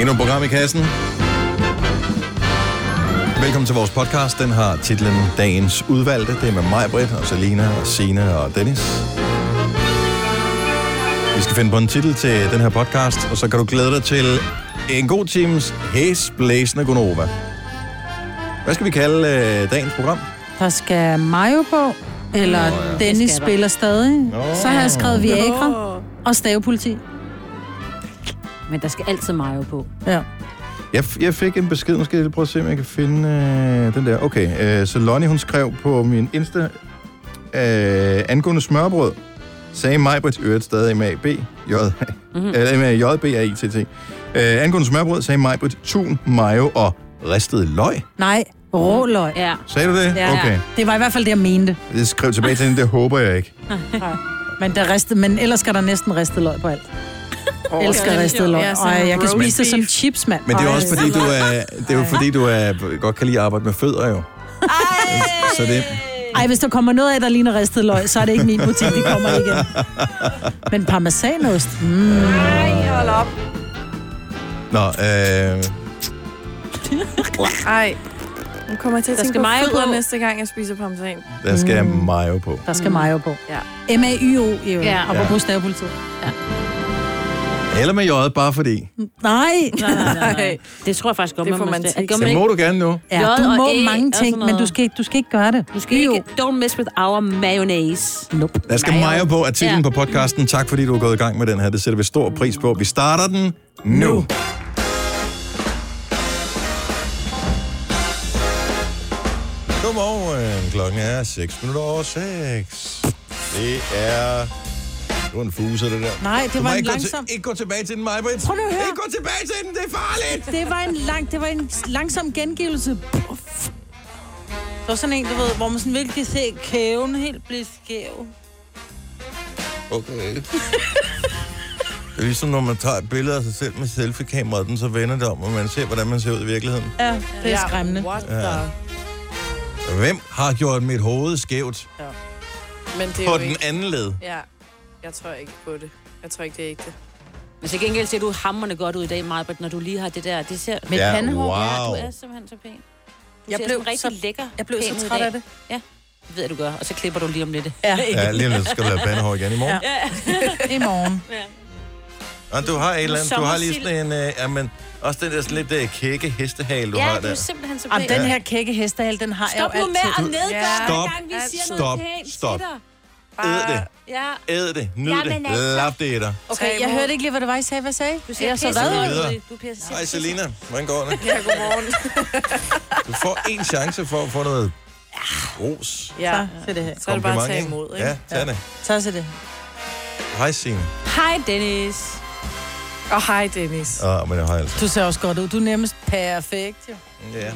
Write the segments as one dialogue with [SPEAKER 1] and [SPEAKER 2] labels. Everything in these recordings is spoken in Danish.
[SPEAKER 1] Endnu et program i kassen. Velkommen til vores podcast. Den har titlen Dagens Udvalgte. Det er med mig, Britt, og Selina, og Sina og Dennis. Vi skal finde på en titel til den her podcast, og så kan du glæde dig til en god times hæsblæsende Gonova. Hvad skal vi kalde øh, dagens program?
[SPEAKER 2] Der skal Mayo på, eller
[SPEAKER 1] Nå, ja.
[SPEAKER 2] ja. Dennis
[SPEAKER 3] Det skal der.
[SPEAKER 2] spiller stadig.
[SPEAKER 1] Nå.
[SPEAKER 2] Så har jeg skrevet Viagra og stavepoliti.
[SPEAKER 3] Men der skal altid mayo på.
[SPEAKER 2] Ja.
[SPEAKER 1] Jeg, f- jeg fik en besked, nu skal jeg lige prøve at se, om jeg kan finde øh, den der. Okay, øh, så Lonnie, hun skrev på min Insta, øh, angående smørbrød, sagde mig på et øret stadig med AB, J,
[SPEAKER 2] Mhm.
[SPEAKER 1] mm-hmm. eller med JB er ITT. Øh, angående smørbrød, sagde mig på et tun, mayo og ristet løg.
[SPEAKER 2] Nej, råløg. Ja.
[SPEAKER 3] Ja.
[SPEAKER 1] Sagde du det?
[SPEAKER 3] Ja.
[SPEAKER 1] Okay.
[SPEAKER 2] Det var i hvert fald det, jeg mente.
[SPEAKER 1] Det skrev tilbage til hende, det håber jeg ikke.
[SPEAKER 2] Men, der ristet, men ellers skal der næsten ristet løg på alt. Oh, elsker
[SPEAKER 4] okay.
[SPEAKER 2] ristet løg.
[SPEAKER 4] Ja,
[SPEAKER 2] Ja,
[SPEAKER 4] sådan
[SPEAKER 2] og jeg kan
[SPEAKER 4] roast
[SPEAKER 2] spise det som
[SPEAKER 4] beef.
[SPEAKER 2] chips, mand.
[SPEAKER 1] Men det er også
[SPEAKER 2] Ej.
[SPEAKER 1] fordi, du er, det er jo fordi, du er, godt kan lide at arbejde med fødder jo. Så det,
[SPEAKER 2] Ej, hvis der kommer noget af, der ligner ristet løg, så er det ikke min butik, vi kommer i igen. Men parmesanost, mm.
[SPEAKER 4] Hold op.
[SPEAKER 1] nå, øh,
[SPEAKER 4] Ej. Nu kommer jeg til at
[SPEAKER 3] Der
[SPEAKER 4] tænke
[SPEAKER 3] skal
[SPEAKER 4] på
[SPEAKER 3] mayo
[SPEAKER 4] fødder
[SPEAKER 3] på.
[SPEAKER 4] næste gang, jeg spiser parmesan.
[SPEAKER 1] der skal mayo på.
[SPEAKER 2] Mm. der skal mayo på.
[SPEAKER 3] Ja.
[SPEAKER 2] M-A-Y-O, i øvrigt.
[SPEAKER 3] Ja.
[SPEAKER 2] Apropos stavepolitiet.
[SPEAKER 1] Eller med J'et, bare fordi.
[SPEAKER 2] Nej!
[SPEAKER 3] Nej, nej, nej, nej. Det tror jeg faktisk godt,
[SPEAKER 4] Det får
[SPEAKER 3] man,
[SPEAKER 4] man
[SPEAKER 3] må
[SPEAKER 4] til.
[SPEAKER 3] Det gør man
[SPEAKER 1] Det
[SPEAKER 3] ikke.
[SPEAKER 1] må du gerne nu.
[SPEAKER 2] Ja,
[SPEAKER 3] J
[SPEAKER 2] du
[SPEAKER 3] og
[SPEAKER 2] må
[SPEAKER 3] æ
[SPEAKER 2] mange
[SPEAKER 3] og sådan
[SPEAKER 2] ting, men
[SPEAKER 3] noget.
[SPEAKER 2] du skal, ikke, du skal ikke gøre det.
[SPEAKER 3] Du skal ikke, don't mess with our mayonnaise.
[SPEAKER 2] Nope.
[SPEAKER 1] Der skal
[SPEAKER 3] Mayo.
[SPEAKER 1] Maja på artiklen ja.
[SPEAKER 3] Ja.
[SPEAKER 1] på podcasten. Tak fordi du er gået i gang med den her. Det sætter vi stor pris på. Vi starter den nu. nu. Godmorgen. Klokken er 6 minutter over 6. Det er... Det var en fuse, det der.
[SPEAKER 2] Nej, det
[SPEAKER 1] Du
[SPEAKER 2] var
[SPEAKER 1] må
[SPEAKER 2] en
[SPEAKER 1] ikke gå til-
[SPEAKER 2] langsom-
[SPEAKER 1] Ikke gå tilbage til den, Maja Britt.
[SPEAKER 2] Prøv nu at høre.
[SPEAKER 1] Ikke gå tilbage til den, det er farligt.
[SPEAKER 2] Det var en, lang, det var en langsom gengivelse. Puff. Det var sådan en, du ved, hvor man sådan virkelig kan se kæven helt blive skæv.
[SPEAKER 1] Okay. Det er ligesom, når man tager et billede af sig selv med selfie-kameraet, den så vender det om, og man ser, hvordan man ser ud i virkeligheden.
[SPEAKER 2] Ja, det er skræmmende.
[SPEAKER 4] What the...
[SPEAKER 1] Hvem har gjort mit hoved skævt
[SPEAKER 4] Men det er
[SPEAKER 1] på
[SPEAKER 4] jo
[SPEAKER 1] den
[SPEAKER 4] ikke...
[SPEAKER 1] anden led?
[SPEAKER 4] Ja. Jeg tror ikke på det. Jeg tror ikke, det er ægte.
[SPEAKER 3] Men til gengæld ser du hammerne godt ud i dag, Marbert, når du lige har det der. Det ser
[SPEAKER 1] Mit Ja, pandehår. wow.
[SPEAKER 3] Ja, du er simpelthen så pæn. Du jeg blev rigtig så, lækker.
[SPEAKER 2] jeg blev
[SPEAKER 3] pæn
[SPEAKER 2] så
[SPEAKER 3] ud i
[SPEAKER 2] træt
[SPEAKER 3] dag.
[SPEAKER 2] af det.
[SPEAKER 3] Ja, det ved jeg, du gør. Og så klipper du lige om lidt.
[SPEAKER 2] Ja,
[SPEAKER 1] Ja, lige lidt skal du lave bandehår igen i morgen.
[SPEAKER 2] i morgen.
[SPEAKER 1] Ja. Og du har et eller andet, du har lige
[SPEAKER 3] Sommersild.
[SPEAKER 1] sådan en, øh, jamen, også den der sådan lidt øh, kække hestehale, du
[SPEAKER 3] Ja,
[SPEAKER 1] har
[SPEAKER 3] du er
[SPEAKER 1] der.
[SPEAKER 3] simpelthen så pæn.
[SPEAKER 2] Jamen, den her kække hestehal, den har
[SPEAKER 3] Stop
[SPEAKER 2] jeg
[SPEAKER 3] nu
[SPEAKER 2] jo
[SPEAKER 3] med at
[SPEAKER 2] altid.
[SPEAKER 3] nedgøre,
[SPEAKER 4] Ja.
[SPEAKER 3] hver
[SPEAKER 1] Stop.
[SPEAKER 3] gang vi siger
[SPEAKER 1] Stop.
[SPEAKER 3] noget pænt
[SPEAKER 1] Stop.
[SPEAKER 3] til dig.
[SPEAKER 1] Æd det,
[SPEAKER 3] Ja,
[SPEAKER 1] æd det, nyd det,
[SPEAKER 3] Jamen, altså.
[SPEAKER 1] lap det i dig.
[SPEAKER 2] Okay, jeg hørte ikke lige, hvad det var, I sagde. Hvad sagde I?
[SPEAKER 3] du ser
[SPEAKER 2] Ja,
[SPEAKER 3] pisse
[SPEAKER 2] så
[SPEAKER 1] hvad?
[SPEAKER 3] ud.
[SPEAKER 1] Videre.
[SPEAKER 3] Du pisser-
[SPEAKER 1] Hej Selina, hvordan går det?
[SPEAKER 4] Ja, godmorgen.
[SPEAKER 1] Du får en chance for at få noget ros.
[SPEAKER 4] ja.
[SPEAKER 2] Så det her.
[SPEAKER 4] Så er det bare at
[SPEAKER 1] Kompliment,
[SPEAKER 4] tage
[SPEAKER 1] ikke?
[SPEAKER 4] imod, ikke?
[SPEAKER 1] Ja, tag det.
[SPEAKER 2] Så så det.
[SPEAKER 1] Hej Signe.
[SPEAKER 3] Hej, Dennis.
[SPEAKER 4] Og hej, Dennis.
[SPEAKER 1] Åh, men jeg har altså.
[SPEAKER 2] Du ser også godt ud. Du er nærmest perfekt, jo.
[SPEAKER 1] Ja.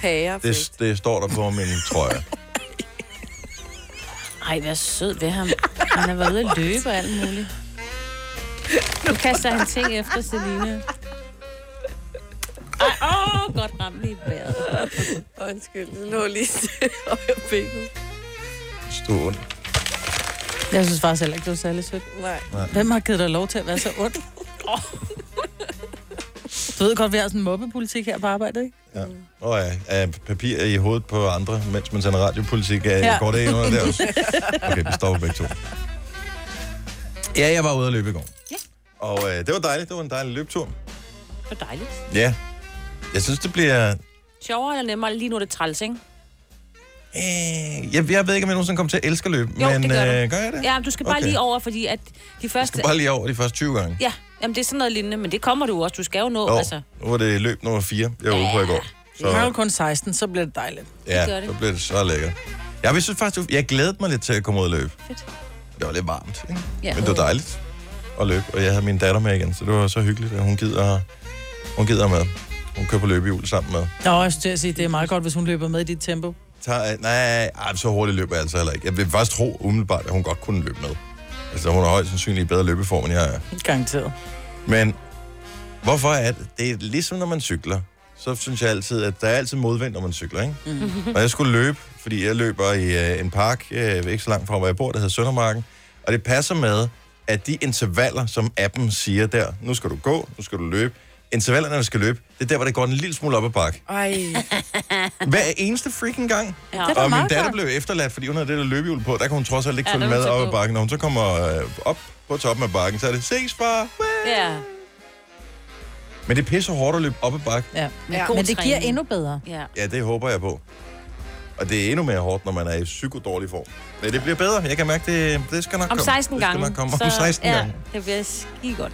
[SPEAKER 4] Pære.
[SPEAKER 1] Det,
[SPEAKER 4] fedt.
[SPEAKER 1] det står der på min trøje.
[SPEAKER 3] Ej, vær sød ved ham. Han har været ude at løbe og alt muligt. Nu kaster han ting efter Selina. Ej, åh, godt ramt lige i bæret.
[SPEAKER 4] Undskyld, det lå lige stille og jeg bækkede.
[SPEAKER 1] Stort.
[SPEAKER 2] Jeg synes faktisk heller ikke, du er særlig sødt.
[SPEAKER 4] Nej.
[SPEAKER 2] Hvem har givet dig lov til at være så ond? Du ved godt, vi har sådan en mobbepolitik her på arbejdet, ikke?
[SPEAKER 1] Ja. Åh oh, ja, af papir i hovedet på andre, mens man sender radiopolitik. Er, ja.
[SPEAKER 2] Ja.
[SPEAKER 1] Går det ind under der også? Okay, vi stopper begge to. Ja, jeg var ude at løbe i går.
[SPEAKER 3] Ja.
[SPEAKER 1] Og øh, det var dejligt. Det var en dejlig løbetur.
[SPEAKER 3] Det var dejligt.
[SPEAKER 1] Ja. Jeg synes, det bliver...
[SPEAKER 3] Sjovere eller nemmere? Lige nu er det træls, ikke?
[SPEAKER 1] Øh, jeg, jeg ved ikke, om jeg nogensinde kommer til at elske at løbe,
[SPEAKER 3] Jo,
[SPEAKER 1] men
[SPEAKER 3] det gør du.
[SPEAKER 1] øh, gør jeg det?
[SPEAKER 3] Ja, men du skal bare
[SPEAKER 1] Okay.
[SPEAKER 3] lige over, fordi at de første...
[SPEAKER 1] Bare lige over de første 20 gange.
[SPEAKER 3] Ja, jamen det er sådan noget lignende, men det kommer du også. Du skal jo nå,
[SPEAKER 1] Jo,
[SPEAKER 3] altså.
[SPEAKER 1] nu var det løb nummer 4, jeg var ude på i går.
[SPEAKER 2] Du har jo
[SPEAKER 1] Så,
[SPEAKER 2] kun 16, så bliver det dejligt.
[SPEAKER 3] Det gør
[SPEAKER 1] ja,
[SPEAKER 3] det.
[SPEAKER 1] så blev det så lækkert. Jeg, vil synes faktisk, jeg glædede mig lidt til at komme ud og løbe.
[SPEAKER 3] Fedt.
[SPEAKER 1] Det var lidt varmt, ikke?
[SPEAKER 3] Ja.
[SPEAKER 1] Men det var dejligt at løbe, og jeg havde min datter med igen, så det var så hyggeligt, at hun gider, hun gider med. Hun kører på løbehjul sammen med.
[SPEAKER 2] Nå, jeg synes til at sige, det er meget godt, hvis hun løber med i dit tempo.
[SPEAKER 1] Tager, nej, ej, så hurtigt løber jeg altså heller ikke. Jeg vil faktisk tro umiddelbart, at hun godt kunne løbe med. Altså, hun er højst sandsynligt i bedre løbeform, end jeg er.
[SPEAKER 2] Garanteret.
[SPEAKER 1] Men hvorfor er det? Det er ligesom, når man cykler. Så synes jeg altid, at der er altid modvind, når man cykler, ikke?
[SPEAKER 2] Mm-hmm.
[SPEAKER 1] Mm. Og jeg skulle løbe, fordi jeg løber i øh, en park, øh, ikke så langt fra, hvor jeg bor, der hedder Søndermarken. Og det passer med, at de intervaller, som appen siger der, nu skal du gå, nu skal du løbe, intervallerne, når vi skal løbe, det er der, hvor det går en lille smule op ad bakke.
[SPEAKER 4] Ej,
[SPEAKER 1] Hver eneste freaking gang.
[SPEAKER 3] Ja.
[SPEAKER 2] Det er da
[SPEAKER 1] Og min
[SPEAKER 2] meget
[SPEAKER 1] datter
[SPEAKER 2] godt.
[SPEAKER 1] blev efterladt, fordi hun havde det der løbehjul på. Der kunne hun trods alt ikke
[SPEAKER 3] Ja,
[SPEAKER 1] følge
[SPEAKER 3] der var
[SPEAKER 1] med
[SPEAKER 3] hun så
[SPEAKER 1] op ad
[SPEAKER 3] god.
[SPEAKER 1] bakken. Når hun så kommer øh, op på toppen af bakken, så er det, ses far!
[SPEAKER 3] Ja.
[SPEAKER 1] Men det er pisse hårdt at løbe op ad bakken.
[SPEAKER 2] Ja.
[SPEAKER 3] Men,
[SPEAKER 4] Ja.
[SPEAKER 3] god
[SPEAKER 2] Men det giver
[SPEAKER 3] træning.
[SPEAKER 2] endnu bedre.
[SPEAKER 3] Ja.
[SPEAKER 1] Ja, det håber jeg på. Og det er endnu mere hårdt, når man er i psykodårlig form. Men det bliver bedre. Jeg kan mærke, det, det skal nok
[SPEAKER 3] Om
[SPEAKER 1] komme.
[SPEAKER 3] 16
[SPEAKER 1] det skal
[SPEAKER 3] gange.
[SPEAKER 1] Nok komme. Om 16
[SPEAKER 3] ja,
[SPEAKER 1] gange.
[SPEAKER 3] det bliver skide godt.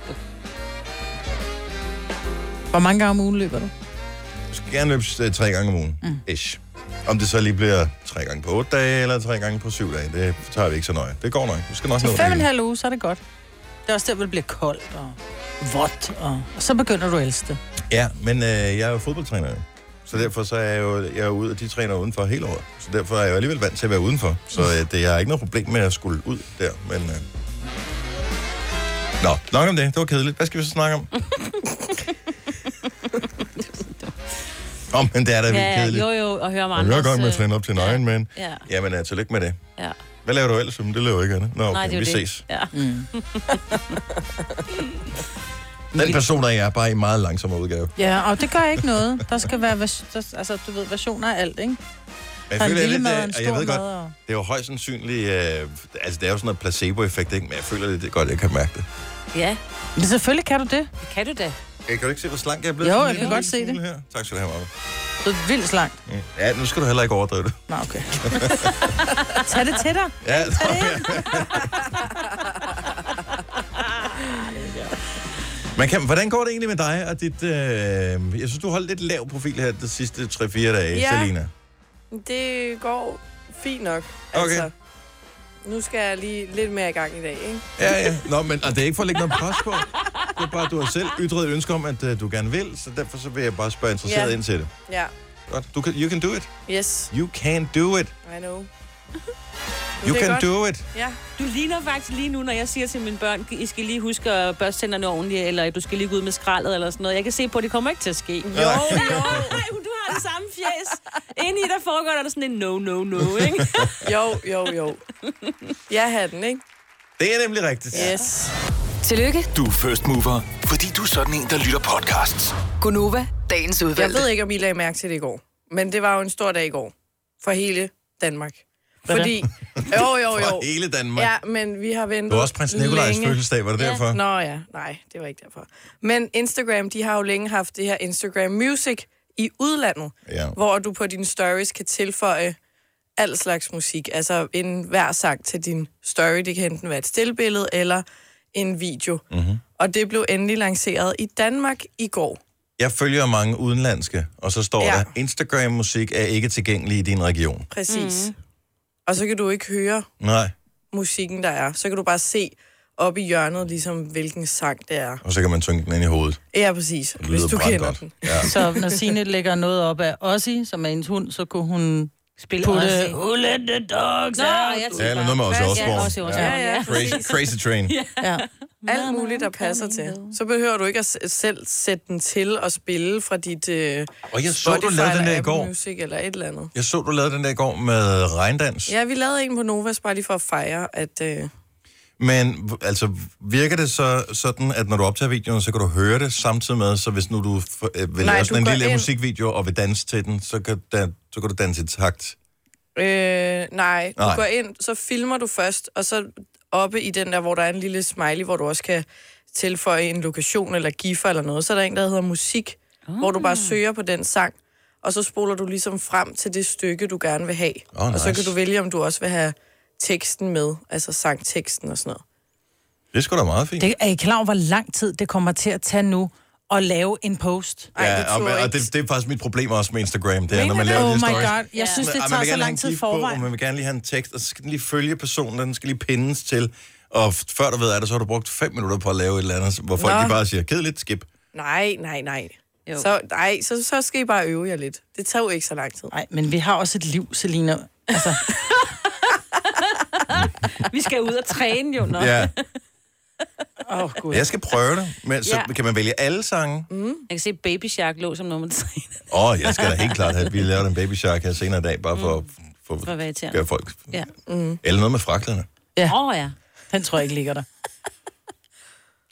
[SPEAKER 2] Hvor mange gange om ugen løber du?
[SPEAKER 1] Du skal gerne løbe øh, tre gange om ugen. Mm. Ish. Om det så lige bliver tre gange på otte dage, eller tre gange på syv dage, det tager vi ikke så nøje. Det går nok. Du skal nok nå
[SPEAKER 2] Til
[SPEAKER 1] det.
[SPEAKER 2] fem og en
[SPEAKER 1] hele.
[SPEAKER 2] halv uge, så er det godt. Det er også der, hvor det bliver koldt og vådt, og, og så begynder du at elske det.
[SPEAKER 1] Ja, men øh, jeg er jo fodboldtræner. jo. Så derfor så er jeg jo jeg er ude, og de træner udenfor hele året. Så derfor er jeg jo alligevel vant til at være udenfor. Så øh, det, jeg har ikke noget problem med at skulle ud der, men... Øh... Nå, nok om det. Det var kedeligt. Hvad skal vi så snakke om? Åh, oh, men det er da vildt
[SPEAKER 3] Ja,
[SPEAKER 1] kedeligt.
[SPEAKER 3] jo, jo, og høre mig
[SPEAKER 1] Jeg
[SPEAKER 3] andre.
[SPEAKER 1] er i gang med at træne op til en Ironman.
[SPEAKER 3] Ja,
[SPEAKER 1] Jamen, øh, tillykke med det.
[SPEAKER 3] ja.
[SPEAKER 1] Hvad laver du ellers? Jamen, det laver jeg ikke andet. Nå, okay,
[SPEAKER 3] Nej, det er jo
[SPEAKER 1] vi
[SPEAKER 3] det.
[SPEAKER 1] ses.
[SPEAKER 3] Ja.
[SPEAKER 2] Mm.
[SPEAKER 1] Den person, der jeg er, bare i meget langsommere udgave.
[SPEAKER 2] Ja, og det gør ikke noget. Der skal være, vers- der, altså, du ved, versioner af alt, ikke?
[SPEAKER 1] Men
[SPEAKER 2] Der er en
[SPEAKER 1] jeg
[SPEAKER 2] lille
[SPEAKER 1] lidt,
[SPEAKER 2] mad
[SPEAKER 1] øh,
[SPEAKER 2] og en
[SPEAKER 1] og jeg
[SPEAKER 2] stor
[SPEAKER 1] ved
[SPEAKER 2] mad.
[SPEAKER 1] godt,
[SPEAKER 2] Og...
[SPEAKER 1] det er jo højst sandsynligt, øh, altså det er jo sådan noget placebo-effekt, ikke? men jeg føler lidt godt, jeg kan mærke det.
[SPEAKER 3] ja,
[SPEAKER 2] Men selvfølgelig kan du det.
[SPEAKER 3] det kan du da.
[SPEAKER 1] Kan du ikke se, hvor slank jeg er blevet?
[SPEAKER 2] Jo,
[SPEAKER 1] Sådan
[SPEAKER 2] jeg
[SPEAKER 1] en
[SPEAKER 2] kan
[SPEAKER 1] lille
[SPEAKER 2] godt se
[SPEAKER 1] smule Her. Tak skal du have, Marve.
[SPEAKER 2] Du er vildt slank.
[SPEAKER 1] Mm. Ja, nu skal du heller ikke overdrive det.
[SPEAKER 2] Nå, okay. Tag det til dig.
[SPEAKER 1] Ja, Man kan, hvordan går det egentlig med dig og dit... Øh, jeg synes, du holdt lidt lav profil her de sidste 3-4 dage,
[SPEAKER 4] Ja.
[SPEAKER 1] Selina.
[SPEAKER 4] det går fint nok. altså.
[SPEAKER 1] Okay.
[SPEAKER 4] Nu skal jeg lige lidt mere i gang i dag, ikke?
[SPEAKER 1] Ja, ja. Nå, men og det er ikke for at lægge noget pres på. Det er bare, du har selv ytret et ønske om, at øh, du gerne vil, så derfor så vil jeg bare spørge interesseret
[SPEAKER 4] Ja.
[SPEAKER 1] ind til det.
[SPEAKER 4] Ja.
[SPEAKER 1] Godt. Du kan, you can do it.
[SPEAKER 4] Yes,
[SPEAKER 1] You can do it.
[SPEAKER 4] I know. Men
[SPEAKER 1] You
[SPEAKER 4] det er
[SPEAKER 1] can
[SPEAKER 4] godt.
[SPEAKER 1] do it.
[SPEAKER 4] Ja,
[SPEAKER 3] Du ligner faktisk lige nu, når jeg siger til mine børn, I skal lige huske at børste tænderne ordentligt, eller du skal lige gå ud med skraldet eller sådan noget. Jeg kan se på, at det kommer ikke til at ske. Jo, jo. Ej, du har det samme fjes. Inde i der foregår der sådan en no, Oh, no, no, ikke?
[SPEAKER 4] jo, jo, jo. Jeg havde den, ikke?
[SPEAKER 1] Det er nemlig rigtigt.
[SPEAKER 4] Yes.
[SPEAKER 5] Tillykke,
[SPEAKER 6] Du er first mover, fordi du er sådan en, der lytter podcasts.
[SPEAKER 5] Gunova, dagens
[SPEAKER 4] Jeg
[SPEAKER 5] udvalgte.
[SPEAKER 4] ved ikke, om I lagde mærke til det i går, men det var jo en stor dag i går for hele Danmark. Fordi, jo, jo,
[SPEAKER 1] For
[SPEAKER 4] jo.
[SPEAKER 1] hele Danmark.
[SPEAKER 4] Ja, men vi har ventet
[SPEAKER 1] Det var også prins Nikolajs
[SPEAKER 4] længe.
[SPEAKER 1] fødselsdag, var det
[SPEAKER 3] Ja.
[SPEAKER 1] derfor?
[SPEAKER 4] Nå ja, nej, det var ikke derfor. Men Instagram, de har jo længe haft det her Instagram Music i udlandet,
[SPEAKER 1] Ja.
[SPEAKER 4] hvor du på dine stories kan tilføje al slags musik, altså en hver sang til din story. Det kan enten være et stillbillede eller en video.
[SPEAKER 1] Mm. Mhm.
[SPEAKER 4] Mm-hmm. Og det blev endelig lanceret i Danmark i går.
[SPEAKER 1] Jeg følger mange udenlandske, og så står
[SPEAKER 4] Ja.
[SPEAKER 1] der, Instagram-musik er ikke tilgængelig i din region.
[SPEAKER 4] Præcis. Mm. Og så kan du ikke høre
[SPEAKER 1] Nej,
[SPEAKER 4] musikken, der er. Så kan du bare se op i hjørnet, ligesom hvilken sang det er.
[SPEAKER 1] og så kan man tynge den ind i hovedet.
[SPEAKER 4] Ja, præcis.
[SPEAKER 1] Det
[SPEAKER 4] Hvis
[SPEAKER 1] lyder
[SPEAKER 4] du kender
[SPEAKER 1] brandgodt.
[SPEAKER 4] den.
[SPEAKER 1] Ja.
[SPEAKER 2] Så når Signe lægger noget op af Ossie, som er hendes hund, så kunne hun
[SPEAKER 3] Spil
[SPEAKER 2] putte...
[SPEAKER 3] også, ikke?
[SPEAKER 2] Who let the dogs
[SPEAKER 3] Nå,
[SPEAKER 2] out?
[SPEAKER 3] jeg
[SPEAKER 1] Ja, eller noget med os også.
[SPEAKER 3] Ja, også i Osborn,
[SPEAKER 4] Ja, ja.
[SPEAKER 3] ja.
[SPEAKER 1] Crazy, crazy Train.
[SPEAKER 2] Ja.
[SPEAKER 4] Alt muligt, der passer til. Så behøver du ikke at s- selv sætte den til at spille fra dit øh,
[SPEAKER 1] Og jeg så, du
[SPEAKER 4] Spotify
[SPEAKER 1] lavede den
[SPEAKER 4] eller
[SPEAKER 1] der i
[SPEAKER 4] Apple
[SPEAKER 1] går.
[SPEAKER 4] Music eller et eller andet.
[SPEAKER 1] Jeg så, du lavede den der i går med regndans.
[SPEAKER 4] Ja, vi lavede en på Novas bare lige for at fejre, at... Øh,
[SPEAKER 1] Men v- altså, virker det så sådan, at når du optager videoen, så kan du høre det samtidig med, så hvis nu du f- øh, vil
[SPEAKER 4] Nej,
[SPEAKER 1] lave
[SPEAKER 4] du
[SPEAKER 1] sådan en
[SPEAKER 4] går
[SPEAKER 1] lille ind...
[SPEAKER 4] ind-
[SPEAKER 1] musikvideo og vil danse til den, så kan, da, så kan du danse i takt.
[SPEAKER 4] øh, nej, du
[SPEAKER 1] Nej.
[SPEAKER 4] nej. går ind, så filmer du først, og så oppe i den der, hvor der er en lille smiley, hvor du også kan tilføje en lokation eller giffer eller noget, så er der en, der hedder musik, oh. hvor du bare søger på den sang, og så spoler du ligesom frem til det stykke, du gerne vil have.
[SPEAKER 1] Åh,
[SPEAKER 4] Og så
[SPEAKER 1] nice.
[SPEAKER 4] kan du vælge, om du også vil have teksten med, altså sangteksten og sådan noget.
[SPEAKER 1] Det er sgu da meget fint.
[SPEAKER 2] Det, er I klar over, hvor lang tid det kommer til at tage nu at lave en post?
[SPEAKER 4] Ej, det
[SPEAKER 1] og,
[SPEAKER 4] turde jeg
[SPEAKER 1] og
[SPEAKER 4] ikke.
[SPEAKER 1] det, det er faktisk mit problem også med Instagram, det er,
[SPEAKER 4] Mener
[SPEAKER 1] når man
[SPEAKER 4] du?
[SPEAKER 1] laver
[SPEAKER 2] Oh
[SPEAKER 1] de
[SPEAKER 2] my
[SPEAKER 1] stories.
[SPEAKER 2] god, jeg synes,
[SPEAKER 1] Men,
[SPEAKER 2] det
[SPEAKER 1] ej, man
[SPEAKER 2] tager
[SPEAKER 1] vil
[SPEAKER 2] så
[SPEAKER 1] gerne have en
[SPEAKER 2] lang tid
[SPEAKER 1] gif på, og
[SPEAKER 2] forvejen.
[SPEAKER 1] Man vil gerne lige have en tekst, og så skal den lige følge personen, og den skal lige pindes til. Og f- før du ved af det, så har du brugt fem minutter på at lave et eller andet, hvor folk
[SPEAKER 4] Nå.
[SPEAKER 1] lige bare siger, kedeligt, skip.
[SPEAKER 4] Nej, nej, nej.
[SPEAKER 3] Jo.
[SPEAKER 4] Så, nej så, så skal I bare øve jer lidt. Det tager jo ikke så lang tid.
[SPEAKER 2] Nej, men vi har også et liv, Selina. Altså,
[SPEAKER 3] Vi skal ud og træne jo, nå. Ja.
[SPEAKER 1] Ja,
[SPEAKER 2] åh oh, gud.
[SPEAKER 1] jeg skal prøve det, men så
[SPEAKER 3] Ja.
[SPEAKER 1] kan man vælge alle sange. Åh,
[SPEAKER 3] Mm. Jeg kan se Baby Shark lå som nummer tre.
[SPEAKER 1] oh, jeg skal da helt klart have, vi laver en baby shark her senere i dag, bare for,
[SPEAKER 4] Mm,
[SPEAKER 1] for,
[SPEAKER 3] For at være irriterende.
[SPEAKER 1] gøre folk.
[SPEAKER 3] Ja. Mm.
[SPEAKER 1] Eller noget med fraklerne.
[SPEAKER 3] Åh, oh, ja.
[SPEAKER 2] Den tror jeg ikke ligger der.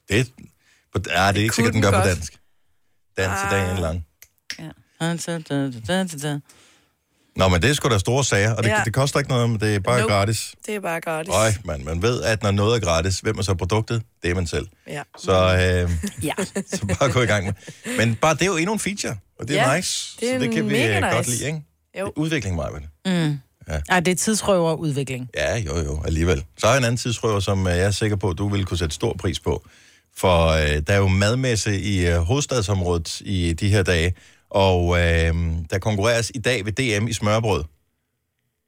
[SPEAKER 1] Det, på, ah, det er ikke sikkert, den
[SPEAKER 4] kunne
[SPEAKER 1] gør
[SPEAKER 4] den
[SPEAKER 1] på
[SPEAKER 4] godt. Ah.
[SPEAKER 1] dansk. danse dagen lang.
[SPEAKER 2] Det
[SPEAKER 1] Nå, men det er sgu da store sager, og det, ja.
[SPEAKER 4] Ja.
[SPEAKER 1] det koster ikke noget, men det er bare
[SPEAKER 4] Nope.
[SPEAKER 1] gratis.
[SPEAKER 4] Det er bare gratis.
[SPEAKER 1] Øj, man, man ved, at når noget er gratis, hvem er så produktet? Det er man selv.
[SPEAKER 4] Ja.
[SPEAKER 1] Så,
[SPEAKER 4] Mm.
[SPEAKER 1] øh,
[SPEAKER 3] Ja.
[SPEAKER 1] så bare gå i gang med. Men bare det er jo endnu en feature, og det er ja,
[SPEAKER 4] Ja,
[SPEAKER 1] nice.
[SPEAKER 4] det er
[SPEAKER 1] så det kan vi
[SPEAKER 4] mega
[SPEAKER 1] øh, godt
[SPEAKER 4] nice.
[SPEAKER 1] lide, ikke?
[SPEAKER 4] Jo.
[SPEAKER 1] Det er Udvikling, Maja.
[SPEAKER 3] Mm.
[SPEAKER 2] er tidsrøverudvikling.
[SPEAKER 1] Ja, jo, jo, alligevel. Så er en anden tidsrøver, som øh, jeg er sikker på, at du ville kunne sætte stor pris på. For øh, der er jo madmesse i øh, hovedstadsområdet i de her dage, og øh, der konkurreres i dag ved DM i smørbrød.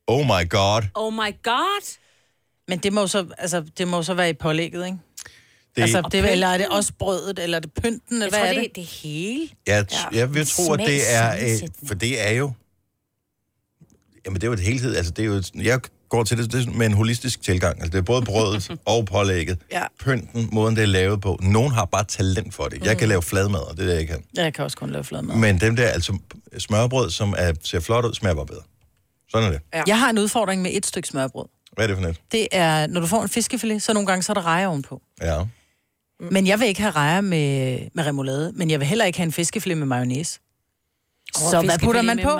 [SPEAKER 1] Oh my god.
[SPEAKER 3] Oh my god.
[SPEAKER 2] Men det må, jo så, altså, det må jo så være i pålægget, ikke?
[SPEAKER 1] Det,
[SPEAKER 2] altså,
[SPEAKER 1] altså,
[SPEAKER 2] det, eller er det også brødet, eller er det pynten, eller
[SPEAKER 3] Jeg
[SPEAKER 2] hvad
[SPEAKER 3] tror,
[SPEAKER 2] er det?
[SPEAKER 3] det, det hele.
[SPEAKER 1] jeg, t- jeg vil tro, at
[SPEAKER 3] Smag,
[SPEAKER 1] det er... Øh,
[SPEAKER 3] sammensætning.
[SPEAKER 1] for det er jo... Jamen, det er jo et helhed. Altså, det er jo et, jeg går til det, det er sådan med en holistisk tilgang. Altså, det er både brødet og pålægget.
[SPEAKER 4] Ja.
[SPEAKER 1] Pynten, måden det er lavet på. Nogen har bare talent for det. Jeg
[SPEAKER 3] Mm.
[SPEAKER 1] kan lave fladmad, og det er det, jeg kan.
[SPEAKER 2] Ja, jeg kan også kun lave fladmad.
[SPEAKER 1] Men dem der, altså smørbrød, som er, ser flot ud, smager bare bedre. Sådan er det.
[SPEAKER 4] Ja.
[SPEAKER 2] Jeg har en udfordring med et stykke smørbrød.
[SPEAKER 1] Hvad er det for net?
[SPEAKER 2] Det er, når du får en fiskefilet, så nogle gange så er der rejer ovenpå.
[SPEAKER 1] Ja.
[SPEAKER 3] Mm.
[SPEAKER 2] Men jeg vil ikke have rejer med, med remoulade, men jeg vil heller ikke have en fiskefilet med mayonnaise. så hvad putter man på?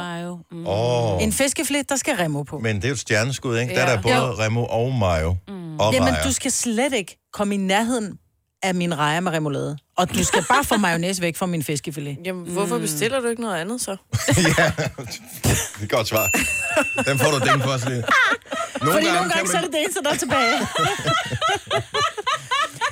[SPEAKER 3] Mm.
[SPEAKER 1] Åh, oh,
[SPEAKER 2] En fiskefilet, der skal remo på. Men,
[SPEAKER 1] men det er jo et stjerneskud, ikke? Ja. Der er
[SPEAKER 4] Ja.
[SPEAKER 1] der både Remo og Mayo mm. og
[SPEAKER 2] Jamen,
[SPEAKER 1] rejer.
[SPEAKER 2] du skal slet ikke komme i nærheden af min rejer med remoulade. Og du skal bare få mayonnaise væk fra min fiskefilet. Mm.
[SPEAKER 4] Jamen, hvorfor bestiller du ikke noget andet så?
[SPEAKER 1] Det er et godt svar. Den får du ding for os lige. Nogle
[SPEAKER 2] Fordi nogle gange, så er
[SPEAKER 1] kan
[SPEAKER 2] det det eneste, der er tilbage.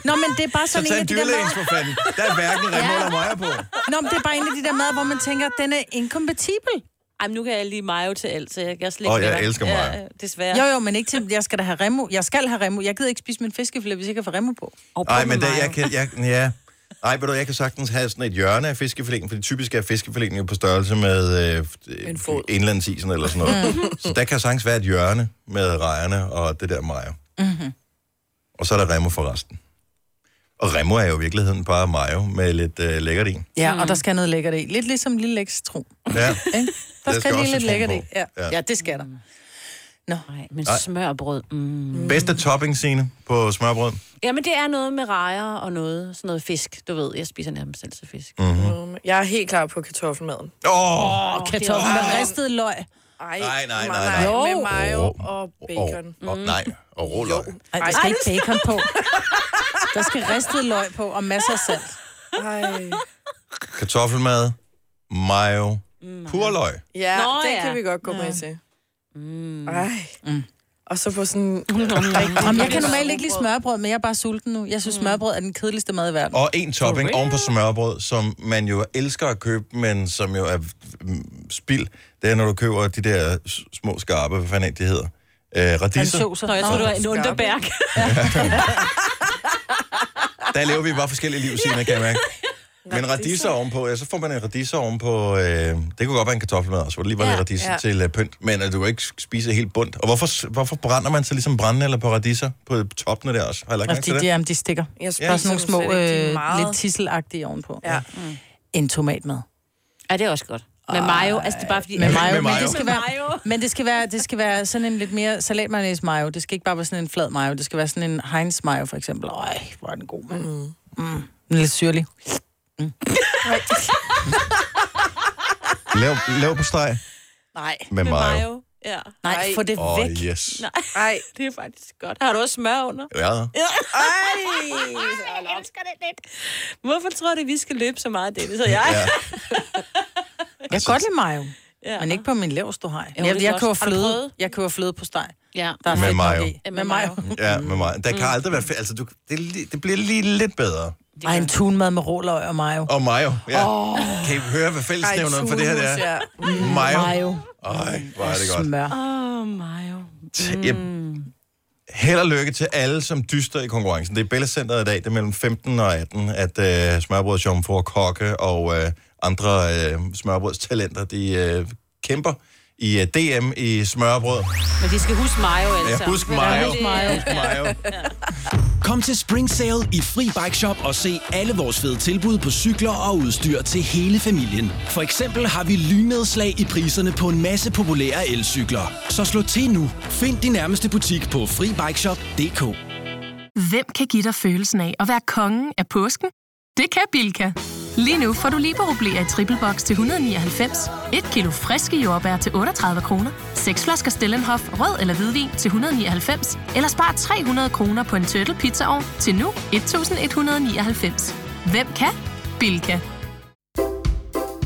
[SPEAKER 2] Nå, men det er bare
[SPEAKER 1] man...
[SPEAKER 2] sådan
[SPEAKER 1] Så
[SPEAKER 2] en af
[SPEAKER 1] tag en
[SPEAKER 2] de der
[SPEAKER 1] dyrlægens
[SPEAKER 2] mad...
[SPEAKER 1] for fanden. Der er hverken Remo eller Mayo på.
[SPEAKER 2] Nå, men det er bare en af de der mad, hvor man tænker, at den er inkompatibel.
[SPEAKER 3] Ej, men nu kan jeg lige mayo til alt, så jeg kan slet ikke...
[SPEAKER 1] Åh, jeg
[SPEAKER 3] lade være.
[SPEAKER 1] elsker mayo.
[SPEAKER 3] Ja, desværre.
[SPEAKER 2] Jo, jo, men ikke til, jeg skal da have remo. Jeg skal have remo. Jeg gider ikke spise min fiskefilet, hvis jeg kan få remo på.
[SPEAKER 3] Og brød
[SPEAKER 1] Nej,
[SPEAKER 3] med
[SPEAKER 1] men det,
[SPEAKER 3] mayo.
[SPEAKER 1] jeg kan... Jeg, ja. Nej, ved du, jeg kan sagtens have sådan et hjørne af fiskefiléen, fordi typisk er fiskefiléen jo på størrelse med øh,
[SPEAKER 4] En fod.
[SPEAKER 1] indlandsisen eller sådan
[SPEAKER 2] Mm.
[SPEAKER 1] noget. så der kan sagtens være et hjørne med rejerne og det der mayo. Mm-hmm. Og så er der remo for resten. Og remo er jo i virkeligheden bare mayo med lidt øh, lækkert i.
[SPEAKER 2] Ja, mm. og der skal noget lækkert i. Lidt ligesom lille lækker citron.
[SPEAKER 1] Ja.
[SPEAKER 2] Ikke? Der skal, skal
[SPEAKER 1] skal
[SPEAKER 2] lige
[SPEAKER 1] også
[SPEAKER 2] lidt
[SPEAKER 1] citron
[SPEAKER 2] lækkert i.
[SPEAKER 1] på.
[SPEAKER 2] Ja.
[SPEAKER 1] Ja.
[SPEAKER 2] Ja. ja, det skal der.
[SPEAKER 3] Nej, men
[SPEAKER 1] Nej.
[SPEAKER 3] smørbrød. Mm.
[SPEAKER 1] Bedste topping scene på smørbrød.
[SPEAKER 3] Jamen, det er noget med rejer og noget, sådan noget fisk. Du ved, jeg spiser nærmest altid fisk. Mm.
[SPEAKER 1] Mm-hmm.
[SPEAKER 4] Mm. Jeg er helt klar på kartoffelmaden.
[SPEAKER 1] Åh! Oh,
[SPEAKER 2] Og kartofler med ristet løg.
[SPEAKER 4] Ej,
[SPEAKER 1] Nej, nej, nej, nej.
[SPEAKER 4] nej. Med mayo
[SPEAKER 1] Jo.
[SPEAKER 4] og bacon. Mm.
[SPEAKER 1] Og, og, nej, og råløg.
[SPEAKER 2] Ej, der skal ikke bacon på. Der skal ristet løg på og masser af salt.
[SPEAKER 4] Ej.
[SPEAKER 1] Kartoffelmad, mayo,
[SPEAKER 4] Mm.
[SPEAKER 1] purløg.
[SPEAKER 4] Ja,
[SPEAKER 3] Nå,
[SPEAKER 4] Nå, det
[SPEAKER 3] ja.
[SPEAKER 4] ja. kan vi godt gå med til. Mm. Ej. Mm. Og så på sådan...
[SPEAKER 2] Om jeg kan normalt ikke lide smørbrød, Mm. men jeg er bare sulten nu. Jeg synes, smørbrød er den kedeligste mad i verden.
[SPEAKER 1] Og en topping oven på smørbrød, som man jo elsker at købe, men som jo er mm, spild, det er, når du køber de der s- små skarpe, hvad fanden er det, de hedder? Øh, radiser.
[SPEAKER 2] Ansjoser.
[SPEAKER 3] Nå, jeg tror, du
[SPEAKER 2] Nå.
[SPEAKER 3] er en underbærk.
[SPEAKER 1] Der lever vi bare forskellige liv, Signe, kan jeg mærke. Men radiser ovenpå, ja, så får man en radiser ovenpå, øh, det kunne godt være en kartoffelmad også, hvor det lige var ja, lidt radiser ja.
[SPEAKER 4] ja.
[SPEAKER 1] til øh, pynt, men at du kan ikke spise helt bundt. Og hvorfor, s- hvorfor brænder man så ligesom brænde eller på radiser på toppene der også? Har jeg lagt mærke
[SPEAKER 2] Altså,
[SPEAKER 1] til
[SPEAKER 2] de,
[SPEAKER 1] det?
[SPEAKER 2] de, jamen, de stikker.
[SPEAKER 4] Jeg
[SPEAKER 2] Der er sådan nogle
[SPEAKER 4] spiser dem
[SPEAKER 2] små,
[SPEAKER 4] slet ikke. De er
[SPEAKER 2] øh,
[SPEAKER 4] meget-
[SPEAKER 2] lidt tisselagtige ovenpå.
[SPEAKER 4] Ja.
[SPEAKER 2] En tomatmad.
[SPEAKER 3] Ja, det er også godt. Med mayo, altså det er bare fordi...
[SPEAKER 2] Med mayo.
[SPEAKER 1] Med
[SPEAKER 2] Men,
[SPEAKER 1] mayo.
[SPEAKER 2] det skal
[SPEAKER 3] Med
[SPEAKER 2] være,
[SPEAKER 3] mayo.
[SPEAKER 2] men det skal være, det skal være sådan en lidt mere salatmayonnaise mayo. Det skal ikke bare være sådan en flad mayo. Det skal være sådan en Heinz mayo, for eksempel. Øj, hvor er den god, mand. Mm. Mm. Lidt syrlig.
[SPEAKER 1] Lav, lav på steg
[SPEAKER 2] Nej.
[SPEAKER 1] med, med mayo. mayo.
[SPEAKER 3] Ja.
[SPEAKER 2] Nej, få det
[SPEAKER 1] Åh, oh,
[SPEAKER 2] væk.
[SPEAKER 1] yes. Nej.
[SPEAKER 4] Ej.
[SPEAKER 3] Det er faktisk godt. Har du også smør under?
[SPEAKER 1] Ja.
[SPEAKER 3] Jeg elsker det lidt. Hvorfor tror du, vi skal løbe så meget, Dennis og jeg?
[SPEAKER 1] ja.
[SPEAKER 2] Jeg kan godt lide mayo.
[SPEAKER 3] Ja.
[SPEAKER 2] Men ikke på min leverståhej.
[SPEAKER 3] Jo,
[SPEAKER 2] Jeg, jeg,
[SPEAKER 3] det er
[SPEAKER 2] jeg,
[SPEAKER 3] godt.
[SPEAKER 2] køber
[SPEAKER 3] Har du
[SPEAKER 2] fløde.
[SPEAKER 3] prøvet?
[SPEAKER 2] Jeg køber fløde på steg.
[SPEAKER 3] ja.
[SPEAKER 2] Der er
[SPEAKER 1] Med
[SPEAKER 2] fedt nok
[SPEAKER 1] mayo.
[SPEAKER 2] i.
[SPEAKER 3] Ja,
[SPEAKER 2] Med
[SPEAKER 3] med
[SPEAKER 2] mayo.
[SPEAKER 1] Ja, med mig. Der kan aldrig være... fe- Altså, du, det, er li- det bliver lige lidt bedre.
[SPEAKER 2] Ej, en tunmad med råløg og mayo.
[SPEAKER 1] Og mayo. Ja. Oh. Kan I høre, hvad fællesnævneren for det her det
[SPEAKER 4] tunmus,
[SPEAKER 1] er?
[SPEAKER 4] ja.
[SPEAKER 1] Mayo.
[SPEAKER 2] Mm. Mayo.
[SPEAKER 1] Ej, hvor er det godt.
[SPEAKER 2] Smør. Mm.
[SPEAKER 3] Åh, oh, mayo.
[SPEAKER 1] T- Jeg, held og lykke til alle, som dyster i konkurrencen. Det er Bella Center i dag. Det er mellem 15 og 18, at øh, smørbrødsjommen får kokke og øh, andre øh, smørbrødstalenter, de øh, kæmper i øh, DM i smørbrød.
[SPEAKER 3] Men de skal huske mayo, altså.
[SPEAKER 1] Ja, husk mayo.
[SPEAKER 3] Husk
[SPEAKER 2] mayo.
[SPEAKER 1] Husk mayo.
[SPEAKER 7] Kom til Spring Sale i Fri Bike Shop og se alle vores fede tilbud på cykler og udstyr til hele familien. For eksempel har vi lynedslag i priserne på en masse populære elcykler. Så slå til nu. Find din nærmeste butik på FriBikeShop.dk
[SPEAKER 8] Hvem kan give dig følelsen af at være kongen af påsken? Det kan Bilka! Lige nu får du liberobleer i triple box til 199, et kilo friske jordbær til 38 kroner, seks flasker Stellenhof rød eller hvidvin til 199, eller spar 300 kroner på en turtle pizzaovn til nu 1199. Hvem kan? Bilka.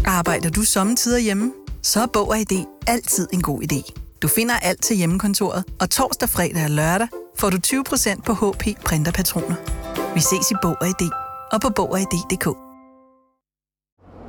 [SPEAKER 9] Arbejder du sommetider hjemme? Så er Bog og ID altid en god idé. Du finder alt til hjemmekontoret, og torsdag, fredag og lørdag får du 20% på HP Printerpatroner. Vi ses i Bog og ID og på Bog og ID.dk.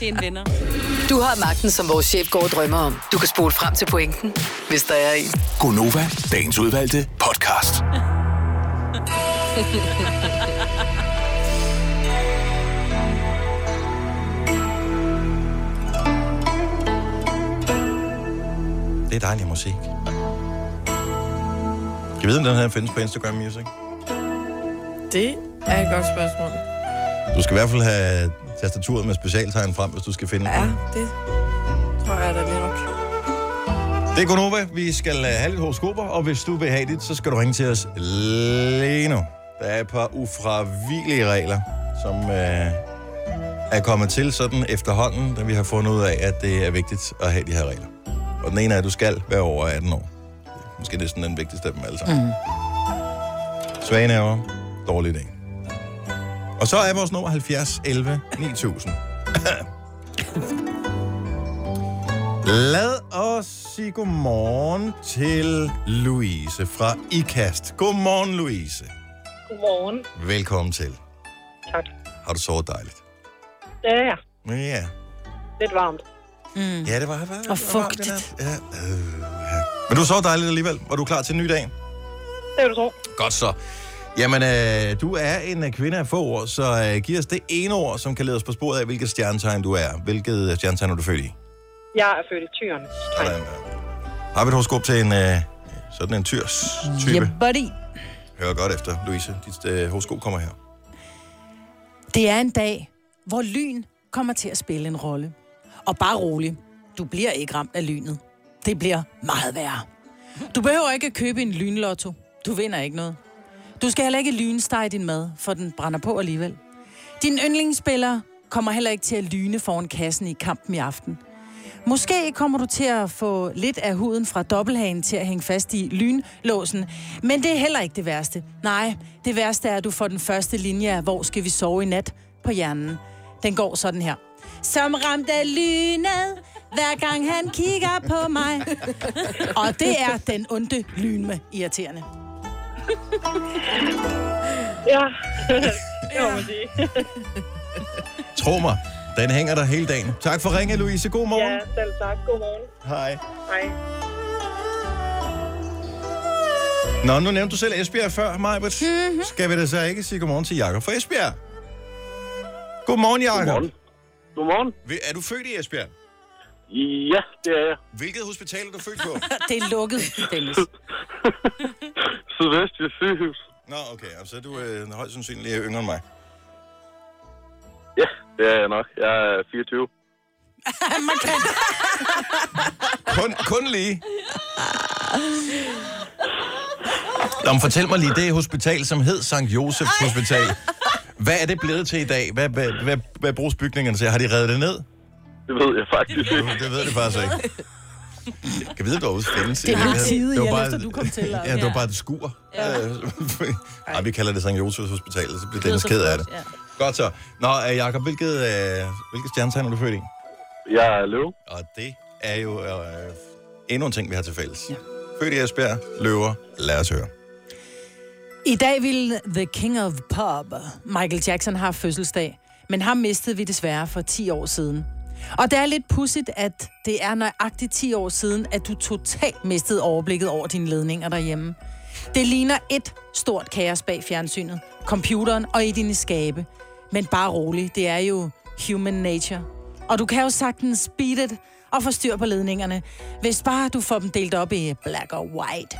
[SPEAKER 3] Det er en venner.
[SPEAKER 5] Du har magten, som vores chef går og drømmer om. Du kan spole frem til pointen, hvis der er en.
[SPEAKER 6] Gonova, dagens udvalgte podcast.
[SPEAKER 1] Det er dejlig musik. Jeg ved, om den her findes på Instagram Music.
[SPEAKER 4] Det er et godt spørgsmål.
[SPEAKER 1] Du skal i hvert fald have tastaturet med specialtegn frem, hvis du skal finde ja. den.
[SPEAKER 4] Det tror jeg da lige nok.
[SPEAKER 1] Det er Gunova. Vi skal øh, have lidt horoskoper, og hvis du vil have dit, så skal du ringe til os lige nu. Der er et par ufravigelige regler, som øh, er kommet til sådan efterhånden, da vi har fundet ud af, at det er vigtigt at have de her regler. Og den ene er, at du skal være over 18 år. Måske det er sådan den vigtigste af dem alle sammen. Mm. Svage nerver, dårlig dag. Og så er vores nummer 70 11 9000. Lad os sige godmorgen til Louise fra IKAST. Godmorgen, Louise.
[SPEAKER 10] Godmorgen.
[SPEAKER 1] Velkommen til.
[SPEAKER 10] Tak.
[SPEAKER 1] Har du sovet dejligt?
[SPEAKER 10] Ja, ja.
[SPEAKER 1] Ja.
[SPEAKER 10] Lidt varmt.
[SPEAKER 1] Mm. Ja, det var, var
[SPEAKER 10] Og fugtigt.
[SPEAKER 1] Ja, øh, ja. Men du sov dejligt alligevel. Var du klar til en ny dag?
[SPEAKER 10] Det vil du tro.
[SPEAKER 1] Godt så. Jamen, øh, du er en øh, kvinde af få år, så øh, giv os det ene ord, som kan lede os på sporet af, hvilket stjernetegn du er. Hvilket øh, stjernetegn er du født i?
[SPEAKER 10] Jeg er født i Tyren.
[SPEAKER 1] Sådan, øh. Har vi et horoskop til en, øh, sådan en tyrs type?
[SPEAKER 2] Yeah, buddy.
[SPEAKER 1] Hør godt efter, Louise. Dit øh, horoskop kommer her.
[SPEAKER 2] Det er en dag, hvor lyn kommer til at spille en rolle. Og bare rolig, du bliver ikke ramt af lynet. Det bliver meget værre. Du behøver ikke at købe en lynlotto. Du vinder ikke noget. Du skal heller ikke lynstege din mad, for den brænder på alligevel. Din yndlingsspiller kommer heller ikke til at lyne foran kassen i kampen i aften. Måske kommer du til at få lidt af huden fra dobbelthagen til at hænge fast i lynlåsen, men det er heller ikke det værste. Nej, det værste er, at du får den første linje af, hvor skal vi sove i nat på hjernen. Den går sådan her. Som ramt af lynet, hver gang han kigger på mig. Og det er den onde lyn med irriterende.
[SPEAKER 10] Ja, det må man sige.
[SPEAKER 1] Tro mig, den hænger der hele dagen. Tak for ringe, Louise. God morgen.
[SPEAKER 10] Ja, selv tak. Godmorgen.
[SPEAKER 1] Hej.
[SPEAKER 10] Hej.
[SPEAKER 1] Nå, nu nævnte du selv Esbjerg før, Majbert.
[SPEAKER 11] Mhm.
[SPEAKER 1] Mm-hmm. Skal vi da så ikke sige godmorgen til Jakob fra Esbjerg? Godmorgen, Jakob. Godmorgen.
[SPEAKER 11] Godmorgen.
[SPEAKER 1] Er du født i Esbjerg?
[SPEAKER 11] Ja, det er jeg.
[SPEAKER 1] Hvilket hospital er du født på?
[SPEAKER 2] Det er lukket, Dennis.
[SPEAKER 11] Sydvestjysk sygehus.
[SPEAKER 1] Nå, okay. Så er du øh, højst sandsynligt yngre end mig.
[SPEAKER 11] Ja, det er jeg nok. Jeg er 24.
[SPEAKER 1] Kun, kun lige. Nå, men fortæl mig lige, det hospital, som hed Sankt Josefs Hospital. Hvad er det blevet til i dag? Hvad, hvad, hvad, hvad bruges bygningerne til? Har de reddet det ned?
[SPEAKER 11] Det ved jeg faktisk
[SPEAKER 1] ikke. Det ved det faktisk ikke. Kan vide, hvor findes i
[SPEAKER 2] Det blev
[SPEAKER 1] virkeligheden?
[SPEAKER 2] tidigt,
[SPEAKER 1] var
[SPEAKER 2] ja,
[SPEAKER 1] bare-
[SPEAKER 2] efter du kom til, og-
[SPEAKER 1] Ja, det var
[SPEAKER 2] ja.
[SPEAKER 1] bare et skur.
[SPEAKER 2] Ja.
[SPEAKER 1] Øh, Ej, vi kalder det Sankt Josefs Hospital, så bliver
[SPEAKER 2] lyder
[SPEAKER 1] Dennis
[SPEAKER 2] så
[SPEAKER 1] ked af
[SPEAKER 2] flot,
[SPEAKER 1] det. Godt så. Nå, øh, Jacob, hvilket, øh, hvilket stjernetegn er du født i?
[SPEAKER 11] Jeg er løv.
[SPEAKER 1] Og det er jo øh, endnu en ting, vi har til fælles. Ja. Født i Esbjerg, løver, lad os høre.
[SPEAKER 2] I dag ville The King of Pop, Michael Jackson, har fødselsdag, men ham mistede vi desværre for 10 år siden. Og det er lidt pudsigt, at det er nøjagtigt 10 år siden, at du totalt mistede overblikket over dine ledninger derhjemme. Det ligner et stort kaos bag fjernsynet, computeren og i dine skabe. Men bare rolig, det er jo human nature. Og du kan jo sagtens beat it og få styr på ledningerne, hvis bare du får dem delt op i black og white.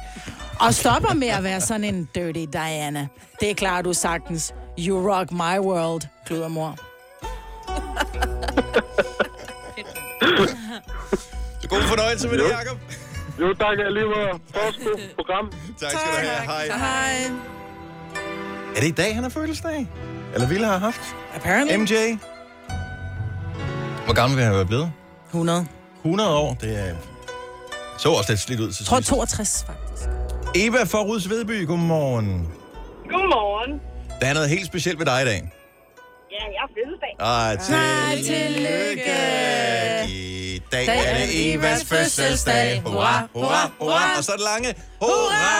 [SPEAKER 2] Og stopper med at være sådan en dirty Diana. Det klarer du sagtens. You rock my world, kludermor.
[SPEAKER 1] God fornøjelse med det, Jacob.
[SPEAKER 11] Jo, tak alligevel. Forskud program.
[SPEAKER 1] Tak skal du have. Hej.
[SPEAKER 4] Hej.
[SPEAKER 1] Er det i dag, han har fødselsdag? Eller ville have haft?
[SPEAKER 2] Apparently.
[SPEAKER 1] MJ. Hvor gammel vil han være blevet?
[SPEAKER 2] 100.
[SPEAKER 1] 100 år, det er... Så også lidt slidt ud til
[SPEAKER 2] Jeg tror
[SPEAKER 1] sidst.
[SPEAKER 2] 62, faktisk.
[SPEAKER 1] Eva fra Ruds Vedby, godmorgen.
[SPEAKER 10] Godmorgen.
[SPEAKER 1] Der er noget helt specielt ved dig i dag.
[SPEAKER 10] Ja, jeg er fødselsdag.
[SPEAKER 1] Og til
[SPEAKER 10] tillykke.
[SPEAKER 1] i dag er det Evas fødselsdag. Hurra, hurra, hurra. Og så er det lange. Hurra!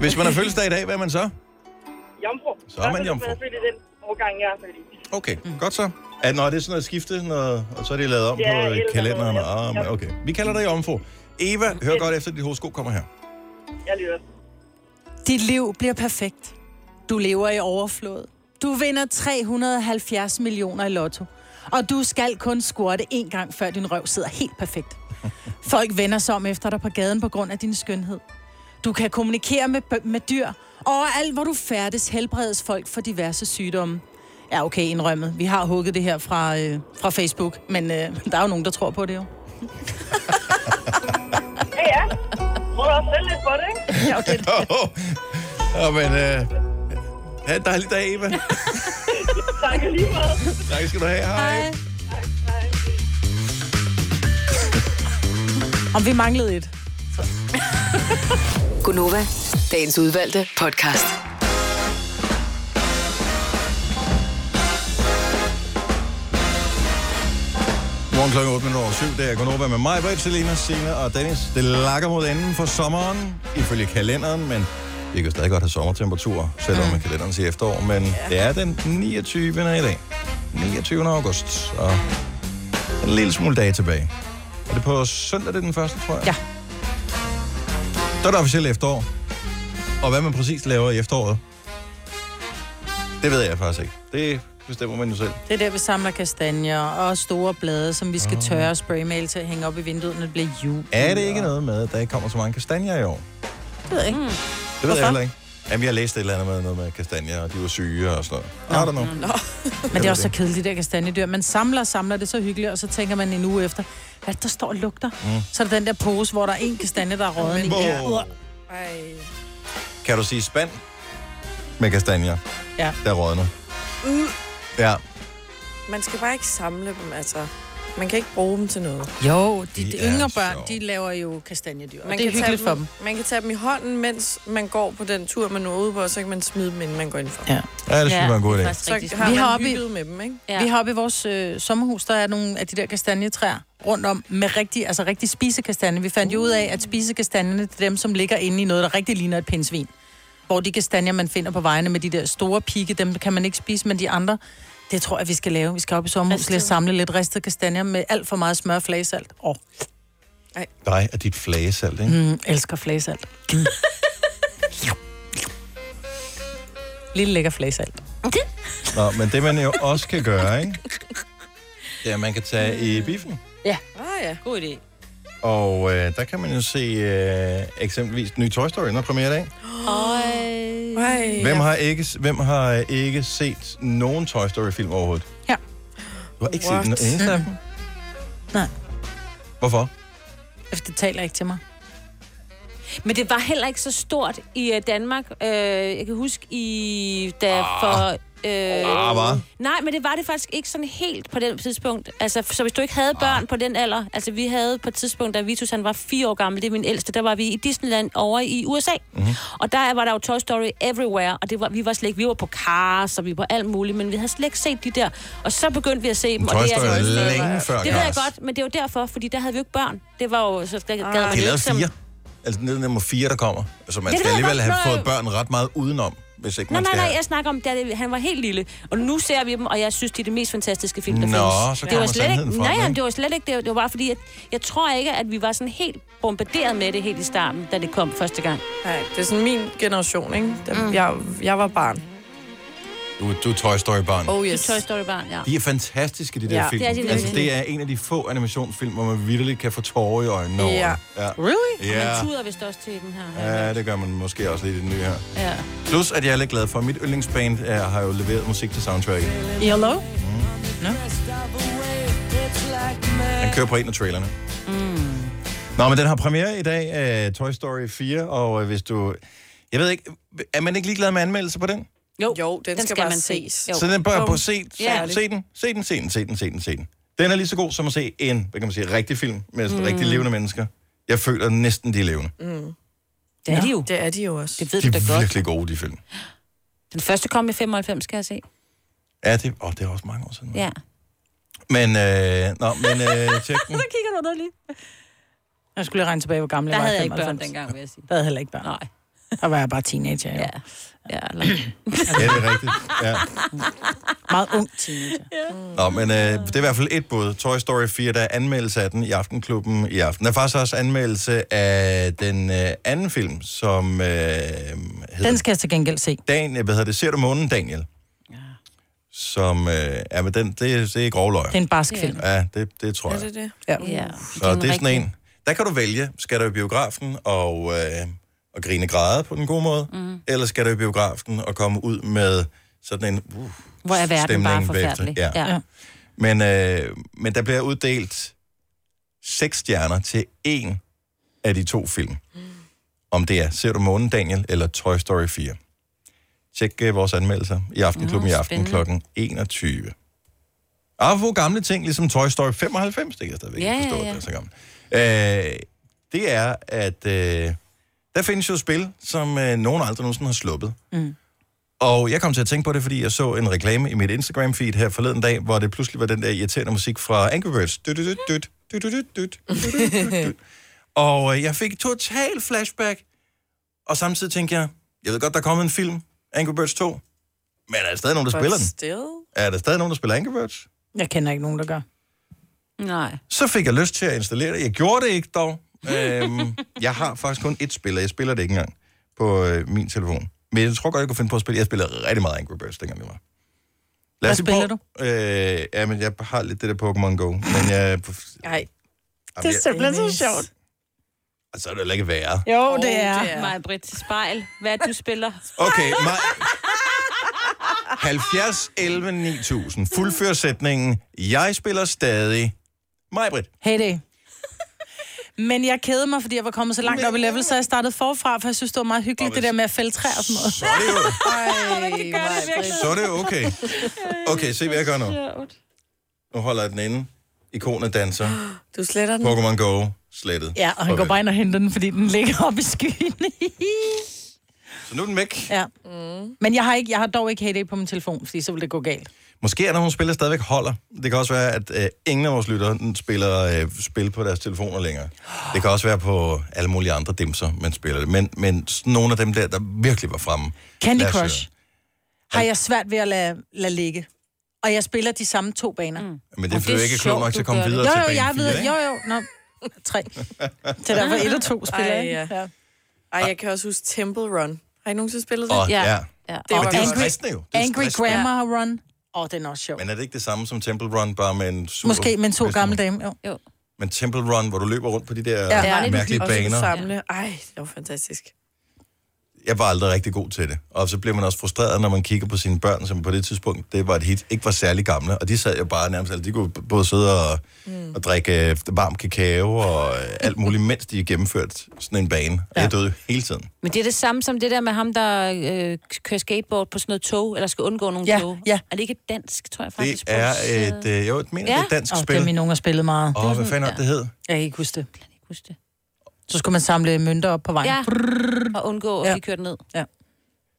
[SPEAKER 1] Hvis man har fødselsdag i dag, hvad er man så?
[SPEAKER 10] Jomfru.
[SPEAKER 1] Så er man jomfru.
[SPEAKER 10] Jeg er født i den årgang, jeg er født i.
[SPEAKER 1] Okay, mm. godt så. Er, nå, er det sådan noget skifte, noget, og så er det lavet om
[SPEAKER 10] Ja,
[SPEAKER 1] på øh,
[SPEAKER 10] eller
[SPEAKER 1] kalenderen?
[SPEAKER 10] noget, ja.
[SPEAKER 1] Ah, men
[SPEAKER 10] Ja.
[SPEAKER 1] okay. Vi kalder dig omfru. Eva, hør godt efter, dit horoskop kommer her.
[SPEAKER 10] Jeg lytter.
[SPEAKER 2] Dit liv bliver perfekt. Du lever i overflod. Du vinder 370 millioner i lotto. Og du skal kun squatte en gang, før din røv sidder helt perfekt. Folk vender sig om efter dig på gaden på grund af din skønhed. Du kan kommunikere med, bø- med dyr, og alt hvor du færdes helbredes folk for diverse sygdomme. Ja, okay, indrømmet. Vi har hugget det her fra, øh, fra Facebook, men øh, der er jo nogen, der tror på det jo.
[SPEAKER 10] Ja, ja. Må du også selv lidt på det, ikke?
[SPEAKER 2] Ja, okay.
[SPEAKER 1] Åh, men... Øh, ha' en dejlig dag, Eva.
[SPEAKER 10] tak lige meget.
[SPEAKER 1] tak skal du have. Hej. Hej.
[SPEAKER 2] Om vi manglede et.
[SPEAKER 5] Gunova, dagens udvalgte podcast.
[SPEAKER 1] Morgen klokken 8 minutter over 7, det er Konoba med mig, Britt, Selina, Sina og Dennis. Det lakker mod enden for sommeren, ifølge kalenderen, men vi kan stadig godt have sommertemperaturer, selvom mm. kalenderen siger efterår, men ja. det er den 29. i dag. 29. august, og en lille smule dage tilbage. Er det på søndag, det er den første, tror jeg? Ja. Så er det officielt efterår. Og hvad man præcis laver i efteråret, det ved jeg faktisk ikke. Det bestemmer man jo selv.
[SPEAKER 2] Det er der, vi samler kastanjer og store blade, som vi skal tørre og spraymale til at hænge op i vinduet, når det bliver jul.
[SPEAKER 1] Er det ikke noget med, at der ikke kommer så mange kastanjer i år?
[SPEAKER 2] Det ved jeg ikke. Mm.
[SPEAKER 1] Det ved jeg heller ikke. Jamen, jeg læste et eller andet med noget med kastanjer, og de var syge og sådan noget. Nå, I don't know. Nå.
[SPEAKER 2] Men det er også så kedeligt, det der kastanjedyr. Man samler og samler det er så hyggeligt, og så tænker man en uge efter, hvad er det, der står og lugter? Mm. Så er det den der pose, hvor der er en kastanje, der er råden i.
[SPEAKER 1] Wow. Kan du sige spand med kastanjer,
[SPEAKER 2] Ja.
[SPEAKER 1] der rådner?
[SPEAKER 4] Mm.
[SPEAKER 1] Ja.
[SPEAKER 4] Man skal bare ikke samle dem, altså. Man kan ikke bruge dem til noget.
[SPEAKER 2] Jo, de, de yngre børn, de laver jo kastanjedyr, og det er
[SPEAKER 4] kan tage
[SPEAKER 2] hyggeligt for dem.
[SPEAKER 4] Man kan tage dem i hånden, mens man går på den tur, man nu er ude på, og så kan man smide dem, inden man går indenfor.
[SPEAKER 2] Ja.
[SPEAKER 1] Ja, det synes jeg var en god idé.
[SPEAKER 4] Så har
[SPEAKER 2] vi har
[SPEAKER 4] man
[SPEAKER 2] oppe i,
[SPEAKER 4] hygget med dem, ikke?
[SPEAKER 2] ja. vi har oppe i vores øh, sommerhus, der er nogle af de der kastanjetræer rundt om, med rigtig, altså rigtig spisekastanje. Vi fandt jo ud af, at spisekastanjerne, det er dem, som ligger inde i noget, der rigtig ligner et pindsvin. Hvor de kastanjer, man finder på vejene med de der store pigge, dem kan man ikke spise, men de andre, det tror jeg, vi skal lave. Vi skal op i sommerhus lige og samle lidt ristede kastanjer med alt for meget smør og flagesalt. Åh,
[SPEAKER 1] Dig og dit flagesalt, ikke? Mm.
[SPEAKER 2] mm, elsker flagesalt. Lille lækker flagesalt.
[SPEAKER 1] Nå, men det man jo også kan gøre, ikke? Det er, at man kan tage i biffen.
[SPEAKER 2] Ja.
[SPEAKER 4] Ah, ja.
[SPEAKER 3] God idé.
[SPEAKER 1] Og øh, der kan man jo se øh, eksempelvis den nye Toy Story, når premiere i dag.
[SPEAKER 4] Ej.
[SPEAKER 1] Hvem har, ikke, hvem har øh, ikke set nogen Toy Story-film overhovedet?
[SPEAKER 2] Ja.
[SPEAKER 1] Du har ikke
[SPEAKER 2] What?
[SPEAKER 1] set den eneste af dem?
[SPEAKER 2] Mm. Nej.
[SPEAKER 1] Hvorfor?
[SPEAKER 2] Efter det taler ikke til mig.
[SPEAKER 3] Men det var heller ikke så stort i øh, Danmark. Øh, jeg kan huske, i da for... øh,
[SPEAKER 1] Ah, hva?
[SPEAKER 3] nej, men det var det faktisk ikke sådan helt på den tidspunkt. Altså, så hvis du ikke havde børn
[SPEAKER 1] Ah.
[SPEAKER 3] på den alder... Altså, vi havde på et tidspunkt, da Vitus han var fire år gammel, det er min ældste, der var vi i Disneyland over i USA.
[SPEAKER 1] Mhm.
[SPEAKER 3] Mm-hmm. Og der var der jo Toy Story everywhere, og det var, vi var slet ikke... Vi var på Cars, og vi var på alt muligt, men vi havde slet ikke set de der. Og så begyndte vi at se dem.
[SPEAKER 1] Men Toy
[SPEAKER 3] og
[SPEAKER 1] Story er
[SPEAKER 3] altså-
[SPEAKER 1] længe før
[SPEAKER 3] Det ved jeg
[SPEAKER 1] Cars.
[SPEAKER 3] godt, men det er jo derfor, fordi der havde vi jo ikke børn. Det var jo... Så gad man
[SPEAKER 1] De
[SPEAKER 3] jo
[SPEAKER 1] har
[SPEAKER 3] ikke
[SPEAKER 1] lavet
[SPEAKER 3] som-
[SPEAKER 1] fire. Altså nede nummer fire, der kommer. Så man
[SPEAKER 3] Det
[SPEAKER 1] skal
[SPEAKER 3] ved jeg
[SPEAKER 1] alligevel
[SPEAKER 3] godt, når-
[SPEAKER 1] have fået børn ret meget udenom, hvis ikke
[SPEAKER 3] Nej,
[SPEAKER 1] man
[SPEAKER 3] nej,
[SPEAKER 1] skal
[SPEAKER 3] nej,
[SPEAKER 1] have...
[SPEAKER 3] jeg snakker om, da han var helt lille. Og nu ser vi dem, og jeg synes, de er det mest fantastiske film, der
[SPEAKER 1] Nå,
[SPEAKER 3] findes.
[SPEAKER 1] så
[SPEAKER 3] det var
[SPEAKER 1] kommer
[SPEAKER 3] slet ikke,
[SPEAKER 1] sandheden frem,
[SPEAKER 3] nej,
[SPEAKER 1] ikke?
[SPEAKER 3] jamen, det var slet ikke det. Det var bare fordi, at jeg tror ikke, at vi var sådan helt bombarderet med det helt i starten, da det kom første gang.
[SPEAKER 4] Nej, det er sådan min generation, ikke? Da mm. jeg, jeg var barn.
[SPEAKER 1] Du, du er Toy Story-barn.
[SPEAKER 4] Oh,
[SPEAKER 3] yes. Toy Story barn, ja.
[SPEAKER 1] De er fantastiske, de der
[SPEAKER 3] Ja.
[SPEAKER 1] film.
[SPEAKER 3] Det er de nemlig.
[SPEAKER 1] altså, det er en af de få animationsfilm, hvor man virkelig kan få tårer i øjnene over
[SPEAKER 3] Ja.
[SPEAKER 1] den. ja.
[SPEAKER 3] Really?
[SPEAKER 1] Ja.
[SPEAKER 3] Man tuder vist også til den her.
[SPEAKER 1] Ja, det gør man måske også lidt i den nye her.
[SPEAKER 3] Ja.
[SPEAKER 1] Plus, at jeg er lidt glad for, at mit yndlingsband er, har jo leveret musik til soundtracket.
[SPEAKER 2] Hello? Mm.
[SPEAKER 1] Nå. Han kører på en af trailerne.
[SPEAKER 2] Mm.
[SPEAKER 1] Nå, men den har premiere i dag, uh, Toy Story 4, og uh, hvis du... Jeg ved ikke, er man ikke ligeglad med anmeldelse på den?
[SPEAKER 4] Jo, jo den, den skal, skal bare
[SPEAKER 3] man se.
[SPEAKER 4] ses.
[SPEAKER 1] Jo. Så den bør
[SPEAKER 4] Bum.
[SPEAKER 1] på se, se,
[SPEAKER 4] Færdig.
[SPEAKER 1] se den, se den, se den, se den, se den, se den. Den er lige så god som at se en, hvad kan man sige, rigtig film med sådan
[SPEAKER 4] Mm.
[SPEAKER 1] mm. rigtig levende mennesker. Jeg føler næsten, de er levende.
[SPEAKER 4] Mm.
[SPEAKER 3] Det er de jo.
[SPEAKER 4] Det er de jo også.
[SPEAKER 3] Det ved
[SPEAKER 1] De
[SPEAKER 3] du da
[SPEAKER 1] er
[SPEAKER 3] godt.
[SPEAKER 1] virkelig gode, de film.
[SPEAKER 3] Den første kom i 95, skal jeg se.
[SPEAKER 1] Mm. Ja, det, åh, det er også mange år siden.
[SPEAKER 3] Ja.
[SPEAKER 1] Men, øh, nå, men øh, tjek den.
[SPEAKER 3] Så kigger du der lige.
[SPEAKER 2] Jeg skulle lige regne tilbage, hvor gammel
[SPEAKER 3] Der
[SPEAKER 2] jeg var.
[SPEAKER 3] havde
[SPEAKER 2] i
[SPEAKER 3] jeg ikke børn
[SPEAKER 2] 95.
[SPEAKER 3] dengang, vil jeg sige.
[SPEAKER 2] Der havde jeg heller ikke børn.
[SPEAKER 3] Nej.
[SPEAKER 2] Der var jeg bare teenager, jo. Ja,
[SPEAKER 3] ja
[SPEAKER 1] Ja, det er rigtigt. Ja.
[SPEAKER 2] Meget ung teenager.
[SPEAKER 1] Nå, men øh, det er i hvert fald et bud. Toy Story 4, der er anmeldelse af den i Aftenklubben i aften. Der er faktisk også anmeldelse af den øh, anden film, som øh, hedder...
[SPEAKER 2] Den skal jeg til gengæld se.
[SPEAKER 1] Dan, hvad hedder det? Ser du månen, Daniel? Ja. Som, øh, ja, men den, det, er- det er grove løg.
[SPEAKER 2] Det er en barsk film.
[SPEAKER 1] Ja, det, det tror jeg.
[SPEAKER 4] Er det det? Mm.
[SPEAKER 2] Ja.
[SPEAKER 3] ja.
[SPEAKER 1] Så det er sådan en. Der kan du vælge, skal du i biografen og, øh, og grine græde på den gode måde, mm. eller skal du i biografen og komme ud med sådan en... Uh,
[SPEAKER 3] Hvor er verden
[SPEAKER 1] stemning
[SPEAKER 3] bare
[SPEAKER 1] bagefter.
[SPEAKER 3] forfærdelig.
[SPEAKER 1] Ja.
[SPEAKER 3] Ja.
[SPEAKER 1] ja. Men, øh, men der bliver uddelt seks stjerner til en af de to film. Mm. Om det er Ser du månen, Daniel, eller Toy Story 4. Tjek øh, vores anmeldelser i Aftenklubben
[SPEAKER 12] Nå,
[SPEAKER 1] i aften kl.
[SPEAKER 12] spændende.
[SPEAKER 1] 21. Apropos gamle ting, ligesom Toy Story 95, det kan jeg stadigvæk
[SPEAKER 12] Ja,
[SPEAKER 1] ikke forstå, at
[SPEAKER 12] ja, ja.
[SPEAKER 1] det er så gammelt. Øh, det er, at øh, der findes jo spil, som øh, nogen aldrig nogensinde har sluppet.
[SPEAKER 2] Mm.
[SPEAKER 1] Og jeg kom til at tænke på det, fordi jeg så en reklame i mit Instagram-feed her forleden dag, hvor det pludselig var den der irriterende musik fra Angry Birds. Dyt, dyt, dyt, dyt, dyt, dyt, dyt, dyt, dyt, dyt. Og øh, jeg fik total flashback. Og samtidig tænkte jeg, jeg ved godt, der er kommet en film, Angry Birds 2, men er der stadig nogen, der
[SPEAKER 2] But
[SPEAKER 1] spiller den?
[SPEAKER 4] Still?
[SPEAKER 1] Er der stadig nogen, der spiller Angry Birds?
[SPEAKER 2] Jeg kender ikke nogen, der gør.
[SPEAKER 3] Nej.
[SPEAKER 1] Så fik jeg lyst til at installere det. Jeg gjorde det ikke dog. øhm, jeg har faktisk kun ét spil, og jeg spiller det ikke engang på øh, min telefon. Men jeg tror godt, jeg kunne finde på at spille. Jeg spillede rigtig meget Angry Birds, dengang vi var. Lad
[SPEAKER 2] Hvad
[SPEAKER 1] os lige prøve-
[SPEAKER 2] spiller du?
[SPEAKER 1] Øh, ja, men jeg har lidt det der Pokémon Go. Men jeg,
[SPEAKER 4] Nej.
[SPEAKER 2] Det er simpelthen så sjovt.
[SPEAKER 1] Og Altså, så er det heller ikke værre.
[SPEAKER 2] Jo, det er.
[SPEAKER 3] Det er. Maja Britt, spejl. Hvad er det, du spiller?
[SPEAKER 1] Okay, mig... 70, 11, 9000. Fuldfør sætningen. Jeg spiller stadig. Majbrit.
[SPEAKER 2] Heyday. Men jeg kædede mig, fordi jeg var kommet så langt op i level, så jeg startede forfra, for jeg synes, det var meget hyggeligt, det der med at fælde træer og sådan noget.
[SPEAKER 1] Så er det jo,
[SPEAKER 4] Ej, man kan gøre det virkelig.
[SPEAKER 1] så er det jo okay. Okay, se hvad jeg gør nu. Nu holder jeg den inde. Ikonet danser.
[SPEAKER 4] Du sletter den.
[SPEAKER 1] Pokémon Go. Slettet.
[SPEAKER 2] Ja, og han går bare ind og henter den, fordi den ligger oppe i skyen.
[SPEAKER 1] Så nu er den væk.
[SPEAKER 2] ja.
[SPEAKER 3] Mm.
[SPEAKER 2] Men jeg har, ikke, jeg har dog ikke Heyday på min telefon, fordi så ville det gå galt.
[SPEAKER 1] Måske er der nogle spillere, der stadigvæk holder. Det kan også være, at øh, ingen af vores lyttere den spiller øh, spil på deres telefoner længere. Det kan også være på alle mulige andre dimser, man spiller det. Men, men sådan nogle af dem der, der virkelig var fremme.
[SPEAKER 2] Candy
[SPEAKER 1] Lad os
[SPEAKER 2] Crush har jeg svært ved at lade, lade ligge. Og jeg spiller de samme to baner. Mm.
[SPEAKER 1] høre. Men det er fordi du ikke er klog nok til at komme videre
[SPEAKER 2] jo,
[SPEAKER 1] til
[SPEAKER 2] jo,
[SPEAKER 1] bane
[SPEAKER 2] jeg ved,
[SPEAKER 1] fire, ikke?
[SPEAKER 2] jo, jo, nå, tre. Det er derfor et og to spiller,
[SPEAKER 4] Ej,
[SPEAKER 2] ikke?
[SPEAKER 4] ja.
[SPEAKER 2] Ja.
[SPEAKER 4] Ej, jeg kan også huske Temple Run. Har I nogensinde spillet det?
[SPEAKER 1] Åh, ja. Ja.
[SPEAKER 4] Det
[SPEAKER 1] Men
[SPEAKER 4] var
[SPEAKER 1] det er jo
[SPEAKER 4] godt.
[SPEAKER 1] stressende jo. Det er
[SPEAKER 2] Angry
[SPEAKER 1] stressende.
[SPEAKER 2] Grammar Run. Åh, oh, den er også sjov.
[SPEAKER 1] Men er det ikke det samme som Temple Run, bare med en sur...
[SPEAKER 2] Måske med to gamle dame, jo.
[SPEAKER 3] jo.
[SPEAKER 1] Men Temple Run, hvor du løber rundt på de der
[SPEAKER 4] Ja.
[SPEAKER 1] mærkelige
[SPEAKER 4] Og så
[SPEAKER 1] baner.
[SPEAKER 4] samle. Ej, det var fantastisk.
[SPEAKER 1] Jeg var aldrig rigtig god til det. Og så bliver man også frustreret, når man kigger på sine børn, som på det tidspunkt, det var et hit, ikke var særlig gamle. Og de sad jo bare nærmest, altså, de kunne b- både sidde og, mm. og drikke øh, varm kakao og øh, alt muligt, mens de gennemførte sådan en bane. Og jeg døde hele tiden.
[SPEAKER 3] Men det er det samme som det der med ham, der øh, kører skateboard på sådan noget tog, eller skal undgå nogle
[SPEAKER 2] Ja,
[SPEAKER 3] tog.
[SPEAKER 2] ja.
[SPEAKER 3] Er det ikke et dansk, tror jeg
[SPEAKER 1] Det
[SPEAKER 3] faktisk?
[SPEAKER 1] er
[SPEAKER 3] sprogsæde?
[SPEAKER 1] et, øh, jo, et, mener,
[SPEAKER 3] Ja.
[SPEAKER 1] det er et dansk
[SPEAKER 2] Åh,
[SPEAKER 1] spil.
[SPEAKER 2] det er mine unger spillede meget.
[SPEAKER 1] Åh, hvad fanden var det, det hed?
[SPEAKER 2] Jeg kan ikke huske det.
[SPEAKER 3] Jeg kan ikke huske det.
[SPEAKER 2] Så skulle man samle mønter op på vejen.
[SPEAKER 3] Ja, og undgå at blive kørt ned.
[SPEAKER 2] Ja.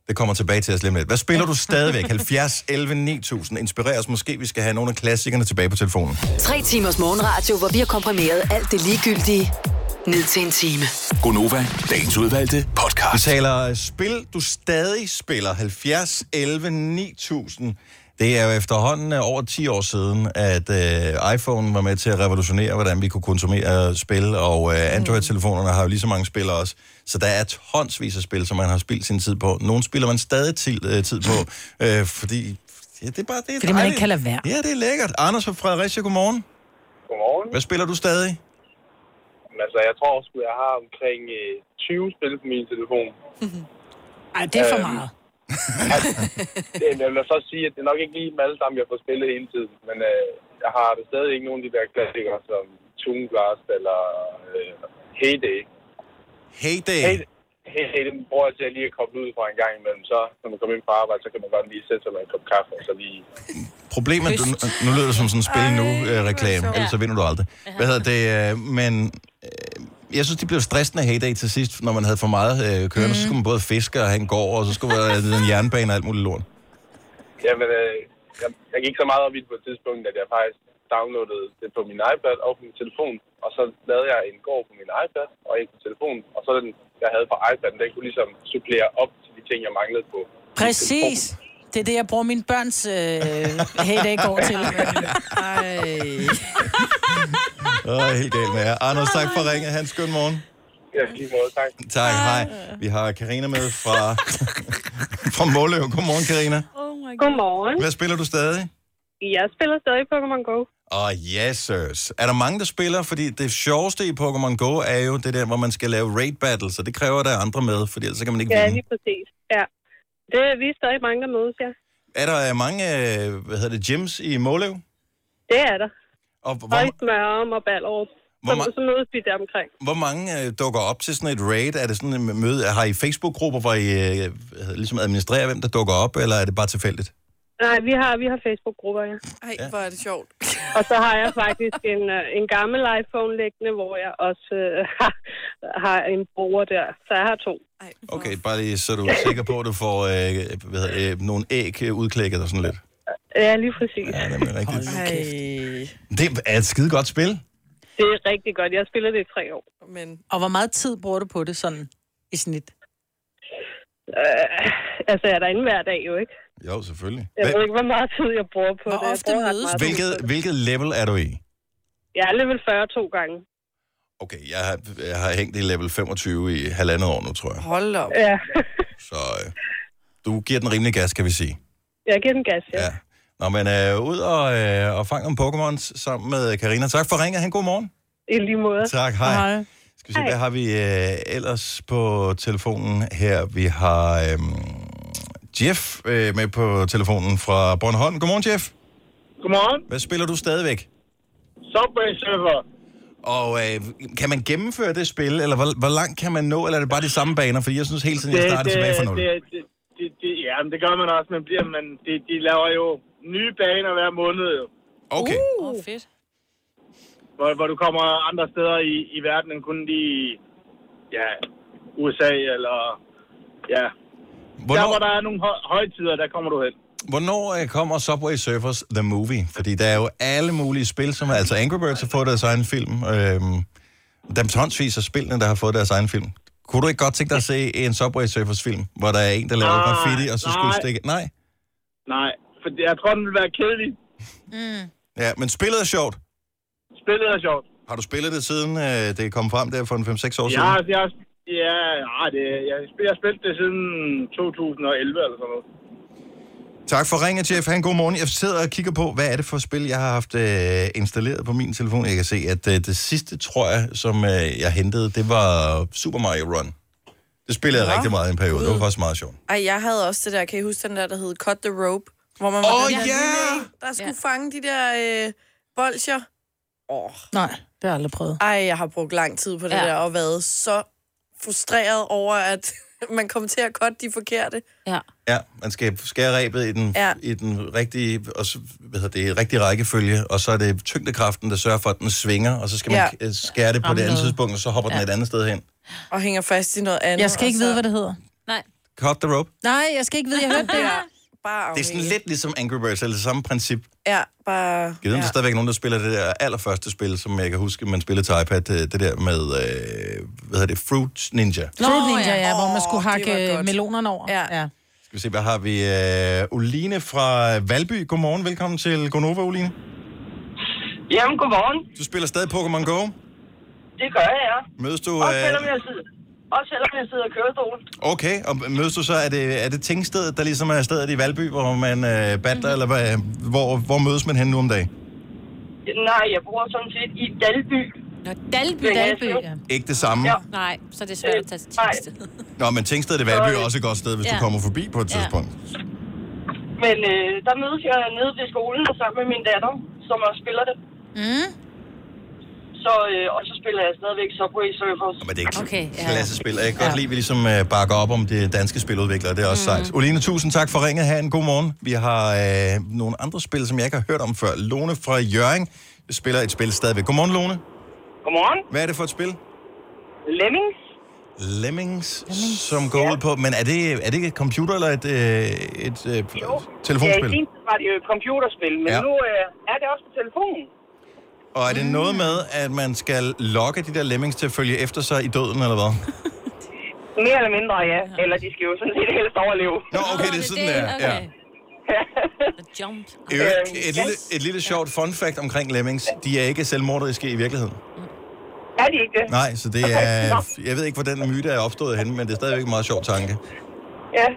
[SPEAKER 1] Det kommer tilbage til os lige om lidt. Hvad spiller du stadigvæk? 70, 11, 9000. Inspirer os måske, vi skal have nogle af klassikerne tilbage på telefonen.
[SPEAKER 5] Tre timers morgenradio, hvor vi har komprimeret alt det ligegyldige ned til en time.
[SPEAKER 1] Gonova, dagens udvalgte podcast. Vi taler øh, spil, du stadig spiller. 70, 11, 9000. Det er jo efterhånden øh, over 10 år siden, at øh, iPhone var med til at revolutionere, hvordan vi kunne konsumere øh, spil, og
[SPEAKER 2] Mm.
[SPEAKER 1] øh, Android-telefonerne har jo lige så mange spil også. Så der er tonsvis af spil, som man har spildt sin tid på. Nogle spiller man stadig tid, øh, tid på, øh, fordi ja, det er bare det er
[SPEAKER 2] Mm. Fordi man
[SPEAKER 1] dejligt.
[SPEAKER 2] ikke kan lade være.
[SPEAKER 1] Ja, det er lækkert. Anders fra Fredericia, godmorgen.
[SPEAKER 12] Godmorgen.
[SPEAKER 1] Hvad spiller du stadig?
[SPEAKER 12] Men altså, jeg tror sgu, jeg har omkring øh, 20 spil på min telefon.
[SPEAKER 2] Ej, det er for
[SPEAKER 12] Øhm.
[SPEAKER 2] meget.
[SPEAKER 12] Jamen, jeg vil så sige, at det er nok ikke lige dem alle sammen, jeg får spillet hele tiden. Men øh, jeg har da stadig ikke nogen af de der klassikere, som Toon Blast eller øh, Heyday.
[SPEAKER 1] Heyday?
[SPEAKER 12] Heyday, den bruger jeg til at lige at koble ud fra en gang imellem. Så når man kommer ind fra arbejde, så kan man godt lige sætte sig med en kop kaffe og så lige...
[SPEAKER 1] Problemet, du, nu lyder det som sådan en spil nu-reklame,
[SPEAKER 12] sjovt.
[SPEAKER 1] ellers så vinder du aldrig. Hvad hedder det? Øh, men øh, jeg synes, de blev stressende heyday til sidst, når man havde for meget øh, kørende. Mm. Så skulle man både fiske og have en gård, og så skulle man have en jernbane og alt muligt lort.
[SPEAKER 12] Jamen, øh, jeg, jeg gik så meget op i det på et tidspunkt, at jeg faktisk downloadede det på min iPad og på min telefon. Og så lavede jeg en gård på min iPad og en på telefonen. Og så den, jeg havde på iPad'en, den kunne ligesom supplere op til de ting, jeg manglede på.
[SPEAKER 2] Præcis. Det er det, jeg bruger mine børns øh, heyday går til. Ej.
[SPEAKER 1] Åh, helt galt med jer. Anders, tak for ringet. Hans, skøn morgen.
[SPEAKER 12] Ja, lige måde, tak.
[SPEAKER 1] Tak, hej. Vi har Karina med fra, fra Måløv. Godmorgen, Karina.
[SPEAKER 10] Oh
[SPEAKER 13] Godmorgen.
[SPEAKER 1] Hvad spiller du stadig?
[SPEAKER 13] Jeg spiller stadig Pokémon Go.
[SPEAKER 1] Åh, oh, yes, sirs. Er der mange, der spiller? Fordi det sjoveste i Pokémon Go er jo det der, hvor man skal lave raid battles, og det kræver, at der er andre med, for ellers så kan man ikke
[SPEAKER 13] Ja,
[SPEAKER 1] vinde.
[SPEAKER 13] lige præcis. Ja. Det, vi er stadig mange, der mødes, ja.
[SPEAKER 1] Er der øh, mange, øh, hvad hedder det, gyms i Måløv?
[SPEAKER 13] Det er der.
[SPEAKER 1] Og hvor,
[SPEAKER 13] Og i Smørum og Ballerup. Så,
[SPEAKER 1] Hvor ma-
[SPEAKER 13] så mødes vi der omkring.
[SPEAKER 1] hvor mange øh, dukker op til sådan et raid? Er det sådan en møde? Har I Facebook-grupper, hvor I øh, hvad hedder det, ligesom administrerer, hvem der dukker op, eller er det bare tilfældigt?
[SPEAKER 13] Nej, vi har, vi har Facebook-grupper, ja. Ej, ja. hvor er det sjovt. og så har jeg faktisk en, øh, en gammel iPhone liggende, hvor jeg også øh, har, har en bruger der. Så jeg har to. Ej.
[SPEAKER 1] Okay, bare lige så du er sikker på, at du får øh, hvad hedder, det, øh, nogle æg øh, udklækket og sådan lidt.
[SPEAKER 13] Ja, lige præcis.
[SPEAKER 1] Ja, det er rigtigt.
[SPEAKER 13] Ej.
[SPEAKER 1] Det er et skide godt spil.
[SPEAKER 13] Det er rigtig godt. Jeg spiller det i tre år. Men...
[SPEAKER 2] Og hvor meget tid bruger du på det sådan i snit?
[SPEAKER 13] Øh, altså, jeg er derinde hver dag jo, ikke?
[SPEAKER 1] Jo, selvfølgelig.
[SPEAKER 13] Jeg
[SPEAKER 1] Hvad-
[SPEAKER 13] ved ikke, hvor meget tid jeg bruger på det. Jeg
[SPEAKER 2] ofte
[SPEAKER 13] bruger ret
[SPEAKER 2] mødes
[SPEAKER 13] meget tid
[SPEAKER 1] Hvilket,
[SPEAKER 13] på det.
[SPEAKER 1] hvilket level er du i?
[SPEAKER 13] Jeg er level 40 to gange.
[SPEAKER 1] Okay, jeg har, jeg har hængt i level 25 i halvandet år nu, tror jeg.
[SPEAKER 13] Hold op. Ja,
[SPEAKER 1] Så øh, du giver den rimelig gas, kan vi sige.
[SPEAKER 13] jeg giver den gas, ja. ja.
[SPEAKER 1] Nå, men øh, ud og, øh, og fang nogle Pokémons sammen med Karina. Tak for ringet. Han god morgen.
[SPEAKER 13] I lige måde.
[SPEAKER 1] Tak, hej.
[SPEAKER 13] hej.
[SPEAKER 1] Skal vi se, hvad har vi øh, ellers på telefonen her? Vi har øh, Jeff øh, med på telefonen fra Bornholm. Godmorgen, Jeff.
[SPEAKER 14] Godmorgen.
[SPEAKER 1] Hvad spiller du stadigvæk?
[SPEAKER 14] Subway Surfer.
[SPEAKER 1] Og øh, kan man gennemføre det spil, eller hvor, hvor langt kan man nå, eller er det bare de samme baner? Fordi jeg synes hele tiden, jeg starter tilbage fra nul.
[SPEAKER 14] Det, det, det, det, ja, men det gør man også. Man bliver, men de, de laver jo nye baner hver måned. Jo.
[SPEAKER 1] Okay.
[SPEAKER 3] Åh, oh, fedt.
[SPEAKER 14] Hvor, hvor du kommer andre steder i, i verden end kun lige i, ja, USA eller... Ja. Hvornår... Der, hvor der er nogle høj, højtider, der kommer du hen.
[SPEAKER 1] Hvornår øh, kommer Subway Surfers The Movie? Fordi der er jo alle mulige spil, som er, altså Angry Birds har fået deres egen film. Øhm, der er tonsvis af spillene, der har fået deres egen film. Kunne du ikke godt tænke dig at se en Subway Surfers film, hvor der er en, der laver
[SPEAKER 14] Nej,
[SPEAKER 1] graffiti, og så skulle
[SPEAKER 14] Ah, nej.
[SPEAKER 1] stikke... Nej.
[SPEAKER 14] Nej, for jeg tror, den vil være kedelig. Mm.
[SPEAKER 1] Ja, men spillet er sjovt.
[SPEAKER 14] Spillet er sjovt.
[SPEAKER 1] Har du spillet det siden øh, det kom frem der for en 5-6 år
[SPEAKER 14] Jeg,
[SPEAKER 1] siden?
[SPEAKER 14] jeg, ja, ja, det, jeg, jeg har spillet det siden 2011 eller sådan noget.
[SPEAKER 1] Tak for ringet, Jeff. Ha' en god morgen. Jeg sidder og kigger på, hvad er det for spil, jeg har haft øh, installeret på min telefon. Jeg kan se, at øh, det sidste, tror jeg, som øh, jeg hentede, det var Super Mario Run. Det spillede jeg
[SPEAKER 4] Nå.
[SPEAKER 1] rigtig meget i en periode. Det var faktisk meget sjovt.
[SPEAKER 4] Ej, jeg havde også det der, kan I huske den der, der hed Cut the Rope? Hvor man var
[SPEAKER 1] Åh,
[SPEAKER 4] den der
[SPEAKER 1] ja!
[SPEAKER 4] lille en, der skulle fange de der øh, bolcher. Åh,
[SPEAKER 2] Nej, det har jeg aldrig prøvet.
[SPEAKER 4] ej, jeg har brugt lang tid på det
[SPEAKER 2] Ja.
[SPEAKER 4] ja. der, og været så frustreret over, at man kom til at cut de forkerte.
[SPEAKER 3] Ja.
[SPEAKER 1] Ja, man skal skære ræbet i den, ja.
[SPEAKER 4] Ja.
[SPEAKER 1] i den rigtige, og så, hvad hedder det, rigtige rækkefølge, og så er det tyngdekraften, der sørger for, at den svinger, og så skal man
[SPEAKER 4] Ja.
[SPEAKER 1] ja. skære det på det
[SPEAKER 4] Ramme
[SPEAKER 1] andet
[SPEAKER 4] noget.
[SPEAKER 1] tidspunkt, og så hopper ja. den et andet sted hen.
[SPEAKER 4] Og hænger fast i noget andet.
[SPEAKER 2] Jeg skal
[SPEAKER 4] og
[SPEAKER 2] ikke
[SPEAKER 4] så...
[SPEAKER 2] vide, hvad det hedder.
[SPEAKER 1] Cut the rope.
[SPEAKER 2] Nej, jeg skal ikke vide, jeg hørte det.
[SPEAKER 4] Bare
[SPEAKER 1] Det er sådan lidt ligesom Angry Birds, eller det samme princip.
[SPEAKER 4] Ja, bare...
[SPEAKER 1] Jeg ved, ja. der
[SPEAKER 4] ja.
[SPEAKER 1] er stadigvæk nogen, der spiller det der allerførste spil, som jeg kan huske, man spillede til iPad, øh, det der med, øh, hvad hedder det, Fruit Ninja.
[SPEAKER 2] Fruit Ninja, ja, hvor man skulle
[SPEAKER 4] Åh, det var
[SPEAKER 2] hakke
[SPEAKER 4] godt.
[SPEAKER 2] melonerne over. Ja. ja.
[SPEAKER 1] Skal vi se, hvad har vi? Øh, Oline fra Valby. Godmorgen, velkommen til Gonova, Oline.
[SPEAKER 15] Jamen, godmorgen.
[SPEAKER 1] Du spiller stadig Pokémon Go.
[SPEAKER 15] Det gør jeg, ja.
[SPEAKER 1] Mødes du...
[SPEAKER 15] Også
[SPEAKER 1] Øh,
[SPEAKER 15] selvom jeg sidder, også selvom jeg sidder i kørestolen.
[SPEAKER 1] okay, og mødes du så... Er det, er det Tingstedet, der ligesom er stedet i Valby, hvor man øh,
[SPEAKER 15] Mhm.
[SPEAKER 1] battler, eller hvad, hvor, hvor mødes man hen nu om dagen?
[SPEAKER 15] Nej, jeg bor sådan set i Dalby.
[SPEAKER 3] Nå, Dalby, Dalby, ja.
[SPEAKER 1] Ikke det samme?
[SPEAKER 3] Nej, så det er svært at tage til tjeneste.
[SPEAKER 1] Nå, men Tingstedet i Valby er også et godt sted, hvis ja.
[SPEAKER 15] Ja.
[SPEAKER 1] du kommer forbi på et tidspunkt.
[SPEAKER 15] Men øh, der mødes jeg nede ved skolen sammen med min datter, som også spiller det.
[SPEAKER 2] Mm.
[SPEAKER 15] Så, øh, og så spiller jeg stadigvæk Subway Surfers.
[SPEAKER 1] Men det er ikke
[SPEAKER 15] okay,
[SPEAKER 1] Klassespil. Og Jeg kan godt lide, at vi ligesom øh, bakker op om det danske spiludviklere. Det er også sejt. Oline, tusind tak for ringet. Ha' en god morgen. Vi har øh, nogle andre spil, som jeg ikke har hørt om før. Lone fra Jøring spiller et spil stadigvæk. Godmorgen, Lone.
[SPEAKER 15] Godmorgen.
[SPEAKER 1] Hvad er det for et spil?
[SPEAKER 15] Lemmings.
[SPEAKER 1] Lemmings, Lemmings. som går ud på... Men er det, er det et computer eller et, øh, et øh, telefonspil?
[SPEAKER 16] Ja, i sin tid var det jo et computerspil, men
[SPEAKER 1] Ja.
[SPEAKER 16] ja. nu øh, er det også på telefonen.
[SPEAKER 1] Og er det noget med, at man skal lokke de der lemmings til at følge efter sig i døden, eller hvad?
[SPEAKER 16] Mere eller mindre, ja. Eller de skal jo sådan set helst overleve.
[SPEAKER 1] Nå, okay, det er sådan, der. Ja.
[SPEAKER 3] Jump.
[SPEAKER 1] I
[SPEAKER 16] Øhm,
[SPEAKER 1] øvrigt, Et lille, et lille sjovt fun fact omkring lemmings. De er ikke selvmorderiske i virkeligheden.
[SPEAKER 16] Er de ikke det?
[SPEAKER 1] Nej, så det er... Jeg ved ikke, hvor den myte er opstået henne, men det er stadigvæk en meget sjov tanke.
[SPEAKER 16] Ja.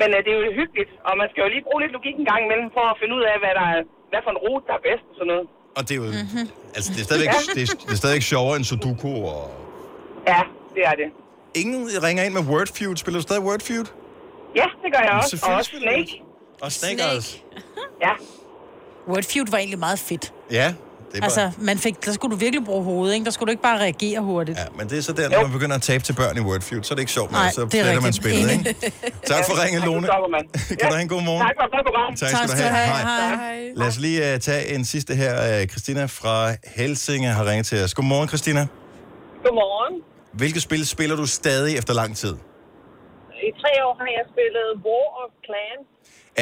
[SPEAKER 16] Men øh, det er jo hyggeligt, og man skal jo lige bruge lidt logik en gang imellem for at finde ud af, hvad, der er, hvad for en rute, der er bedst og sådan noget.
[SPEAKER 1] Og det er jo...
[SPEAKER 16] Mhm.
[SPEAKER 1] Altså, det er stadigvæk, det er, det er stadigvæk sjovere end Sudoku og...
[SPEAKER 16] Ja, det er det.
[SPEAKER 1] Ingen ringer ind med Wordfeud. Spiller du stadig Wordfeud?
[SPEAKER 16] Ja, det gør jeg
[SPEAKER 1] Jamen,
[SPEAKER 16] også. Og
[SPEAKER 1] selvfølgelig
[SPEAKER 16] også
[SPEAKER 1] spiller du
[SPEAKER 16] Snake.
[SPEAKER 1] Og Snake, Snake. også.
[SPEAKER 16] Ja.
[SPEAKER 2] Wordfeud var egentlig meget fedt.
[SPEAKER 1] Ja, det er bare...
[SPEAKER 2] Altså, man fik, der skulle du virkelig bruge hovedet, ikke? Der skulle du ikke bare reagere hurtigt.
[SPEAKER 1] Ja, men det er så der, når man begynder at tabe til børn i Wordfeud, så er det ikke sjovt, men
[SPEAKER 2] Nej,
[SPEAKER 1] så
[SPEAKER 2] det er
[SPEAKER 1] fletter man
[SPEAKER 2] rigtigt.
[SPEAKER 1] spillet, ikke? Tak for ringet,
[SPEAKER 16] Ja,
[SPEAKER 1] Lone.
[SPEAKER 16] så stopper man.
[SPEAKER 1] Kan du have en god morgen?
[SPEAKER 16] Tak for et godt program.
[SPEAKER 1] Tak skal du have. Hej.
[SPEAKER 16] Hej.
[SPEAKER 1] Lad os lige uh, tage en sidste her. Uh, Christina fra Helsinge har ringet til os. Godmorgen, Christina.
[SPEAKER 11] Godmorgen.
[SPEAKER 1] Hvilket spil spiller du stadig efter lang tid?
[SPEAKER 11] I tre år har jeg spillet War of Clans.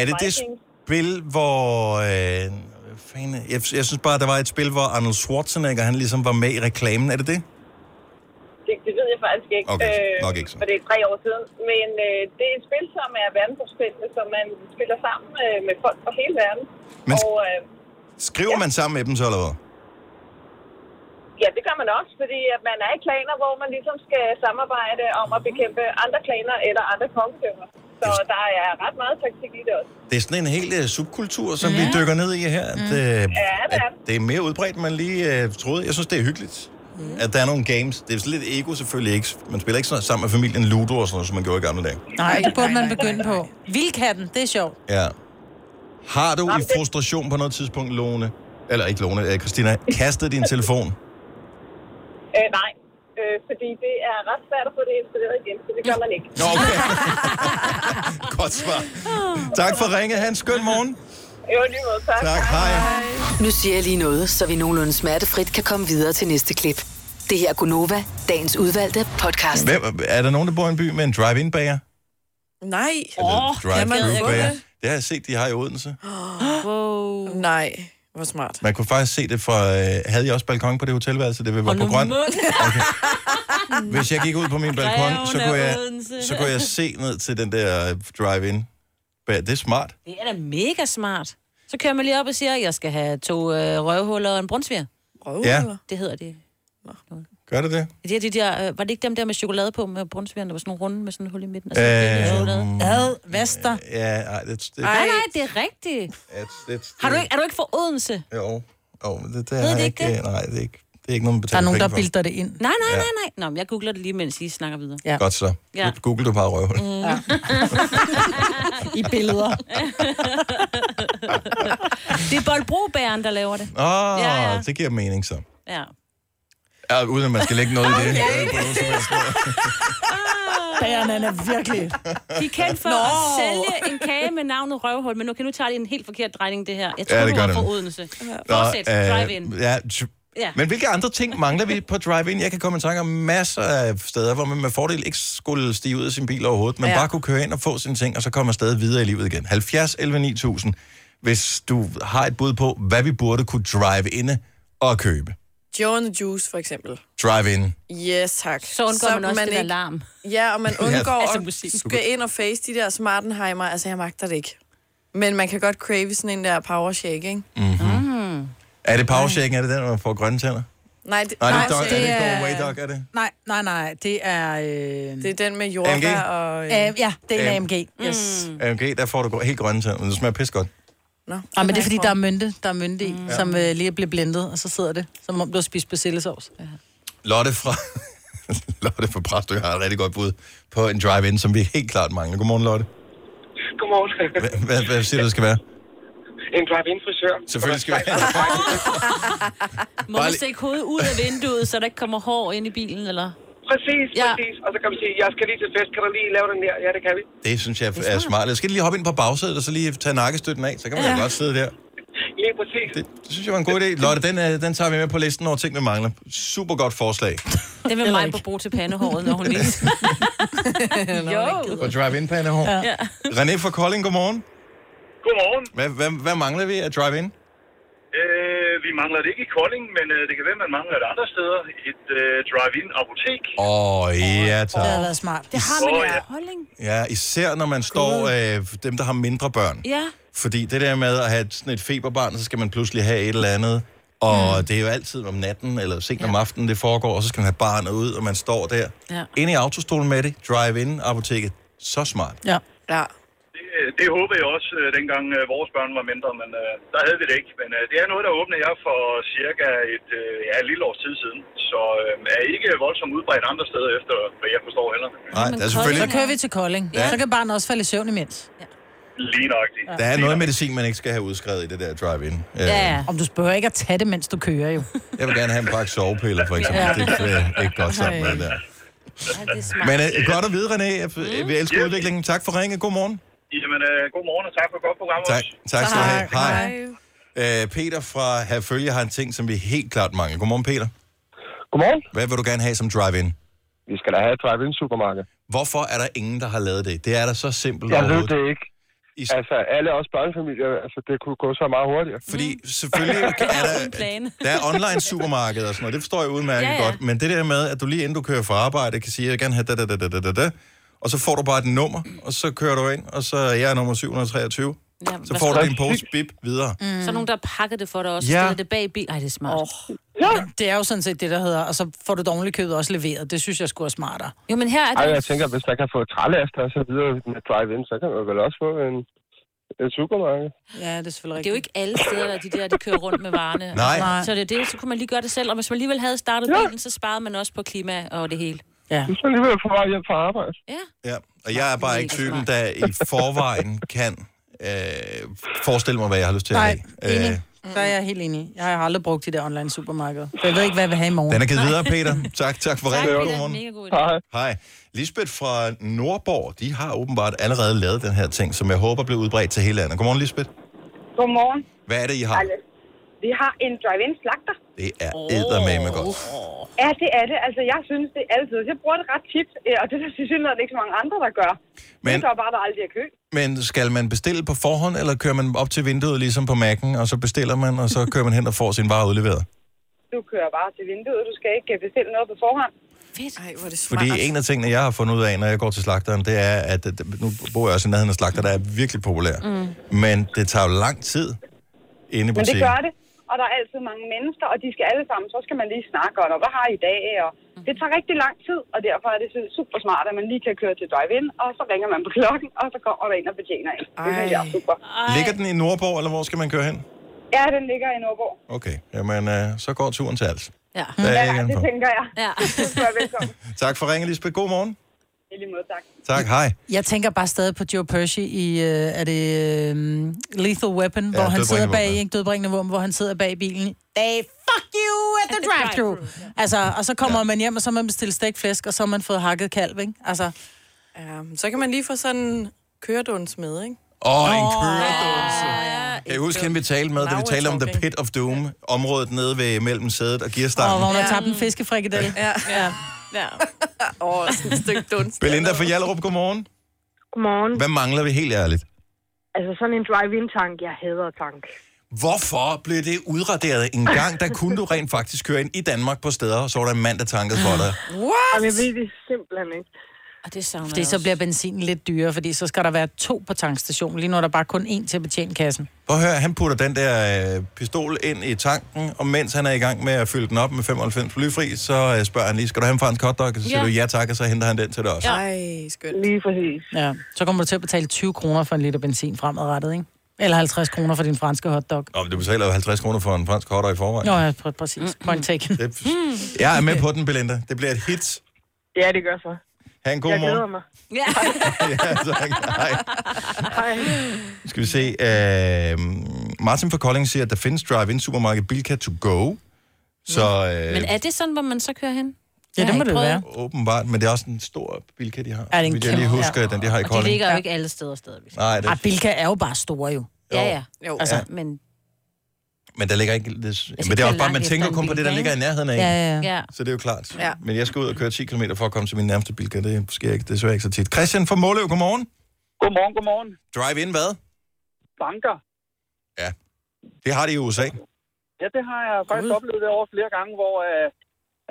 [SPEAKER 1] Er det det
[SPEAKER 11] Vikings.
[SPEAKER 1] spil, hvor... Øh, hvad fanden, jeg, jeg synes bare, der var et spil, hvor Arnold Schwarzenegger han ligesom var med i reklamen. Er det det?
[SPEAKER 11] Det, det ved jeg faktisk ikke. øh,
[SPEAKER 1] Okay, nok ikke så.
[SPEAKER 11] For det er tre år siden. Men øh, det er et spil, som er verdensomspændende, så man spiller sammen øh, med folk fra hele verden.
[SPEAKER 1] Men-
[SPEAKER 11] Og øh,
[SPEAKER 1] Skriver ja. man sammen med dem så, eller hvad?
[SPEAKER 11] ja, det gør man også, fordi at man er i klaner, hvor man ligesom skal samarbejde om at bekæmpe andre klaner eller andre kongedømmer. Så der er ret meget taktik i det også.
[SPEAKER 1] Det er sådan en hel øh, subkultur, som ja. vi dykker ned i her.
[SPEAKER 11] Mm.
[SPEAKER 1] At, øh, ja, det,
[SPEAKER 11] er
[SPEAKER 1] at det er mere udbredt, end man lige øh, troede. Jeg synes, det er hyggeligt, mm. at der er nogle games. Det er sådan lidt ego selvfølgelig ikke. Man spiller ikke sådan, sammen med familien Ludo og sådan noget, som man gjorde i gamle dage.
[SPEAKER 2] Nej, det burde man begynde på. Vildkatten, det er sjovt.
[SPEAKER 1] Ja. Har du i frustration på noget tidspunkt, Lone, eller ikke Lone, øh, Christina, kastet din telefon?
[SPEAKER 11] Øh, nej, øh, fordi det er ret svært at få det installeret igen, så det gør man ikke.
[SPEAKER 1] Nå, okay. Godt svar. Tak for ringet. Ha' en skøn morgen.
[SPEAKER 11] Jo, lige måde, tak.
[SPEAKER 1] Tak, hej.
[SPEAKER 5] Nu siger jeg lige noget, så vi nogenlunde smertefrit kan komme videre til næste klip. Det her er Gunova, dagens udvalgte podcast.
[SPEAKER 1] Hvem, er der nogen, der bor i en by med en drive-in-bager?
[SPEAKER 4] Nej.
[SPEAKER 1] Eller drive-thru-bager? Det har jeg set, de har i Odense.
[SPEAKER 4] Wow. Nej, hvor smart.
[SPEAKER 1] Man kunne faktisk se det fra... Øh, havde jeg også balkon på det hotelværelse, det var på grøn. Hvis jeg gik ud på min balkon, så
[SPEAKER 3] Greven af
[SPEAKER 1] kunne, jeg,
[SPEAKER 3] Odense.
[SPEAKER 1] så kunne jeg se ned til den der øh, drive-in. bager. Det er smart.
[SPEAKER 3] Det er da mega smart. Så kører man lige op og siger, at jeg skal have to øh, røvhuller og en brunsviger.
[SPEAKER 1] Røvhuller? Ja.
[SPEAKER 3] Det hedder det.
[SPEAKER 1] Gør det det?
[SPEAKER 3] Det er de der, øh, var det ikke dem der med chokolade på med brunsvigerne? Der var sådan nogle runde med sådan en hul i midten. Og
[SPEAKER 1] Øhm,
[SPEAKER 3] sådan øh, Ad, Vester.
[SPEAKER 1] Ja, ej, det, det, Øh.
[SPEAKER 3] Nej, nej, det er rigtigt.
[SPEAKER 1] det, det,
[SPEAKER 3] Har du ikke, er du ikke fra Odense?
[SPEAKER 1] Jo, jo men det, det,
[SPEAKER 3] Ved
[SPEAKER 1] har
[SPEAKER 3] det
[SPEAKER 1] jeg
[SPEAKER 3] ikke
[SPEAKER 1] ikke,
[SPEAKER 3] det?
[SPEAKER 1] Nej, det er ikke, det er ikke noget, man
[SPEAKER 2] Der
[SPEAKER 1] betaler
[SPEAKER 2] er nogen,
[SPEAKER 1] penge
[SPEAKER 2] der
[SPEAKER 1] for.
[SPEAKER 2] bilder det ind.
[SPEAKER 3] Nej, nej,
[SPEAKER 1] Ja.
[SPEAKER 3] nej, nej. Nå, men jeg googler det lige, mens I snakker videre.
[SPEAKER 1] Ja. Godt så.
[SPEAKER 3] Ja.
[SPEAKER 1] Ja. Google du bare røvhul.
[SPEAKER 3] Mm. Ja.
[SPEAKER 2] I billeder.
[SPEAKER 3] det er Boldbrobæren, der laver det.
[SPEAKER 1] Åh, oh,
[SPEAKER 3] Ja,
[SPEAKER 1] ja,
[SPEAKER 3] ja.
[SPEAKER 1] ja. det giver mening så.
[SPEAKER 3] Ja.
[SPEAKER 1] Ja, uden at man skal lægge noget i det.
[SPEAKER 3] Okay.
[SPEAKER 1] Øh, på nogen som helst måde.
[SPEAKER 2] Bagerne er virkelig...
[SPEAKER 3] De er kendt for
[SPEAKER 2] Nå.
[SPEAKER 3] Nå. at sælge en kage med navnet Røvhul, men nu kan nu tage det i en helt forkert drejning, det her. Jeg tror,
[SPEAKER 1] Ja, det gør
[SPEAKER 3] du
[SPEAKER 1] det
[SPEAKER 3] var fra
[SPEAKER 1] nu.
[SPEAKER 3] Odense.
[SPEAKER 1] Nå,
[SPEAKER 3] Fortsæt,
[SPEAKER 1] øh,
[SPEAKER 3] drive-in.
[SPEAKER 1] Ja, t-
[SPEAKER 3] Ja.
[SPEAKER 1] men hvilke andre ting mangler vi på drive-in? Jeg kan komme i tanke om masser af steder, hvor man med fordel ikke skulle stige ud af sin bil overhovedet, men
[SPEAKER 4] Ja.
[SPEAKER 1] ja. bare kunne køre ind og få sine ting, og så komme afsted videre i livet igen. 70 11 9000, hvis du har et bud på, hvad vi burde kunne drive inde og købe.
[SPEAKER 4] Joe and the Juice, for eksempel.
[SPEAKER 1] Drive-in.
[SPEAKER 4] Yes, tak.
[SPEAKER 3] Så undgår man også den alarm.
[SPEAKER 4] Ja, og man
[SPEAKER 1] Ja,
[SPEAKER 4] undgår
[SPEAKER 1] altså
[SPEAKER 4] at skal ind og face de der smartenheimer. Altså, jeg magter det ikke. Men man kan godt crave sådan en der power shake, ikke?
[SPEAKER 1] Mm-hmm.
[SPEAKER 4] Mm.
[SPEAKER 1] Er det powershaken? Er det den, hvor man får grønne tænder?
[SPEAKER 4] Nej, det,
[SPEAKER 1] Nej, det
[SPEAKER 4] nej,
[SPEAKER 1] er dog- er det ikke
[SPEAKER 2] er-
[SPEAKER 1] Way Dog, er det?
[SPEAKER 2] Nej, nej, nej. Det er... Øh...
[SPEAKER 4] Det er den med
[SPEAKER 1] jordbær AMG?
[SPEAKER 4] og...
[SPEAKER 2] Øh, ja, det er en
[SPEAKER 1] Am-
[SPEAKER 2] AMG. Yes. Mm.
[SPEAKER 1] Okay, der får du gr- helt grønne tænder, men det smager pis godt.
[SPEAKER 4] Nå,
[SPEAKER 2] Ja, Ah,
[SPEAKER 4] den
[SPEAKER 2] men det
[SPEAKER 4] har
[SPEAKER 2] er fordi,
[SPEAKER 4] jeg
[SPEAKER 2] der er
[SPEAKER 4] prøvet.
[SPEAKER 2] mynte, der er mynte i, mm. som øh, lige er blevet blendet, og så sidder det, som om du har spist persillesovs. Ja.
[SPEAKER 1] Lotte fra... Lotte fra Præstø har et rigtig godt bud på en drive-in, som vi helt klart mangler. Godmorgen, Lotte.
[SPEAKER 16] Godmorgen.
[SPEAKER 1] Hvad- Hvad, hvad siger du, det skal være?
[SPEAKER 16] en drive-in frisør.
[SPEAKER 1] Selvfølgelig skal vi
[SPEAKER 3] Må
[SPEAKER 1] Bare
[SPEAKER 3] man
[SPEAKER 1] lige-
[SPEAKER 3] stikke hovedet ud af vinduet, så der ikke kommer hår ind i bilen, eller?
[SPEAKER 16] Præcis, ja. præcis. Og så kan vi sige, jeg skal lige til fest, kan du lige lave den der? Ja, det kan vi.
[SPEAKER 1] Det synes jeg er smart. Jeg skal lige hoppe ind på bagsædet, og så lige tage nakkestøtten af, så kan man ja.
[SPEAKER 16] Ja.
[SPEAKER 1] godt sidde der.
[SPEAKER 16] Lige præcis.
[SPEAKER 1] Det, det synes jeg var en god idé. Lotte, den, øh, den tager vi med på listen over ting, vi mangler. Super godt forslag.
[SPEAKER 3] Det vil mig på bruge til pandehåret, når hun lige... jo.
[SPEAKER 1] Og drive-in på NH. Ja.
[SPEAKER 3] Ja.
[SPEAKER 1] René fra Kolding, godmorgen.
[SPEAKER 17] Godmorgen.
[SPEAKER 1] Hvad, hvad, hvad mangler vi af drive-in?
[SPEAKER 17] Øh, vi mangler det ikke i Kolding, men øh, det kan være, man mangler det andre steder. Et øh, drive-in apotek.
[SPEAKER 1] Åh, oh, ja
[SPEAKER 2] Det har
[SPEAKER 1] tak.
[SPEAKER 2] været smart. Det har man
[SPEAKER 17] Åh,
[SPEAKER 2] oh, ja.
[SPEAKER 17] ja.
[SPEAKER 2] holdning.
[SPEAKER 1] Ja, især når man står, øh, dem der har mindre børn.
[SPEAKER 2] Ja.
[SPEAKER 1] Fordi det der med at have sådan et feberbarn, så skal man pludselig have et eller andet. Og mm. det er jo altid om natten eller sent om aftenen, det foregår, og så skal man have barnet ud, og man står der.
[SPEAKER 3] Ja.
[SPEAKER 1] Ind i autostolen med det, drive-in, apoteket. Så smart.
[SPEAKER 2] Ja.
[SPEAKER 4] ja.
[SPEAKER 17] Det, det håbede jeg også, øh, dengang øh, vores børn var mindre, men øh, der havde vi det ikke. Men øh, det er noget, der åbnede jeg for cirka et, øh, ja, et lille års tid siden. Så øh, er ikke voldsomt udbredt andre steder, efter hvad jeg forstår heller.
[SPEAKER 1] Nej, der er selvfølgelig...
[SPEAKER 2] Så kører vi til Kolding.
[SPEAKER 1] Ja.
[SPEAKER 2] Ja. Så kan barnet også falde i søvn imens.
[SPEAKER 17] Lige nøjagtigt.
[SPEAKER 1] Der er noget medicin, man ikke skal have udskrevet i det der drive-in. Øh,
[SPEAKER 2] Om du spørger ikke at tage det, mens du kører jo.
[SPEAKER 1] Jeg vil gerne have en pakke sovepiller, for eksempel.
[SPEAKER 2] Ja.
[SPEAKER 1] Det er øh, ikke godt sammen med det der. Men øh, godt at vide, René. Jeg- Vi elsker udviklingen. Tak for ringe. God morgen.
[SPEAKER 17] Jamen, øh, god morgen og tak for et godt program.
[SPEAKER 1] Tak,
[SPEAKER 17] også.
[SPEAKER 1] tak skal du have. Hej. Øh, Peter fra Herfølge har en ting, som vi helt klart mangler. Godmorgen, Peter.
[SPEAKER 18] Godmorgen.
[SPEAKER 1] Hvad vil du gerne have som drive-in?
[SPEAKER 18] Vi skal da have et drive-in-supermarked.
[SPEAKER 1] Hvorfor er der ingen, der har lavet det? Det er da så simpelt
[SPEAKER 18] Jeg ved
[SPEAKER 1] overhovedet.
[SPEAKER 18] det ikke. Altså, alle os børnefamilier, altså, det kunne gå så meget hurtigere.
[SPEAKER 1] Fordi selvfølgelig er der... Der er online supermarkeder og sådan noget, det forstår jeg udmærket
[SPEAKER 18] Ja,
[SPEAKER 1] ja,
[SPEAKER 18] ja.
[SPEAKER 1] ja. godt. Men det der med, at du lige inden du kører fra arbejde, kan sige, jeg vil gerne have da, da, da, da, da, da, da, og så får du bare et nummer, og så kører du ind, og så er jeg nummer 723.
[SPEAKER 3] Ja,
[SPEAKER 1] Så
[SPEAKER 3] hvad
[SPEAKER 1] får
[SPEAKER 3] skal-
[SPEAKER 1] du din pose, bip, videre.
[SPEAKER 3] Mm. Så er nogen, der pakker det for dig også,
[SPEAKER 1] Ja.
[SPEAKER 3] ja. stiller det bag i bilen. Ej, det er smart. Oh.
[SPEAKER 2] Ja. Det er jo sådan set det, der hedder, og så får du dårligt købet også leveret. Det synes jeg skulle er smartere.
[SPEAKER 3] Jo, men her er
[SPEAKER 18] Ej,
[SPEAKER 3] det...
[SPEAKER 18] jeg tænker, hvis man kan få trælaster og så videre med drive-in, så kan man vel også få en, en supermarked.
[SPEAKER 2] Ja, det er selvfølgelig
[SPEAKER 3] Det er jo ikke alle steder, der er de der, de kører rundt med varerne.
[SPEAKER 18] Nej.
[SPEAKER 3] Så det er det, så kunne man lige gøre det selv. Og hvis man alligevel havde startet ja. bilen, så sparede man også på klima og det hele.
[SPEAKER 2] Ja.
[SPEAKER 18] Du skal lige være på vej hjem fra arbejde.
[SPEAKER 1] Ja, og jeg er bare ikke typen, der i forvejen kan øh, forestille mig, hvad jeg har lyst til at
[SPEAKER 2] Nej,
[SPEAKER 1] have.
[SPEAKER 2] enig.
[SPEAKER 1] øh.
[SPEAKER 2] Så er jeg helt enig. Jeg har aldrig brugt de der online supermarkeder. For jeg ved ikke, hvad jeg vil have i morgen.
[SPEAKER 1] Øh, den er givet videre, Peter. Tak, tak for ringen.
[SPEAKER 2] Peter.
[SPEAKER 1] Godmorgen.
[SPEAKER 2] Mega god idé.
[SPEAKER 1] Hej. Hej. Lisbeth fra Nordborg, de har åbenbart allerede lavet den her ting, som jeg håber bliver udbredt til hele landet. Godmorgen, Lisbeth.
[SPEAKER 19] Godmorgen.
[SPEAKER 1] Hvad er det, I har?
[SPEAKER 19] Alle. Vi har en drive-in slagter.
[SPEAKER 1] Det er eddermame godt.
[SPEAKER 19] Ja, det er det. Altså, jeg synes, det er altid. Jeg bruger det ret tit, øh, og det er der synes ikke så mange andre, der gør. Men... Det
[SPEAKER 1] Men-
[SPEAKER 19] gør bare, der aldrig er kø.
[SPEAKER 1] Men skal man bestille på forhånd, eller kører man op til vinduet, ligesom på Mac'en, og så bestiller man, og så kører man hen og får sin vare udleveret?
[SPEAKER 19] Du kører bare til vinduet. Du skal ikke øh, bestille noget på forhånd.
[SPEAKER 3] Fedt.
[SPEAKER 4] Ej, hvor er det
[SPEAKER 1] Fordi en af tingene, jeg har fundet ud af, når jeg går til slagteren, det er, at at- nu bor jeg også i nærheden af slagter, der er virkelig populær. Mm. Men det tager jo lang tid inde i
[SPEAKER 19] Men det
[SPEAKER 1] butikken.
[SPEAKER 19] gør det, og der er altid mange mennesker, og de skal alle sammen, så skal man lige snakke om, "Nå, hvad har I i dag, og det tager rigtig lang tid, og derfor er det super smart, at man lige kan køre til drive-in, og så ringer man på klokken, og så kommer der en og betjener en. Det synes jeg er super.
[SPEAKER 1] Ligger den i Nordborg, eller hvor skal man køre hen?
[SPEAKER 19] Ja, den ligger i Nordborg.
[SPEAKER 1] Okay, jamen øh, så går turen til alt.
[SPEAKER 3] Ja.
[SPEAKER 1] Der er ikke
[SPEAKER 19] det
[SPEAKER 1] andet på.
[SPEAKER 19] tænker jeg. Ja. Det skal være velkommen.
[SPEAKER 1] Tak for ringen, Lisbeth. God morgen.
[SPEAKER 19] I lige måde, tak.
[SPEAKER 1] Tak, hej.
[SPEAKER 2] Jeg tænker bare stadig på Joe Pesci i, øh, er det øh, Lethal Weapon, ja, hvor han
[SPEAKER 1] Dødbringende
[SPEAKER 2] sidder bag,
[SPEAKER 1] Våben, ja.
[SPEAKER 2] ikke dødbringende våben, hvor han sidder bag i bilen. They fuck you at the drive-thru. Altså, og så kommer ja. man hjem, og så har man bestilt stegt flæsk, og så har man fået hakket kalv, ikke? Altså,
[SPEAKER 4] Ja, men Øhm, så kan man lige få sådan en køreduns med, ikke?
[SPEAKER 1] Åh, oh, en køredåse. Kan jeg huske, hende vi talte med, da vi talte om The Pit of Doom, området nede ved mellem sædet og
[SPEAKER 2] og hvor
[SPEAKER 1] gearstangen.
[SPEAKER 2] man ja. tabte en fiskefrikadelle.
[SPEAKER 4] Ja.
[SPEAKER 2] ja.
[SPEAKER 4] Ja. Åh, sådan et stykke duns.
[SPEAKER 1] Belinda fra Hjallerup, godmorgen.
[SPEAKER 13] Godmorgen.
[SPEAKER 1] Hvad mangler vi helt ærligt?
[SPEAKER 13] Altså sådan en drive-in-tank, jeg hader tank.
[SPEAKER 1] Hvorfor blev det udraderet en gang, der kunne du rent faktisk køre ind i Danmark på steder, og så var der en mand, der tankede for dig?
[SPEAKER 3] What?
[SPEAKER 13] Jamen, jeg ved det simpelthen ikke.
[SPEAKER 3] Og det savner
[SPEAKER 2] Fordi så bliver benzinen lidt dyrere, fordi så skal der være to på tankstationen. Lige nu er der bare kun én til at betjene kassen.
[SPEAKER 1] Prøv at høre, han putter den der øh, pistol ind i tanken, og mens han er i gang med at fylde den op med 95 blyfri, så øh, spørger han lige, skal du have en fransk hotdog? Og så siger
[SPEAKER 2] Ja.
[SPEAKER 1] du ja tak, og så henter han den til dig også.
[SPEAKER 4] Ej, skønt.
[SPEAKER 13] Lige præcis.
[SPEAKER 2] Ja. Så kommer du til at betale 20 kroner for en liter benzin fremadrettet, ikke? Eller 50 kroner for din franske hotdog.
[SPEAKER 1] Nå, men du betaler jo 50 kroner for en fransk hotdog i forvejen.
[SPEAKER 2] Nå ja, pr- præcis. Point taken.
[SPEAKER 1] Mm. Det, jeg er med på den, Belinda. Det bliver et hit.
[SPEAKER 13] Ja, det gør så.
[SPEAKER 1] Ha' en god
[SPEAKER 13] jeg
[SPEAKER 1] morgen.
[SPEAKER 13] glæder mig.
[SPEAKER 3] Ja.
[SPEAKER 1] ja, tak. Hej.
[SPEAKER 13] Hej.
[SPEAKER 1] Skal vi se. Øh, Martin fra Kolding siger, at der findes drive-in supermarked Bilka to go. Så øh,
[SPEAKER 3] Men er det sådan, hvor man så kører hen?
[SPEAKER 1] Ja,
[SPEAKER 3] Jeg
[SPEAKER 1] det
[SPEAKER 3] har
[SPEAKER 1] må
[SPEAKER 3] ikke
[SPEAKER 1] det
[SPEAKER 3] prøvet.
[SPEAKER 1] være. Åbenbart, men det er også en stor Bilka, de har.
[SPEAKER 2] Ja, det er en
[SPEAKER 1] Hvis jeg lige
[SPEAKER 2] kæmpe-
[SPEAKER 1] husker,
[SPEAKER 2] ja.
[SPEAKER 1] den de har i
[SPEAKER 3] Og de
[SPEAKER 1] Kolding.
[SPEAKER 3] ligger jo ikke alle steder stadigvæk.
[SPEAKER 1] Nej, det
[SPEAKER 2] Ah, Bilka er jo bare store jo.
[SPEAKER 3] Ja, ja.
[SPEAKER 4] Jo.
[SPEAKER 2] Altså,
[SPEAKER 1] Ja.
[SPEAKER 3] Men
[SPEAKER 1] Men der ligger ikke... Det,
[SPEAKER 2] skal
[SPEAKER 1] men det er også
[SPEAKER 2] køre
[SPEAKER 1] bare, man
[SPEAKER 2] Altså, langt
[SPEAKER 1] tænker
[SPEAKER 2] efter
[SPEAKER 1] kun
[SPEAKER 2] en
[SPEAKER 1] på det,
[SPEAKER 2] Bilka,
[SPEAKER 1] der ligger i
[SPEAKER 2] ikke?
[SPEAKER 1] nærheden af.
[SPEAKER 2] Ja,
[SPEAKER 1] en.
[SPEAKER 2] ja, ja.
[SPEAKER 1] Så det er jo klart.
[SPEAKER 2] Ja.
[SPEAKER 1] Men jeg skal ud og køre 10 km for at komme til min nærmeste Bilka. Det sker ikke, desværre ikke så tit. Christian fra Måløv, godmorgen.
[SPEAKER 16] Godmorgen, godmorgen.
[SPEAKER 1] Drive-in hvad?
[SPEAKER 16] Banker.
[SPEAKER 1] Det har de i USA.
[SPEAKER 16] Ja, det har jeg faktisk oplevet derovre flere gange, hvor... Øh,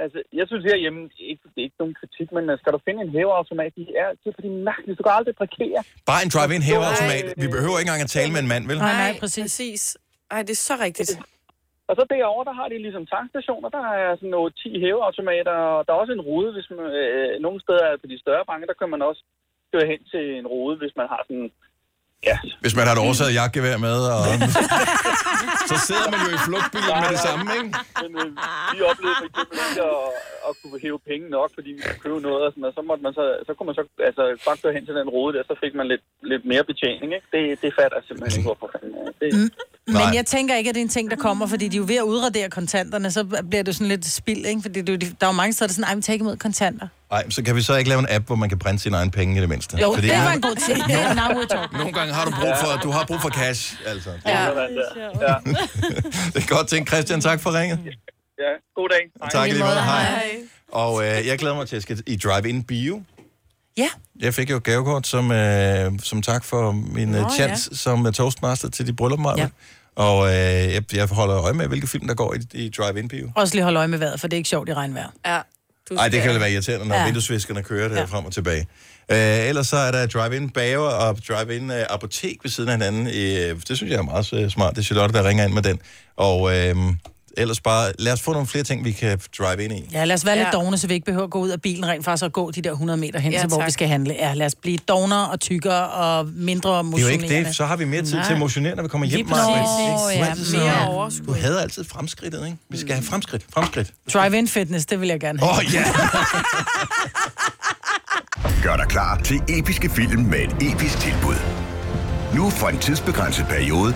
[SPEAKER 16] altså, jeg synes herhjemme, ikke, det er ikke nogen kritik, men øh, skal du finde en hæveautomat, de er altid på de mærkelige. Du kan aldrig parkere.
[SPEAKER 1] Bare en drive-in hæveautomat. Vi behøver ikke engang at tale med en mand, vel?
[SPEAKER 4] nej, præcis. præcis. Ej, det er så rigtigt.
[SPEAKER 16] Og så derovre, der har de ligesom tankstationer, der er sådan noget 10 hæveautomater, og der er også en rude, hvis man, øh, nogle steder på de større banker, der kan man også køre hen til en rude, hvis man har sådan... Ja.
[SPEAKER 1] Hvis man har et oversaget jagtgevær med, og... så sidder man jo i flugtbilen med det samme, ikke?
[SPEAKER 16] Men øh, vi oplevede for eksempel ikke at, at kunne hæve penge nok, fordi vi skulle købe noget og sådan noget. Så, måtte man så, så kunne man så altså, bare køre hen til den rode der, så fik man lidt, lidt mere betjening. Ikke? Det, det fatter jeg simpelthen ikke, hvorfor fanden. øh, Det,
[SPEAKER 2] Men jeg tænker ikke, at det er en ting, der kommer, fordi de er jo ved at udradere kontanterne, så bliver det sådan lidt spild, ikke? Fordi det, er jo de- der er jo mange steder, der er sådan, ej, vi tager ikke imod kontanter.
[SPEAKER 1] Nej, så kan vi så ikke lave en app, hvor man kan printe sine egne penge i det mindste.
[SPEAKER 2] Jo, det var
[SPEAKER 1] nogle-
[SPEAKER 2] en god ting. Det er now we're talking.
[SPEAKER 1] Nogle gange har du brug for, du har brug for cash, altså.
[SPEAKER 2] Ja.
[SPEAKER 16] Ja.
[SPEAKER 1] Det er godt ting. Christian, tak for ringet.
[SPEAKER 16] ja, god dag.
[SPEAKER 1] Tak i lige måde. Hej. Og øh, jeg glæder mig til, at jeg skal i drive-in bio.
[SPEAKER 2] Ja.
[SPEAKER 1] Jeg fik jo et gavekort som, øh, som tak for min øh,
[SPEAKER 2] Nå,
[SPEAKER 1] chance ja. som øh, toastmaster til dit bryllup, ja. Og øh, jeg, jeg holder øje med, hvilke film, der går i, i drive-in bio.
[SPEAKER 2] Også lige holde øje med vejret, for det er ikke sjovt i regnvejr.
[SPEAKER 4] Ja. Du
[SPEAKER 1] Nej, det kan vel være irriterende, når ja.
[SPEAKER 2] Ja.
[SPEAKER 1] vinduesviskerne kører det ja. frem og tilbage. Øh, ellers så er der drive-in bager og drive-in øh, apotek ved siden af hinanden. Øh, det synes jeg er meget øh, smart. Det er Charlotte, der ringer ind med den. Og øh, ellers bare, lad os få nogle flere ting, vi kan drive ind i.
[SPEAKER 2] Ja, lad os være ja.
[SPEAKER 4] Ja.
[SPEAKER 2] lidt dogne, så vi ikke behøver at gå ud af bilen rent faktisk og gå de der 100 meter hen ja,
[SPEAKER 4] Ja,
[SPEAKER 2] til, hvor
[SPEAKER 4] tak.
[SPEAKER 2] vi skal handle. Ja, lad os blive dognere og tykkere og mindre
[SPEAKER 1] Det er jo
[SPEAKER 2] motionerende.
[SPEAKER 1] ikke det. Så har vi mere tid Nej. til at motionere, når vi kommer hjem.
[SPEAKER 2] Lige præcis. Nå, ja,
[SPEAKER 1] Maja. Du altid
[SPEAKER 2] mere
[SPEAKER 1] sådan-
[SPEAKER 2] overskud. Mm.
[SPEAKER 1] Du havde altid fremskridtet, ikke? Vi skal have fremskridt, fremskridt.
[SPEAKER 2] Drive-in fitness, det vil jeg gerne have.
[SPEAKER 1] Åh, oh, ja!
[SPEAKER 6] Gør dig klar til episke film med et episk tilbud. Nu for en tidsbegrænset periode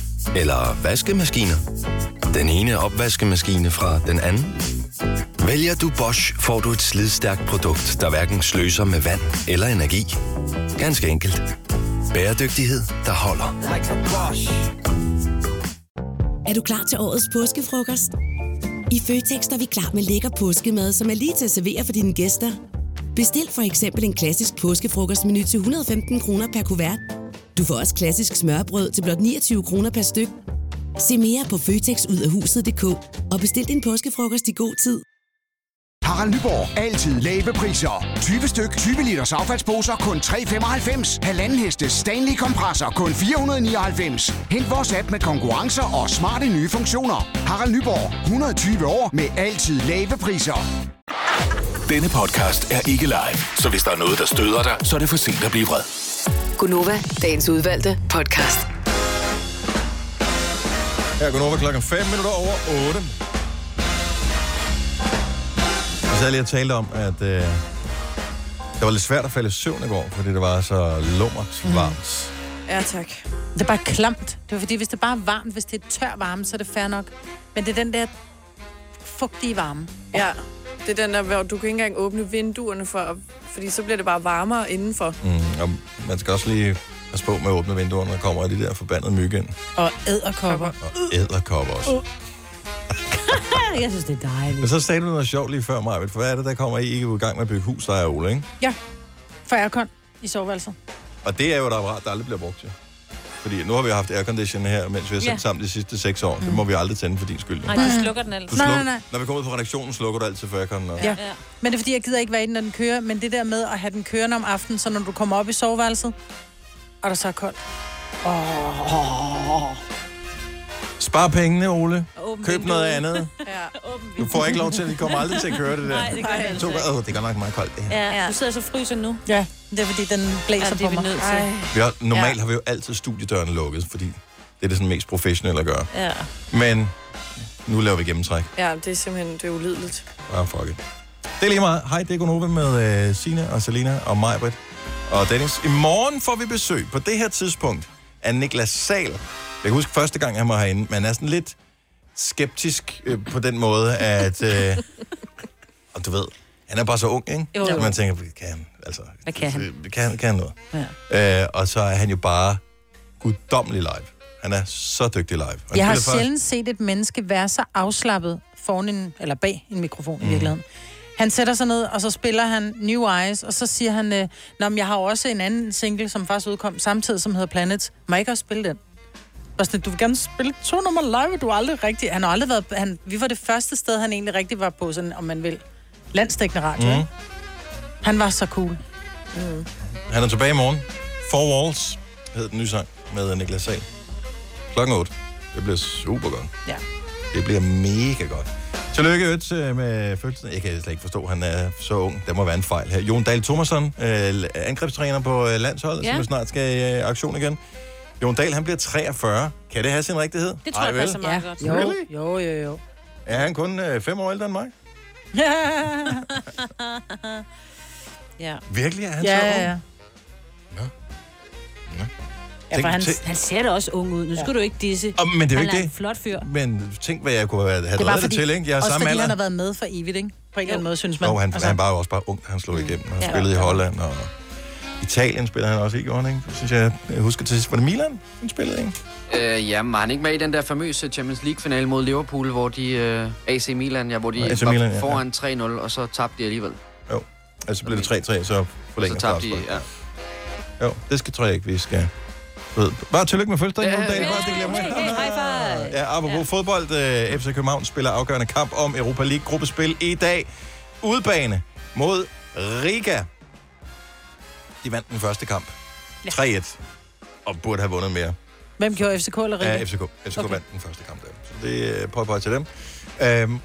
[SPEAKER 12] Eller vaskemaskiner? Den ene opvaskemaskine fra den anden? Vælger du Bosch, får du et slidstærkt produkt, der hverken sløser med vand eller energi. Ganske enkelt. Bæredygtighed, der holder.
[SPEAKER 20] Like a Bosch.
[SPEAKER 21] Er du klar til årets påskefrokost? I Føtex er vi klar med lækker påskemad, som er lige til at servere for dine gæster. Bestil for eksempel en klassisk påskefrokostmenu til 115 kroner per kuvert. Du får også klassisk smørbrød til blot 29 kroner per styk. Se mere på føtexudafhuset.dk og bestil din påskefrokost i god tid.
[SPEAKER 22] Harald Nyborg. Altid lave priser. 20 styk, 20 liters affaldsposer kun 3,95. Halvanden heste Stanley kompresser kun 499. Hent vores app med konkurrencer og smarte nye funktioner. Harald Nyborg. 120 år med altid lave priser.
[SPEAKER 6] Denne podcast er ikke live, så hvis der er noget, der støder dig, så er det for sent at blive vred.
[SPEAKER 5] Gunova, dagens udvalgte podcast.
[SPEAKER 1] Her går over klokken 5 minutter over 8. Jeg sad lige og talte om, at øh, det
[SPEAKER 2] Mm.
[SPEAKER 1] var lidt svært at falde i søvn i går, fordi det var så lummert varmt.
[SPEAKER 4] Ja, tak.
[SPEAKER 2] Det er bare klamt. Det er fordi, hvis det bare er varmt, hvis det er tør varme, så er det fair nok. Men det er den der fugtige varme.
[SPEAKER 4] Ja, det er den der, hvor du kan ikke engang åbne vinduerne for, at- fordi så bliver det bare varmere indenfor.
[SPEAKER 1] Mm, og man skal også lige passe på med at åbne vinduerne, når der kommer de der forbandede myg ind.
[SPEAKER 2] Og æderkopper.
[SPEAKER 1] Æderkopper også.
[SPEAKER 2] Uh.
[SPEAKER 1] Altså-
[SPEAKER 2] jeg synes, det er dejligt.
[SPEAKER 1] Men så sagde du noget sjovt lige før, Maja. For hvad er det, der kommer I ikke i gang med at bygge hus, der er Ole, ikke?
[SPEAKER 2] Ja, for aircon i soveværelset.
[SPEAKER 1] Og det er jo et apparat, der aldrig bliver brugt, jo. Fordi nu har vi haft aircondition her, mens vi har sendt
[SPEAKER 2] Ja.
[SPEAKER 1] ja. sammen de sidste seks år. Mm. Det må vi aldrig tænde for din skyld. jo.
[SPEAKER 3] Nej, du slukker den
[SPEAKER 1] Du
[SPEAKER 3] altså.
[SPEAKER 1] slukker, Når vi kommer ud på redaktionen, slukker du altid for airconen. Og...
[SPEAKER 2] Ja. ja. Men det er fordi, jeg gider ikke være inde, når den kører, men det der med at have den kørende om aftenen, så når du kommer op i soveværelset, og der så er koldt. Åh.
[SPEAKER 1] Spar pengene, Ole.
[SPEAKER 2] åbn
[SPEAKER 1] Køb noget andet.
[SPEAKER 3] Ja, åben
[SPEAKER 1] Du får ikke lov til, at de kommer aldrig til at køre det der.
[SPEAKER 3] Nej, det gør det altså
[SPEAKER 1] to,
[SPEAKER 3] ikke.
[SPEAKER 1] Åh, det er godt nok meget koldt, det her.
[SPEAKER 3] Ja, du sidder så og fryser nu.
[SPEAKER 2] Ja, det er fordi, den blæser
[SPEAKER 3] ja, det er
[SPEAKER 2] på
[SPEAKER 3] vi
[SPEAKER 2] mig.
[SPEAKER 3] Nødt til.
[SPEAKER 2] Ej.
[SPEAKER 1] Vi har, normalt
[SPEAKER 2] Ja.
[SPEAKER 1] ja. har vi jo altid studiedørene lukket, fordi det er det sådan mest professionelle at gøre.
[SPEAKER 4] Ja.
[SPEAKER 1] Men nu laver vi gennemtræk.
[SPEAKER 4] Ja, det er simpelthen, det er ulideligt.
[SPEAKER 1] Ah, fuck it. Det er lige meget. Hej, det er Gunova med uh, Sina og Selina og Majbrit og Dennis. I morgen får vi besøg på det her tidspunkt af Niklas Sal. Jeg kan huske første gang, han var herinde, men er sådan lidt skeptisk øh, på den måde, at... Øh, og du ved, han er bare så ung, ikke?
[SPEAKER 3] Jo, jo.
[SPEAKER 1] Så man tænker, kan han, altså,
[SPEAKER 3] Hvad kan han?
[SPEAKER 1] kan, han- kan han noget?
[SPEAKER 3] Ja.
[SPEAKER 1] Øh, og så er han jo bare guddommelig live. Han er så dygtig live. Og han
[SPEAKER 2] Jeg har
[SPEAKER 1] spiller faktisk-
[SPEAKER 2] sjældent set et menneske være så afslappet foran en, eller bag en mikrofon mm. i virkeligheden. Han sætter sig ned, og så spiller han New Eyes, og så siger han, øh, Nå, men jeg har også en anden single, som faktisk udkom samtidig, som hedder Planets. Må jeg ikke også spille den? Og sådan, du vil gerne spille to nummer live, du har aldrig rigtig... Han har aldrig været... Han, vi var det første sted, han egentlig rigtig var på, sådan, om man vil. Landstækkende radio, mm.
[SPEAKER 1] Mhm.
[SPEAKER 2] ikke? Han var så cool.
[SPEAKER 4] Mm.
[SPEAKER 1] Han er tilbage i morgen. Four Walls hed den nye sang med Niklas Sahl. Klokken 8. Det bliver super godt.
[SPEAKER 2] Ja.
[SPEAKER 1] Det bliver mega godt. Tillykke øvrigt, øh, med fødselsdagen. Jeg kan slet ikke forstå, at han er så ung. Der må være en fejl her. Jon Dahl Thomasson, øh, angrebstræner på øh, landsholdet,
[SPEAKER 3] Ja.
[SPEAKER 1] ja. som jo snart skal i øh, aktion igen. Jon Dahl, han bliver 43. Kan det have sin rigtighed?
[SPEAKER 3] Det tror
[SPEAKER 1] Ej,
[SPEAKER 3] jeg
[SPEAKER 1] vel?
[SPEAKER 3] passer meget godt.
[SPEAKER 2] Jo, jo, jo, jo.
[SPEAKER 1] Er han kun øh, fem år ældre end mig?
[SPEAKER 2] Ja.
[SPEAKER 3] ja.
[SPEAKER 1] Virkelig er han
[SPEAKER 2] ja,
[SPEAKER 1] så ung?
[SPEAKER 2] ja, ja.
[SPEAKER 3] Ja, for han, han ser da også ung ud. Nu skal ja. du ikke disse.
[SPEAKER 1] Åh, men det er
[SPEAKER 3] han
[SPEAKER 1] jo ikke
[SPEAKER 3] er
[SPEAKER 1] det.
[SPEAKER 3] en flot fyr.
[SPEAKER 1] Men tænk, hvad jeg kunne have
[SPEAKER 2] Det er
[SPEAKER 1] drevet
[SPEAKER 2] bare
[SPEAKER 1] det,
[SPEAKER 2] fordi,
[SPEAKER 1] til, ikke? Jeg er
[SPEAKER 2] også
[SPEAKER 1] samme
[SPEAKER 2] fordi
[SPEAKER 1] alder.
[SPEAKER 2] han har været med for evigt, ikke? På en eller anden måde, synes man.
[SPEAKER 1] Jo, han, altså... han var jo også bare ung, da han slog igennem. Han
[SPEAKER 2] Ja.
[SPEAKER 1] ja. spillede i Holland, og Italien spillede han også i, gjorde han, ikke? Synes jeg, jeg husker til sidst. Var det Milan, han spillede, ikke?
[SPEAKER 7] Øh, ja, men var han ikke med i den der famøse Champions League-finale mod Liverpool, hvor de... Øh, AC Milan, ja, hvor de
[SPEAKER 1] AC
[SPEAKER 7] var
[SPEAKER 1] Milan, ja, ja.
[SPEAKER 7] foran 3-0, og så tabte de alligevel.
[SPEAKER 1] Jo. Altså så blev det 3-3, så forlænger
[SPEAKER 7] Så tabte de,
[SPEAKER 1] straffespark. Jo, det skal, tror jeg ikke, vi skal... du ved. Bare tillykke med
[SPEAKER 2] Øh,
[SPEAKER 1] fødselsdagen, Jon Dahl. Bare det glemmer jeg.
[SPEAKER 7] hey, high five!
[SPEAKER 1] Ja, apropos ja. fodbold. Øh, FC København spiller afgørende kamp om Europa League gruppespil i dag. Udbane mod Riga. De vandt den første kamp.
[SPEAKER 2] Ja.
[SPEAKER 1] 3-1. Og burde have vundet mere.
[SPEAKER 2] Hvem gjorde FCK eller Riga?
[SPEAKER 1] Ja, FCK. FCK okay. vandt den første kamp der. Så det øh, er på på til dem. Øhm,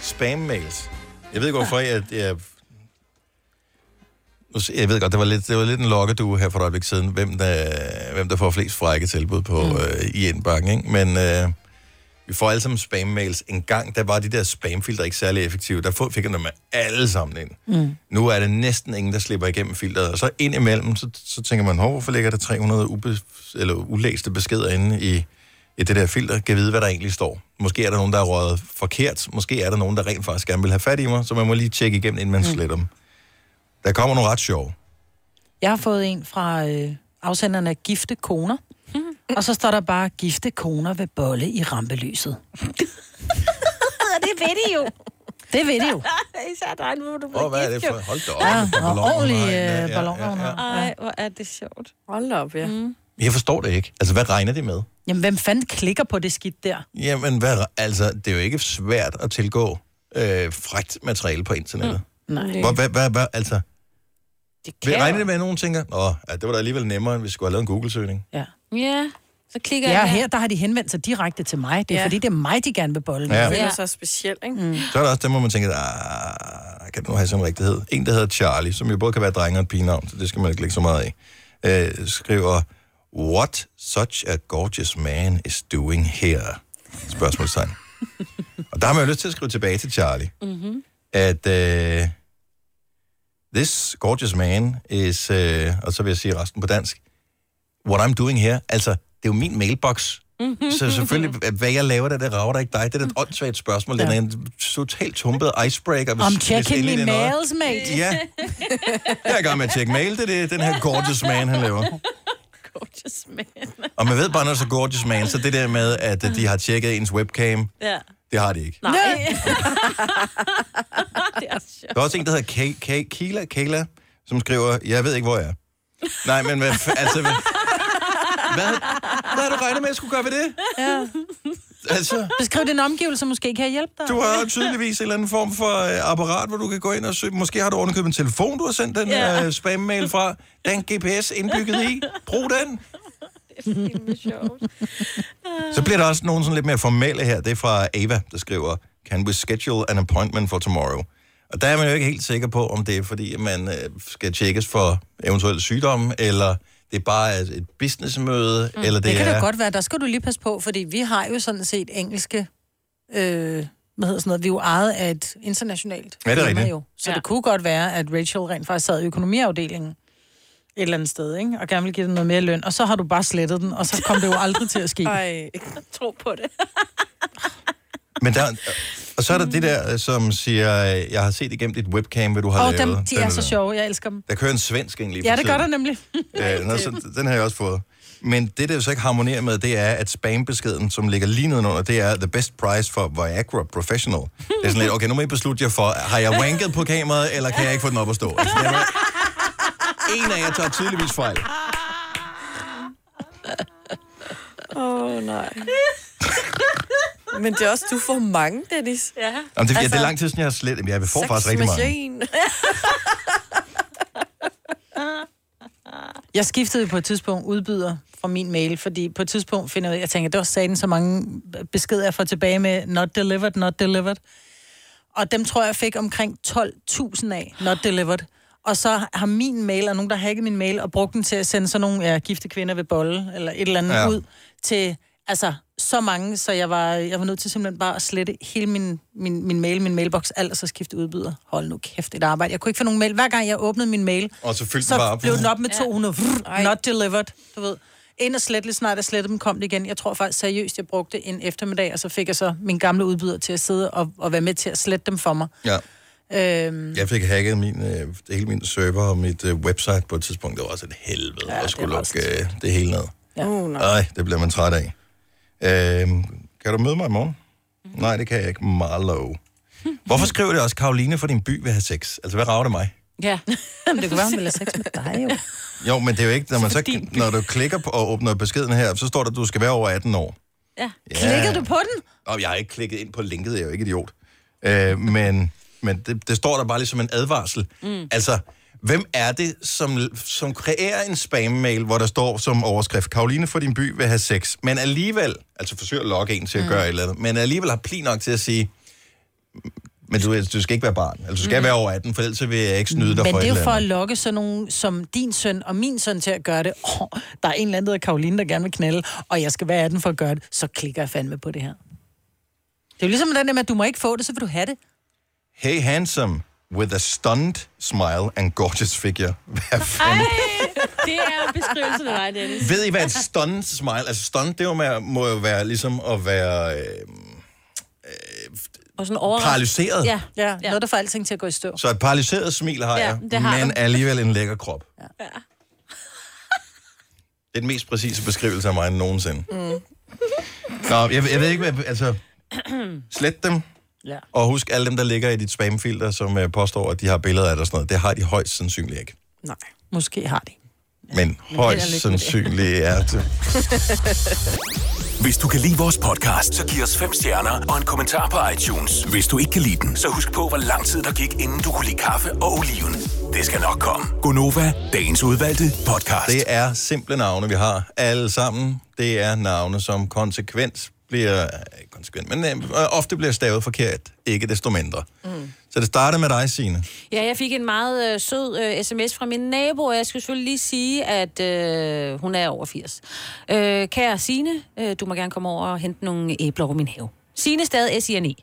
[SPEAKER 1] spam-mails. Jeg ved ikke, hvorfor jeg... jeg Nu se- jeg ved godt, det var lidt, det var lidt en lokkedue her for et øjeblik siden, hvem der, hvem der får flest frække tilbud på mm. øh, i indbakken, ikke? Men øh, vi får alle sammen spam-mails. En gang, der var de der spamfilter ikke særlig effektive. Der få- fik jeg dem alle sammen ind.
[SPEAKER 8] Mm.
[SPEAKER 1] Nu er det næsten ingen, der slipper igennem filteret. Og så ind imellem, så, så tænker man, "Hov, hvorfor ligger der 300 ube, eller ulæste beskeder inde i, i det der filter? Kan vide, hvad der egentlig står. Måske er der nogen, der er røget forkert. Måske er der nogen, der rent faktisk gerne vil have fat i mig. Så man må lige tjekke igennem, inden man
[SPEAKER 2] Mm.
[SPEAKER 1] sletter dem. Der kommer nogle ret sjove.
[SPEAKER 2] Jeg har fået en fra øh, afsenderen af Gifte Koner.
[SPEAKER 3] Mhm.
[SPEAKER 2] og så står der bare, Gifte Koner ved bolle i rampelyset.
[SPEAKER 3] det ved de jo.
[SPEAKER 2] Det ved de jo.
[SPEAKER 3] Især dig nu, hvor du
[SPEAKER 1] Åh, hvad er det for? Hold da op.
[SPEAKER 2] Ja,
[SPEAKER 1] med
[SPEAKER 2] og
[SPEAKER 1] balloner,
[SPEAKER 2] ordentlige,
[SPEAKER 1] nej, ja,
[SPEAKER 2] øh,
[SPEAKER 1] ja,
[SPEAKER 2] balloner,
[SPEAKER 1] ja, ja.
[SPEAKER 3] Ej, hvor er det sjovt.
[SPEAKER 4] Hold op, ja. Mm.
[SPEAKER 1] Jeg forstår det ikke. Altså, hvad regner det med?
[SPEAKER 2] Jamen, hvem fanden klikker på det skidt der?
[SPEAKER 1] Jamen, hvad, re- altså, det er jo ikke svært at tilgå øh, frækt materiale på internettet.
[SPEAKER 2] Nej.
[SPEAKER 1] Hvad, hvad, hvad, hvad, altså... Det
[SPEAKER 3] kan
[SPEAKER 1] regner det med, at nogen tænker, Nå, ja, det var da alligevel nemmere, end hvis vi skulle have lavet en Google-søgning.
[SPEAKER 3] Ja, så klikker
[SPEAKER 2] Ja,
[SPEAKER 3] jeg
[SPEAKER 2] her der har de henvendt sig direkte til mig. Det er
[SPEAKER 3] Ja.
[SPEAKER 2] ja. fordi, det er mig, de gerne vil bolle med.
[SPEAKER 1] Ja.
[SPEAKER 4] Det er så specielt, ikke? Mm.
[SPEAKER 1] Så er der også dem, hvor man tænker, "Ah, kan det nu have sin rigtighed? En, der hedder Charlie, som jo både kan være drenge og et pigenavn, så det skal man ikke lægge så meget af, øh, skriver, What such a gorgeous man is doing here? Spørgsmålstegn.
[SPEAKER 2] Mm-hmm.
[SPEAKER 1] og der har man jo lyst til at skrive tilbage til Charlie,
[SPEAKER 3] Mm-hmm.
[SPEAKER 1] at øh, This gorgeous man is, øh, og så vil jeg sige resten på dansk, what I'm doing here, altså, det er jo min mailbox.
[SPEAKER 2] Mm-hmm.
[SPEAKER 1] Så selvfølgelig, hvad jeg laver, der, det rager da ikke dig. Det er da et åndssvagt spørgsmål. Det er en totalt tumpet icebreaker. hvis-
[SPEAKER 2] I'm
[SPEAKER 1] hvis
[SPEAKER 2] checking
[SPEAKER 1] endelig
[SPEAKER 2] me
[SPEAKER 1] det er noget.
[SPEAKER 2] mails, mate.
[SPEAKER 1] Ja. Jeg er i gang med at tjekke mail, det er det, den her gorgeous man, han laver.
[SPEAKER 3] Gorgeous man.
[SPEAKER 1] Og man ved bare, når så gorgeous man, så det der med, at øh, de har tjekket ens webcam,
[SPEAKER 3] Ja.
[SPEAKER 1] det har de ikke.
[SPEAKER 3] Nej.
[SPEAKER 1] Der er også en, der hedder Kay, Kay, Kila, Kayla, som skriver, jeg ved ikke, hvor jeg er. Nej, men hvad, f- altså, hvad, hvad, hvad har du regnet med, at jeg skulle gøre ved det?
[SPEAKER 2] Ja.
[SPEAKER 1] Altså,
[SPEAKER 2] Beskriv din omgivelse, måske kan jeg hjælpe dig.
[SPEAKER 1] du har jo tydeligvis en eller anden form for øh, apparat, hvor du kan gå ind og søge. Måske har du ovenikøbet en telefon, du har sendt den
[SPEAKER 2] Ja.
[SPEAKER 1] øh, spam-mail fra. Der er en GPS indbygget i. Brug den. Så bliver der også nogen sådan lidt mere formelle her. Det er fra Ava, der skriver, Can we schedule an appointment for tomorrow? Og der er man jo ikke helt sikker på, om det er, fordi man øh, skal tjekkes for eventuelle sygdomme, eller det er bare et et businessmøde, mm. eller det,
[SPEAKER 2] det kan
[SPEAKER 1] er...
[SPEAKER 2] det jo godt være. Der skal du lige passe på, fordi vi har jo sådan set engelske... Øh, hvad hedder sådan noget? Vi er jo ejet af et internationalt
[SPEAKER 1] Ja, det er
[SPEAKER 2] firma
[SPEAKER 1] rigtigt.
[SPEAKER 2] jo. Så ja. det kunne godt være, at Rachel rent faktisk sad i økonomiafdelingen et eller andet sted, ikke? Og gerne ville give dig noget mere løn. Og så har du bare slettet den, og så kom det jo aldrig til at ske.
[SPEAKER 4] Ej, jeg tror på det.
[SPEAKER 1] Men der, og så er der det der, øh, som siger, øh, jeg har set igennem dit webcam, hvad du har
[SPEAKER 2] Og
[SPEAKER 1] lavet.
[SPEAKER 2] dem, de er
[SPEAKER 1] Den-
[SPEAKER 2] så sjove. Jeg elsker dem.
[SPEAKER 1] Der kører en svensk egentlig.
[SPEAKER 2] Ja, det gør der nemlig.
[SPEAKER 1] Ja, nå, så, den har jeg også fået. Men det, der jo så ikke harmonerer med, det er, at spambeskeden, som ligger lige nedenunder, det er the best price for Viagra Professional. Det er sådan lidt, okay, nu må I beslutte jer for, har jeg wanket på kameraet, eller kan jeg ikke få den op at stå? Altså, det er bare- en af jer tager tydeligvis fejl.
[SPEAKER 4] Åh, oh, nej. Men det er også, du får mange, Dennis.
[SPEAKER 3] Ja.
[SPEAKER 1] Jamen, det, altså, ja, det er lang tid siden, jeg har slet... Jeg får faktisk rigtig mange.
[SPEAKER 2] Jeg skiftede på et tidspunkt udbyder fra min mail, fordi på et tidspunkt finder jeg, ud af- jeg tænker, det var satan så mange beskeder, jeg får tilbage med, not delivered, not delivered. Og dem tror jeg, jeg fik omkring 12.000 af, not delivered. Og så har min mail, og nogen, der har hacket min mail, og brugt den til at sende sådan nogle ja, gifte kvinder ved bolle, eller et eller andet
[SPEAKER 8] Ja.
[SPEAKER 2] ja. ud, til altså, så mange, så jeg var, jeg var nødt til simpelthen bare at slette hele min, min, min mail, min mailbox, alt, og så skifte udbyder. Hold nu kæft, et arbejde. Jeg kunne ikke få nogen mail. Hver gang jeg åbnede min mail,
[SPEAKER 1] Og så fyldte den bare
[SPEAKER 2] så
[SPEAKER 1] op.
[SPEAKER 2] blev den op med 200. Ja. Not delivered, du ved. Ind og slet lige snart, jeg slettede dem, kom det igen. Jeg tror faktisk seriøst, jeg brugte en eftermiddag, og så fik jeg så min gamle udbyder til at sidde og, og være med til at slette dem for mig.
[SPEAKER 1] Ja.
[SPEAKER 2] Øhm,
[SPEAKER 1] Jeg fik hacket min, øh, hele min server og mit øh, website på et tidspunkt. Det var også et helvede ja, at skulle lukke øh, det hele ned.
[SPEAKER 2] ja. uh,
[SPEAKER 1] Nej, det bliver man træt af. Øhm, kan du møde mig i morgen? Mm. Nej, det kan jeg ikke. Marlow. Hvorfor skriver det også, Karoline fra din by vil have sex? Altså, hvad rager det mig?
[SPEAKER 2] ja. Jamen, det kunne være, hun ville have sex med dig jo.
[SPEAKER 1] Jo, men det er jo ikke, når, man så, når du klikker på og åbner beskeden her, så står der, at du skal være over 18 år.
[SPEAKER 2] Ja.
[SPEAKER 1] Ja.
[SPEAKER 2] Klikkede du på den?
[SPEAKER 1] Og jeg har ikke klikket ind på linket, jeg er jo ikke idiot. Øh, men men det, det står der bare ligesom en advarsel. Mm. Altså, hvem er det, som, som kreerer en spam-mail, hvor der står som overskrift, Karoline fra din by vil have sex, men alligevel, altså forsøger at lokke en til at mm. gøre et eller andet, men alligevel har pli nok til at sige, men du, du skal ikke være barn, altså du skal mm. være over 18, for ellers så vil jeg ikke snyde dig
[SPEAKER 2] Men
[SPEAKER 1] for
[SPEAKER 2] det er
[SPEAKER 1] et
[SPEAKER 2] jo for
[SPEAKER 1] eller
[SPEAKER 2] at
[SPEAKER 1] andet.
[SPEAKER 2] lokke sådan nogen som din søn og min søn til at gøre det. Oh, der er en eller anden, der hedder Karoline, der gerne vil knalde, og jeg skal være 18 for at gøre det, så klikker jeg fandme på det her. Det er jo ligesom den der med, at du må ikke få det, så vil du have det.
[SPEAKER 1] Hey handsome, with a stunned smile and gorgeous figure. Hvad
[SPEAKER 3] Ej, det er jo beskrivelsen af dig, Dennis.
[SPEAKER 1] Ved I, hvad et stunned smile... Altså, stunned, det jo med, må jo være ligesom at være... Øh,
[SPEAKER 3] Og sådan overrasket.
[SPEAKER 1] Paralyseret.
[SPEAKER 2] Ja, ja, ja, noget, der får alting til at gå i stå.
[SPEAKER 1] så et paralyseret smil har
[SPEAKER 2] Ja,
[SPEAKER 1] jeg,
[SPEAKER 2] det har
[SPEAKER 1] men
[SPEAKER 2] du.
[SPEAKER 1] alligevel en lækker krop. Ja. Det er den mest præcise beskrivelse af mig end nogensinde.
[SPEAKER 2] Mm.
[SPEAKER 1] Nå, jeg, jeg ved ikke, hvad... Altså, slet dem.
[SPEAKER 2] Ja.
[SPEAKER 1] Og husk alle dem, der ligger i dit spamfilter, som øh, påstår, at de har billeder af dig og sådan noget. Det har de højst sandsynligt ikke.
[SPEAKER 2] Nej. Måske har de.
[SPEAKER 1] Men
[SPEAKER 2] held og
[SPEAKER 1] højst
[SPEAKER 2] lykke med det.
[SPEAKER 1] sandsynligt er det.
[SPEAKER 9] Hvis du kan lide vores podcast, så giv os fem stjerner og en kommentar på iTunes. Hvis du ikke kan lide den, så husk på, hvor lang tid der gik, inden du kunne lide kaffe og oliven. Det skal nok komme.
[SPEAKER 1] Gonova, dagens udvalgte podcast. Det er simple navne, vi har alle sammen. Det er navne, som konsekvent bliver... eh, Ikke konsekvent, men øh, ofte bliver stavet forkert. Ikke desto mindre.
[SPEAKER 3] Mm.
[SPEAKER 1] Så det starter med dig, Signe.
[SPEAKER 3] Ja, jeg fik en meget øh, sød øh, sms fra min nabo, og jeg skulle selvfølgelig lige sige, at øh, hun er over 80. Øh, kære Signe, øh, du må gerne komme over og hente nogle æbler over min have. Signe stadig s i -N -E.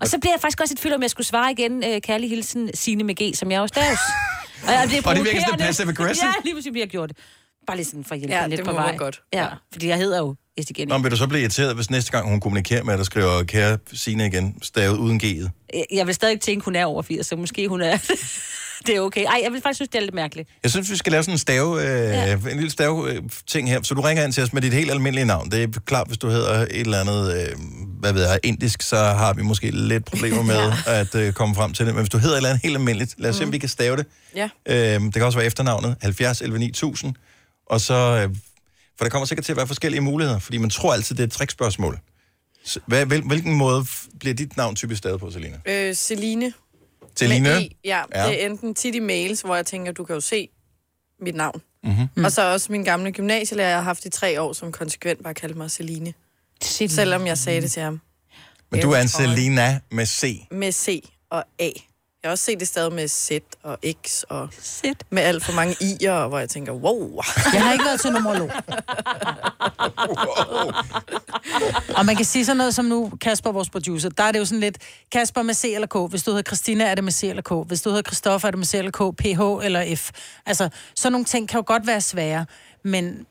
[SPEAKER 3] Og så bliver jeg faktisk også et fylder med at skulle svare igen, øh, kærlig hilsen, Signe med G, som jeg også stavs. og, jeg bliver
[SPEAKER 1] Og det virker sådan lidt
[SPEAKER 3] provokerende.
[SPEAKER 1] passive-aggressive.
[SPEAKER 3] Ja, lige pludselig bliver jeg gjort. det. Bare lige sådan for at hjælpe
[SPEAKER 4] Ja,
[SPEAKER 3] ja, lidt
[SPEAKER 4] det
[SPEAKER 3] på
[SPEAKER 4] må
[SPEAKER 3] vej.
[SPEAKER 4] man godt.
[SPEAKER 3] Ja, fordi jeg hedder jo Esti
[SPEAKER 1] Nå, men vil du så blive irriteret, hvis næste gang hun kommunikerer med dig, skriver, kære Signe igen, stavet uden G'et?
[SPEAKER 3] Jeg- Jeg vil stadig tænke, hun er over 80, så måske hun er... det er okay. Ej, jeg vil faktisk synes, det er lidt mærkeligt.
[SPEAKER 1] Jeg synes, vi skal lave sådan en stave, øh, ja. en lille stave øh, ting her. Så du ringer ind til os med dit helt almindelige navn. Det er klart, hvis du hedder et eller andet, øh, hvad ved jeg, indisk, så har vi måske lidt problemer med ja. at øh, komme frem til det. Men hvis du hedder et eller andet helt almindeligt, lad os mm. se, om vi kan stave det.
[SPEAKER 4] Ja.
[SPEAKER 1] Øh, det kan også være efternavnet, 70 11 9000. Og så, øh, for der kommer sikkert til at være forskellige muligheder, fordi man tror altid, det er et trickspørgsmål. Så, hvad, hvil, hvilken måde f- bliver dit navn typisk stavet på, Selina?
[SPEAKER 4] Øh, Celine.
[SPEAKER 1] Selina?
[SPEAKER 4] Med E, ja,
[SPEAKER 1] Ja.
[SPEAKER 4] ja, det er enten tit i mails, hvor jeg tænker, du kan jo se mit navn.
[SPEAKER 1] Mm-hmm.
[SPEAKER 4] Mm. Og så også min gamle gymnasielærer, jeg har haft i tre år, som konsekvent bare kaldte mig Celine.
[SPEAKER 3] Celine.
[SPEAKER 4] Selvom jeg sagde det til ham.
[SPEAKER 1] Men du er en
[SPEAKER 4] Elsker mig.
[SPEAKER 1] Selina med C.
[SPEAKER 4] Med C og A. Jeg har også set det stadig med Z og X og
[SPEAKER 3] Z.
[SPEAKER 4] med alt for mange i'er, hvor jeg tænker, wow.
[SPEAKER 2] Jeg har ikke været til numerolog. Og man kan sige sådan noget som nu, Kasper, vores producer, der er det jo sådan lidt, Kasper med C eller K, hvis du hedder Christina, er det med C eller K, hvis du hedder Christoffer, er det med C eller K, PH eller F. Altså, sådan nogle ting kan jo godt være svære, men,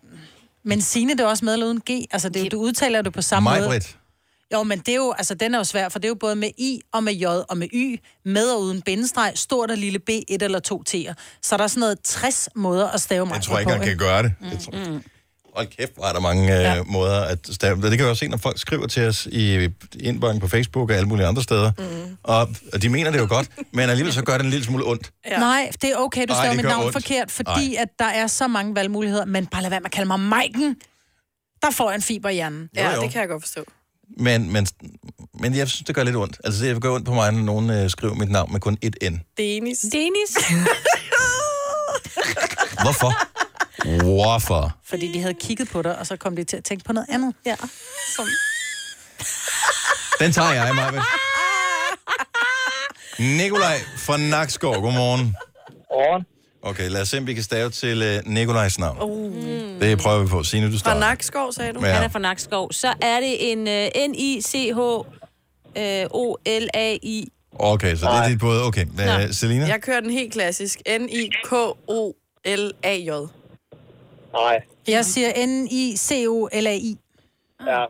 [SPEAKER 2] men Signe, det er også med eller uden G, altså det, er jo- du udtaler det på samme måde.
[SPEAKER 1] Majbrit.
[SPEAKER 2] Jo, men det er jo, altså den er jo svær, for det er jo både med i og med j og med y, med og uden bindestreg, stort og lille b, et eller to t'er. Så der er sådan noget 60 måder at stave mig
[SPEAKER 1] Jeg tror ikke, han kan gøre det.
[SPEAKER 2] Mm,
[SPEAKER 1] Jeg tror, Hold kæft, hvor er der mange øh, ja. måder at stave. Det kan vi også se, når folk skriver til os i indbakken på Facebook og alle mulige andre steder.
[SPEAKER 4] Mm-hmm.
[SPEAKER 1] Mm. Og, og de mener det jo godt, men alligevel så gør det en lille smule ondt.
[SPEAKER 2] Ja. Nej, det er okay, du
[SPEAKER 1] Nej,
[SPEAKER 2] staver
[SPEAKER 1] det
[SPEAKER 2] mit
[SPEAKER 1] gør
[SPEAKER 2] navn
[SPEAKER 1] ondt.
[SPEAKER 2] ondt. forkert, fordi Ej. at der er så mange valgmuligheder, men bare lad være med at kalde mig Maiken. Der får jeg en fiber i hjernen.
[SPEAKER 1] Jo, Ja, jo. det kan
[SPEAKER 4] jeg godt forstå.
[SPEAKER 1] Men, men, men jeg synes, det gør lidt ondt. Altså, det gør ondt på mig, når nogen øh, skriver mit navn med kun et N.
[SPEAKER 4] Denis.
[SPEAKER 3] Denis.
[SPEAKER 1] Hvorfor? Hvorfor?
[SPEAKER 2] Fordi de havde kigget på dig, og så kom de til at tænke på noget andet. Ja. Som...
[SPEAKER 1] Den tager jeg, Marvind. Nikolaj fra Nakskov, godmorgen.
[SPEAKER 8] Godmorgen.
[SPEAKER 1] Okay, lad os se, om vi kan stave til øh, Nikolajs navn.
[SPEAKER 4] Uh.
[SPEAKER 1] Det prøver vi på. Signe, du
[SPEAKER 4] Fra
[SPEAKER 1] starter.
[SPEAKER 4] Nakskov, sagde du?
[SPEAKER 1] Ja.
[SPEAKER 3] Han er fra Nakskov. Så er det en uh, øh, N-I-C-H-O-L-A-I.
[SPEAKER 1] Okay, så det er
[SPEAKER 4] Nej.
[SPEAKER 1] dit bud. Okay, Nå. Selina?
[SPEAKER 4] Jeg kører den helt klassisk. N-I-K-O-L-A-J.
[SPEAKER 8] Nej.
[SPEAKER 2] Jeg siger N-I-C-O-L-A-I.
[SPEAKER 8] Ja.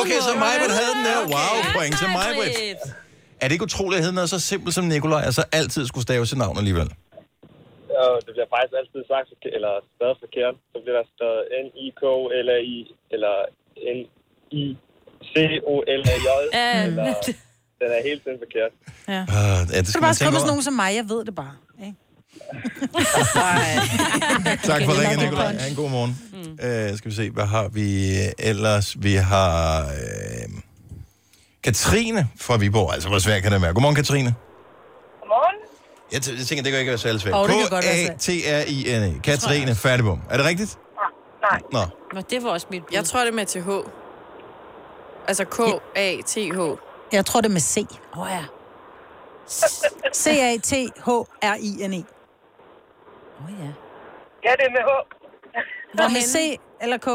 [SPEAKER 1] Okay, så Majbrit havde den der. Wow,
[SPEAKER 2] Okay.
[SPEAKER 1] point til Majbrit. Er det ikke utroligt, at hedde noget så simpelt som Nikolaj, og så altid skulle stave sit navn alligevel?
[SPEAKER 8] Og det bliver faktisk altid sagt, forke- eller stadig forkert. Så bliver der stadig N-I-K-L-A-I, eller N-I-C-O-L-A-J.
[SPEAKER 2] Ja.
[SPEAKER 8] Eller, den er helt tiden forkert.
[SPEAKER 2] Ja.
[SPEAKER 1] Uh, ja, det
[SPEAKER 2] Så kan du
[SPEAKER 1] skal
[SPEAKER 2] bare
[SPEAKER 1] man
[SPEAKER 2] skrive med sådan
[SPEAKER 1] tænke over.
[SPEAKER 2] nogen som mig, jeg ved det bare. Ikke?
[SPEAKER 1] Tak
[SPEAKER 2] Okay,
[SPEAKER 1] for ringen,
[SPEAKER 2] det er
[SPEAKER 1] Nikolaj.
[SPEAKER 2] nok
[SPEAKER 1] Ha' en god morgen. Mm. Uh, skal vi se, hvad har vi ellers? Vi har uh, Katrine fra Viborg. Altså, hvor svært kan det være? Godmorgen, Katrine.
[SPEAKER 23] Godmorgen.
[SPEAKER 1] Jeg, t- jeg tænker, det kan ikke være særlig svært.
[SPEAKER 23] Åh, det kan godt være svært.
[SPEAKER 1] K-A-T-R-I-N-E. Katrine Færdigbom. Er det rigtigt?
[SPEAKER 23] Ah, Nej.
[SPEAKER 1] Nå.
[SPEAKER 3] Nå, det var også mit
[SPEAKER 4] Jeg tror, det er med TH. Altså K-A-T-H.
[SPEAKER 2] Jeg tror, det er med C. Åh oh, ja. C-A-T-H-R-I-N-E. Åh oh, ja.
[SPEAKER 23] Ja, det er med H.
[SPEAKER 2] Hvor med C eller K?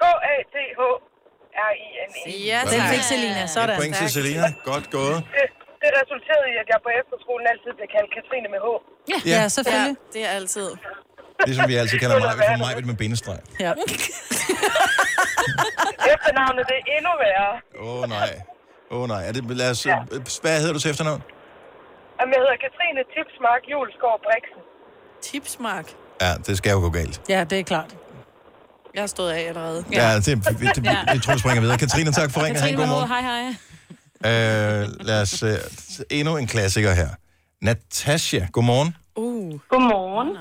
[SPEAKER 23] K-A-T-H-R-I-N-E.
[SPEAKER 19] E.
[SPEAKER 4] Ja,
[SPEAKER 1] Den tak. fik
[SPEAKER 2] Selina.
[SPEAKER 1] Et point til Selina. Godt gået.
[SPEAKER 23] Det, det resulterede i, at jeg på efterskolen altid blev kaldt Katrine med H.
[SPEAKER 2] Ja,
[SPEAKER 1] Ja. ja,
[SPEAKER 2] selvfølgelig.
[SPEAKER 4] Ja, det er altid.
[SPEAKER 1] Ligesom vi altid kalder mig for mig med bindestreg.
[SPEAKER 2] Ja.
[SPEAKER 23] Efternavnet, det er endnu værre.
[SPEAKER 1] Åh oh, nej. Åh oh, nej. Er det, lad os, øh, Hvad hedder du til efternavn?
[SPEAKER 23] Jamen, jeg hedder Katrine Tipsmark Julesgaard Brixen.
[SPEAKER 4] Tipsmark?
[SPEAKER 1] Ja, det skal jo gå galt.
[SPEAKER 2] Ja, det er klart.
[SPEAKER 4] Jeg har stået af allerede.
[SPEAKER 1] Ja, ja det, det, det, det, det tror jeg springer videre. Katrine, tak for ringen. Ha' en god morgen.
[SPEAKER 3] hej hej.
[SPEAKER 1] Øh, lad os, øh, endnu en klassiker her. Natasha, godmorgen.
[SPEAKER 23] Uh. Godmorgen.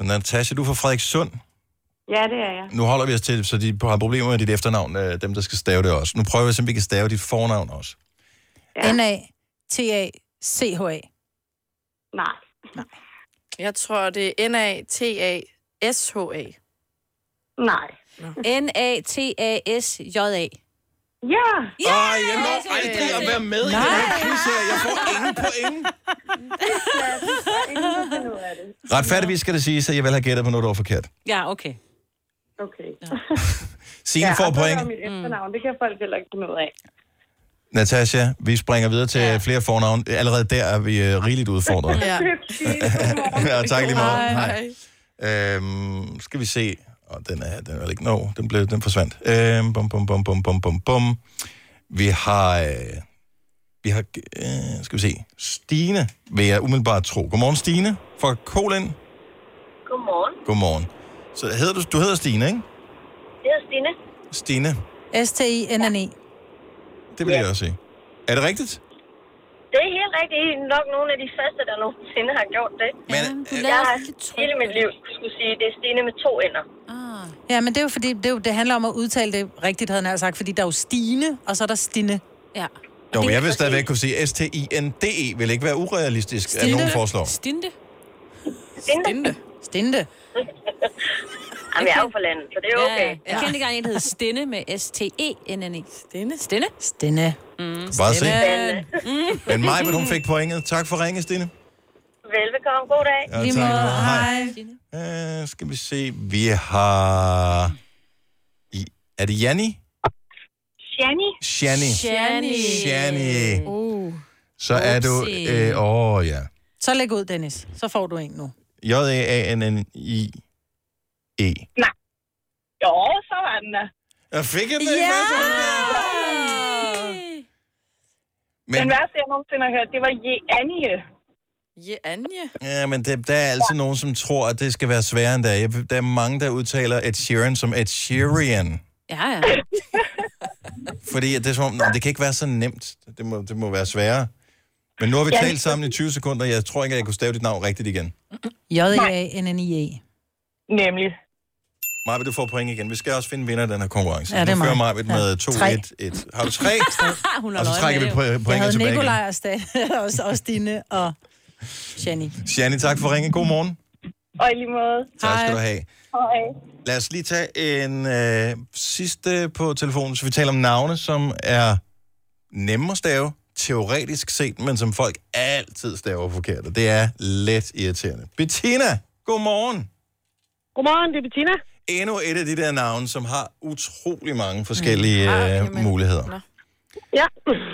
[SPEAKER 1] Natasha, du er fra Frederikssund.
[SPEAKER 23] Ja, det er jeg.
[SPEAKER 1] Nu holder vi os til, så de har problemer med dit efternavn, øh, dem der skal stave det også. Nu prøver vi, at se, om vi kan stave dit fornavn også.
[SPEAKER 2] N-A-T-A-C-H-A.
[SPEAKER 23] Nej.
[SPEAKER 4] Jeg tror, det er N-A-T-A-S-H-A.
[SPEAKER 23] Nej.
[SPEAKER 3] E N-A-T-A-S-J-A.
[SPEAKER 23] Ja!
[SPEAKER 3] Ja!
[SPEAKER 1] Ej, jeg når aldrig at være med i den her quiz her. Jeg får ingen point. Retfærdigvis skal det siges, at jeg vel har gættet på noget, der var forkert.
[SPEAKER 3] Ja, okay.
[SPEAKER 23] Okay.
[SPEAKER 1] Signe ja, får
[SPEAKER 23] og så er
[SPEAKER 1] point.
[SPEAKER 23] der jo mit efternavn, det kan folk heller ikke finde ud af.
[SPEAKER 1] Natasha, vi springer videre til ja. flere fornavn. Allerede der er vi øh, rigeligt udfordret.
[SPEAKER 4] Ja.
[SPEAKER 1] ja, tak lige meget. Hej. Øhm, skal vi se. Oh, den er, den er ikke... No, den, blev, den forsvandt. Øhm, bum, bum, bum, bum, bum, bum, bum. Vi har... Øh, vi har... Øh, skal vi se. Stine, vil jeg umiddelbart tro. Godmorgen, Stine fra Kolen.
[SPEAKER 11] Godmorgen.
[SPEAKER 1] Godmorgen. Så hedder du, du hedder Stine, ikke?
[SPEAKER 11] Jeg hedder Stine.
[SPEAKER 1] Stine,
[SPEAKER 2] S-T-I-N-N-E.
[SPEAKER 1] det vil ja. jeg også sige. Er det rigtigt?
[SPEAKER 11] Det er helt rigtigt. I er nok nogle af de første, der nogensinde har gjort det. Men, jeg har hele mit liv skulle sige, det er Stine med to ender.
[SPEAKER 2] Ah. Ja, men det er jo fordi, det, er jo, det handler om at udtale det rigtigt, havde jeg nær sagt, fordi der er jo Stine, og så er der Stine. Ja.
[SPEAKER 1] Jo, men jeg vil stadigvæk kunne sige, S-T-I-N-D-E E. vil ikke være urealistisk, at nogen foreslår.
[SPEAKER 2] Stinde. Stinde. Stinde.
[SPEAKER 11] Jamen, jeg er jo fra landet, så det er okay.
[SPEAKER 3] Jeg kendte ikke engang en, der hed Stinde med E S-T-E-N-N-E. Mm. Stinde? Stinde?
[SPEAKER 2] Stine.
[SPEAKER 3] Mm.
[SPEAKER 1] Bare se.
[SPEAKER 3] Stine.
[SPEAKER 1] Men mig, hun fik pointet. Tak for ringe, Stine.
[SPEAKER 11] Velbekomme. God dag.
[SPEAKER 1] Ja, Lige tak. måde. Hej. Øh, skal vi se. Vi har... I, er det Janni?
[SPEAKER 11] Shani.
[SPEAKER 1] Shani.
[SPEAKER 11] Shani.
[SPEAKER 1] Shani.
[SPEAKER 2] Uh.
[SPEAKER 1] Så er du...
[SPEAKER 2] Upsi.
[SPEAKER 1] øh, Åh, øh, ja.
[SPEAKER 2] Så læg ud, Dennis. Så får du en nu.
[SPEAKER 1] J-A-N-N-I-E.
[SPEAKER 11] Nej. Jo, så var den der.
[SPEAKER 1] Jeg fik jeg den
[SPEAKER 11] Ja!
[SPEAKER 1] Men-
[SPEAKER 11] Men... Den værste, jeg nogensinde har hørt, det var Je Anje.
[SPEAKER 4] Je Anje?
[SPEAKER 1] Ja, men det, der er altid nogen, som tror, at det skal være sværere end det er. Jeg- Der er mange, der udtaler Ed Sheeran som Ed Sheeran.
[SPEAKER 3] Ja, ja.
[SPEAKER 1] Fordi at det er som om, "Nå, det kan ikke være så nemt. Det må, det må være sværere. Men nu har vi
[SPEAKER 2] Ja.
[SPEAKER 1] talt sammen i 20 sekunder, og jeg tror ikke, at jeg kunne stave dit navn rigtigt igen.
[SPEAKER 2] J-A-N-N-I-E.
[SPEAKER 11] Nemlig.
[SPEAKER 1] Maja, du får point igen. Vi skal også finde vinder af den her konkurrence.
[SPEAKER 2] Ja, det er
[SPEAKER 1] nu fører
[SPEAKER 2] mig.
[SPEAKER 1] Maja med
[SPEAKER 2] Ja.
[SPEAKER 1] 2-1-1. Har du 3?
[SPEAKER 2] Hun
[SPEAKER 1] Og så trækker vi po-
[SPEAKER 2] Jeg
[SPEAKER 1] pointet
[SPEAKER 2] havde
[SPEAKER 1] tilbage igen.
[SPEAKER 2] Nikolaj og, Sta- og, og Stine og Jenny.
[SPEAKER 1] Shani, tak for ringen. God morgen.
[SPEAKER 11] Og i lige måde.
[SPEAKER 1] Tak skal du have.
[SPEAKER 11] Hej.
[SPEAKER 1] Lad os lige tage en øh, sidste på telefonen, så vi taler om navne, som er nemme at stave, teoretisk set, men som folk altid staver forkert, og det er let irriterende. Bettina, godmorgen.
[SPEAKER 13] Godmorgen, det er Bettina.
[SPEAKER 1] Endnu et af de der navne, som har utrolig mange
[SPEAKER 3] Mm.
[SPEAKER 1] forskellige
[SPEAKER 3] Ah,
[SPEAKER 1] øh, muligheder.
[SPEAKER 13] Ja.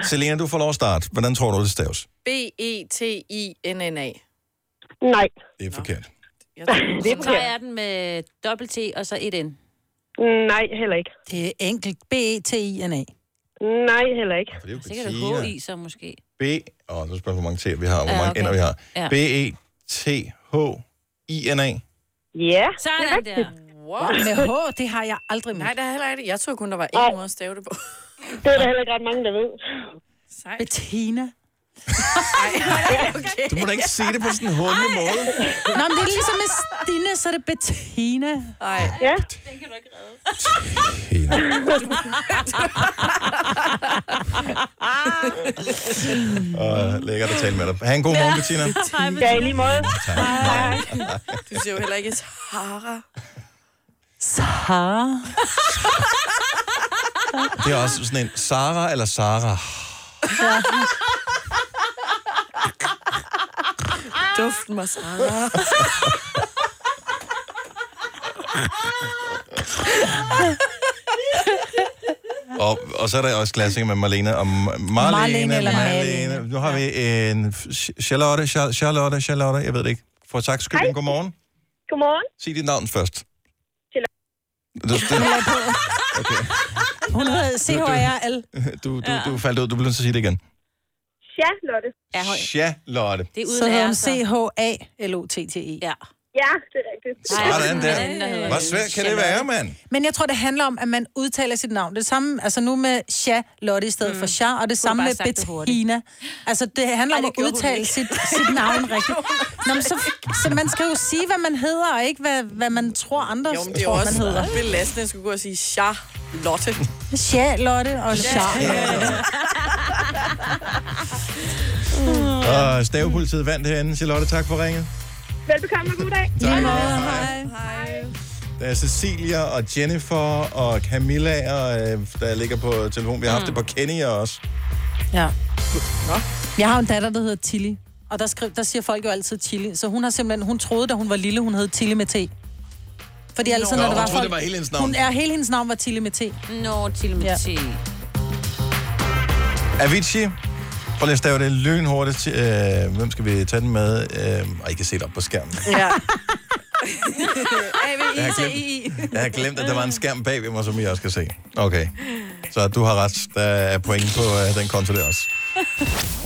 [SPEAKER 1] Selena, du får lov at starte. Hvordan tror du, det staves?
[SPEAKER 4] E B-E-T-I-N-N-A.
[SPEAKER 13] Nej.
[SPEAKER 1] Det er forkert.
[SPEAKER 3] Jeg tror, så tager jeg den med dobbelt T og så et N.
[SPEAKER 13] Nej, heller ikke.
[SPEAKER 2] Det er enkelt. B-E-T-I-N-A.
[SPEAKER 13] Nej, heller ikke.
[SPEAKER 1] Det er jo
[SPEAKER 3] Sikkert
[SPEAKER 1] Bettina.
[SPEAKER 3] et H i så måske.
[SPEAKER 1] B... Åh, oh, nu spørger jeg, hvor mange T'er vi har, og hvor
[SPEAKER 3] Ja,
[SPEAKER 1] mange
[SPEAKER 3] okay.
[SPEAKER 1] N'er vi har. E,
[SPEAKER 3] Ja.
[SPEAKER 1] B-E-T-H-I-N-A.
[SPEAKER 13] Ja,
[SPEAKER 3] Sådan der.
[SPEAKER 4] Wow.
[SPEAKER 2] Med H, det har jeg aldrig med.
[SPEAKER 4] Nej, der er heller ikke Jeg troede kun, der var én måde at stave det på.
[SPEAKER 13] det er der heller ikke ret mange, der ved.
[SPEAKER 4] Sejt.
[SPEAKER 2] Bettina.
[SPEAKER 4] Okay.
[SPEAKER 1] Du må da ikke sige det på sådan en hundelig måde.
[SPEAKER 2] Nå, men det er ligesom med Stine, så er det Bettina.
[SPEAKER 4] Nej.
[SPEAKER 13] Ja.
[SPEAKER 3] Den kan du ikke redde.
[SPEAKER 1] Og lækkert at tale med dig. Ha' en god morgen, Bettina.
[SPEAKER 4] Hej,
[SPEAKER 13] Ja, i lige måde.
[SPEAKER 4] Hej. Du ser jo heller ikke Sahara.
[SPEAKER 2] Sahara.
[SPEAKER 1] Det er også sådan en Sara eller Sara.
[SPEAKER 4] Duft mig, Sahara.
[SPEAKER 1] Og, og så er der også klassiker med Marlene og Ma- Marlene.
[SPEAKER 2] Marlene eller
[SPEAKER 1] Marlene. Nu har vi en Ch- Charlotte, Char- Charlotte, Charlotte, jeg ved det ikke. For tak skyld, men godmorgen.
[SPEAKER 11] Godmorgen.
[SPEAKER 1] Sig dit navn først.
[SPEAKER 11] Charlotte.
[SPEAKER 1] Du, du,
[SPEAKER 2] Hun hedder C-H-R-L.
[SPEAKER 1] du, du, du faldt ud, du blev nødt til at sige det igen.
[SPEAKER 11] Ja, Lotte.
[SPEAKER 2] Ja,
[SPEAKER 1] Charlotte.
[SPEAKER 3] Det er uden
[SPEAKER 2] så hedder hun
[SPEAKER 3] R, så.
[SPEAKER 2] C-H-A-L-O-T-T-E.
[SPEAKER 3] Ja.
[SPEAKER 11] Ja, det er rigtigt.
[SPEAKER 1] Sådan der. Hvor svært kan det være, mand?
[SPEAKER 2] Men jeg tror, det handler om, at man udtaler sit navn. Det samme, altså nu med Charlotte i stedet mm. for Char, og det samme
[SPEAKER 3] bare
[SPEAKER 2] med
[SPEAKER 3] sagt det hurtigt.
[SPEAKER 2] Bettina. Altså, det handler
[SPEAKER 3] Ej,
[SPEAKER 2] om
[SPEAKER 3] det
[SPEAKER 2] at
[SPEAKER 3] gjorde hun
[SPEAKER 2] udtale
[SPEAKER 3] ikke.
[SPEAKER 2] sit, sit navn rigtigt. Nå, men så, så man skal jo sige, hvad man hedder, og ikke hvad, hvad man tror andre
[SPEAKER 4] Jo,
[SPEAKER 2] jo,
[SPEAKER 4] men det er jo
[SPEAKER 2] tror, man hedder.
[SPEAKER 4] også belastende, at skulle gå og sige Charlotte.
[SPEAKER 2] Charlotte og Charlotte.
[SPEAKER 1] Og stavepolitiet vandt herinde. Charlotte, tak for ringet.
[SPEAKER 11] Velbekomme og god dag.
[SPEAKER 1] Tak.
[SPEAKER 2] Hej.
[SPEAKER 1] Der er Cecilia og Jennifer og Camilla, og, øh, der ligger på telefon. Vi har haft det på Kenya også.
[SPEAKER 2] Ja. Nå. Jeg har en datter, der hedder Tilly. Og der, skrev, der siger folk jo altid Tilly. Så hun har simpelthen, hun troede, da hun var lille, hun hed Tilly med T. Fordi
[SPEAKER 3] Nå,
[SPEAKER 2] altid, når
[SPEAKER 3] hun
[SPEAKER 2] der var
[SPEAKER 3] troede,
[SPEAKER 2] folk...
[SPEAKER 3] det var hele hendes navn.
[SPEAKER 2] Hun er, hele hendes navn var Tilly med T.
[SPEAKER 3] Nå, til med
[SPEAKER 2] Ja.
[SPEAKER 3] T.
[SPEAKER 1] Avicii. Prøv lige at stave det lynhurtigt. Øh, hvem skal vi tage den med? Øh, og I kan se det op på skærmen.
[SPEAKER 4] Ja.
[SPEAKER 1] Jeg har
[SPEAKER 4] A-V-I-T-I.
[SPEAKER 1] Jeg har glemt, at der var en skærm bag ved mig, som I også kan se. Okay. Så du har ret. Der er point på øh, den konto der også.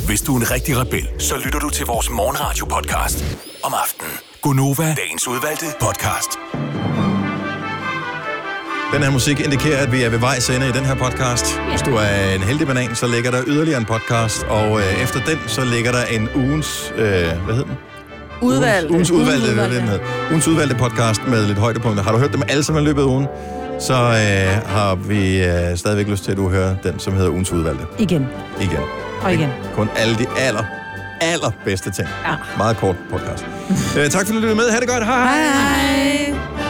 [SPEAKER 9] Hvis du er en rigtig rebel, så lytter du til vores morgenradio-podcast om aftenen. Gunova, dagens udvalgte podcast.
[SPEAKER 1] Den her musik indikerer, at vi er ved vejs ende i den her podcast. Hvis du er en heldig banan, så ligger der yderligere en podcast, og øh, efter den, så ligger der en ugens, øh, hvad hedder den?
[SPEAKER 4] Udvalg.
[SPEAKER 1] Ugens udvalgte, det er det, den hed. Ugens udvalgte podcast med lidt højdepunkter. Har du hørt dem alle sammen i løbet af ugen, så øh, har vi øh, stadigvæk lyst til, at du hører den, som hedder Ugens udvalgte.
[SPEAKER 2] Igen.
[SPEAKER 1] Igen.
[SPEAKER 2] Og igen.
[SPEAKER 1] Kun alle de aller, aller bedste ting. Ja. Meget kort podcast. øh, tak fordi du lyttede med. Ha' det godt. Hej. Hej.
[SPEAKER 2] Hej.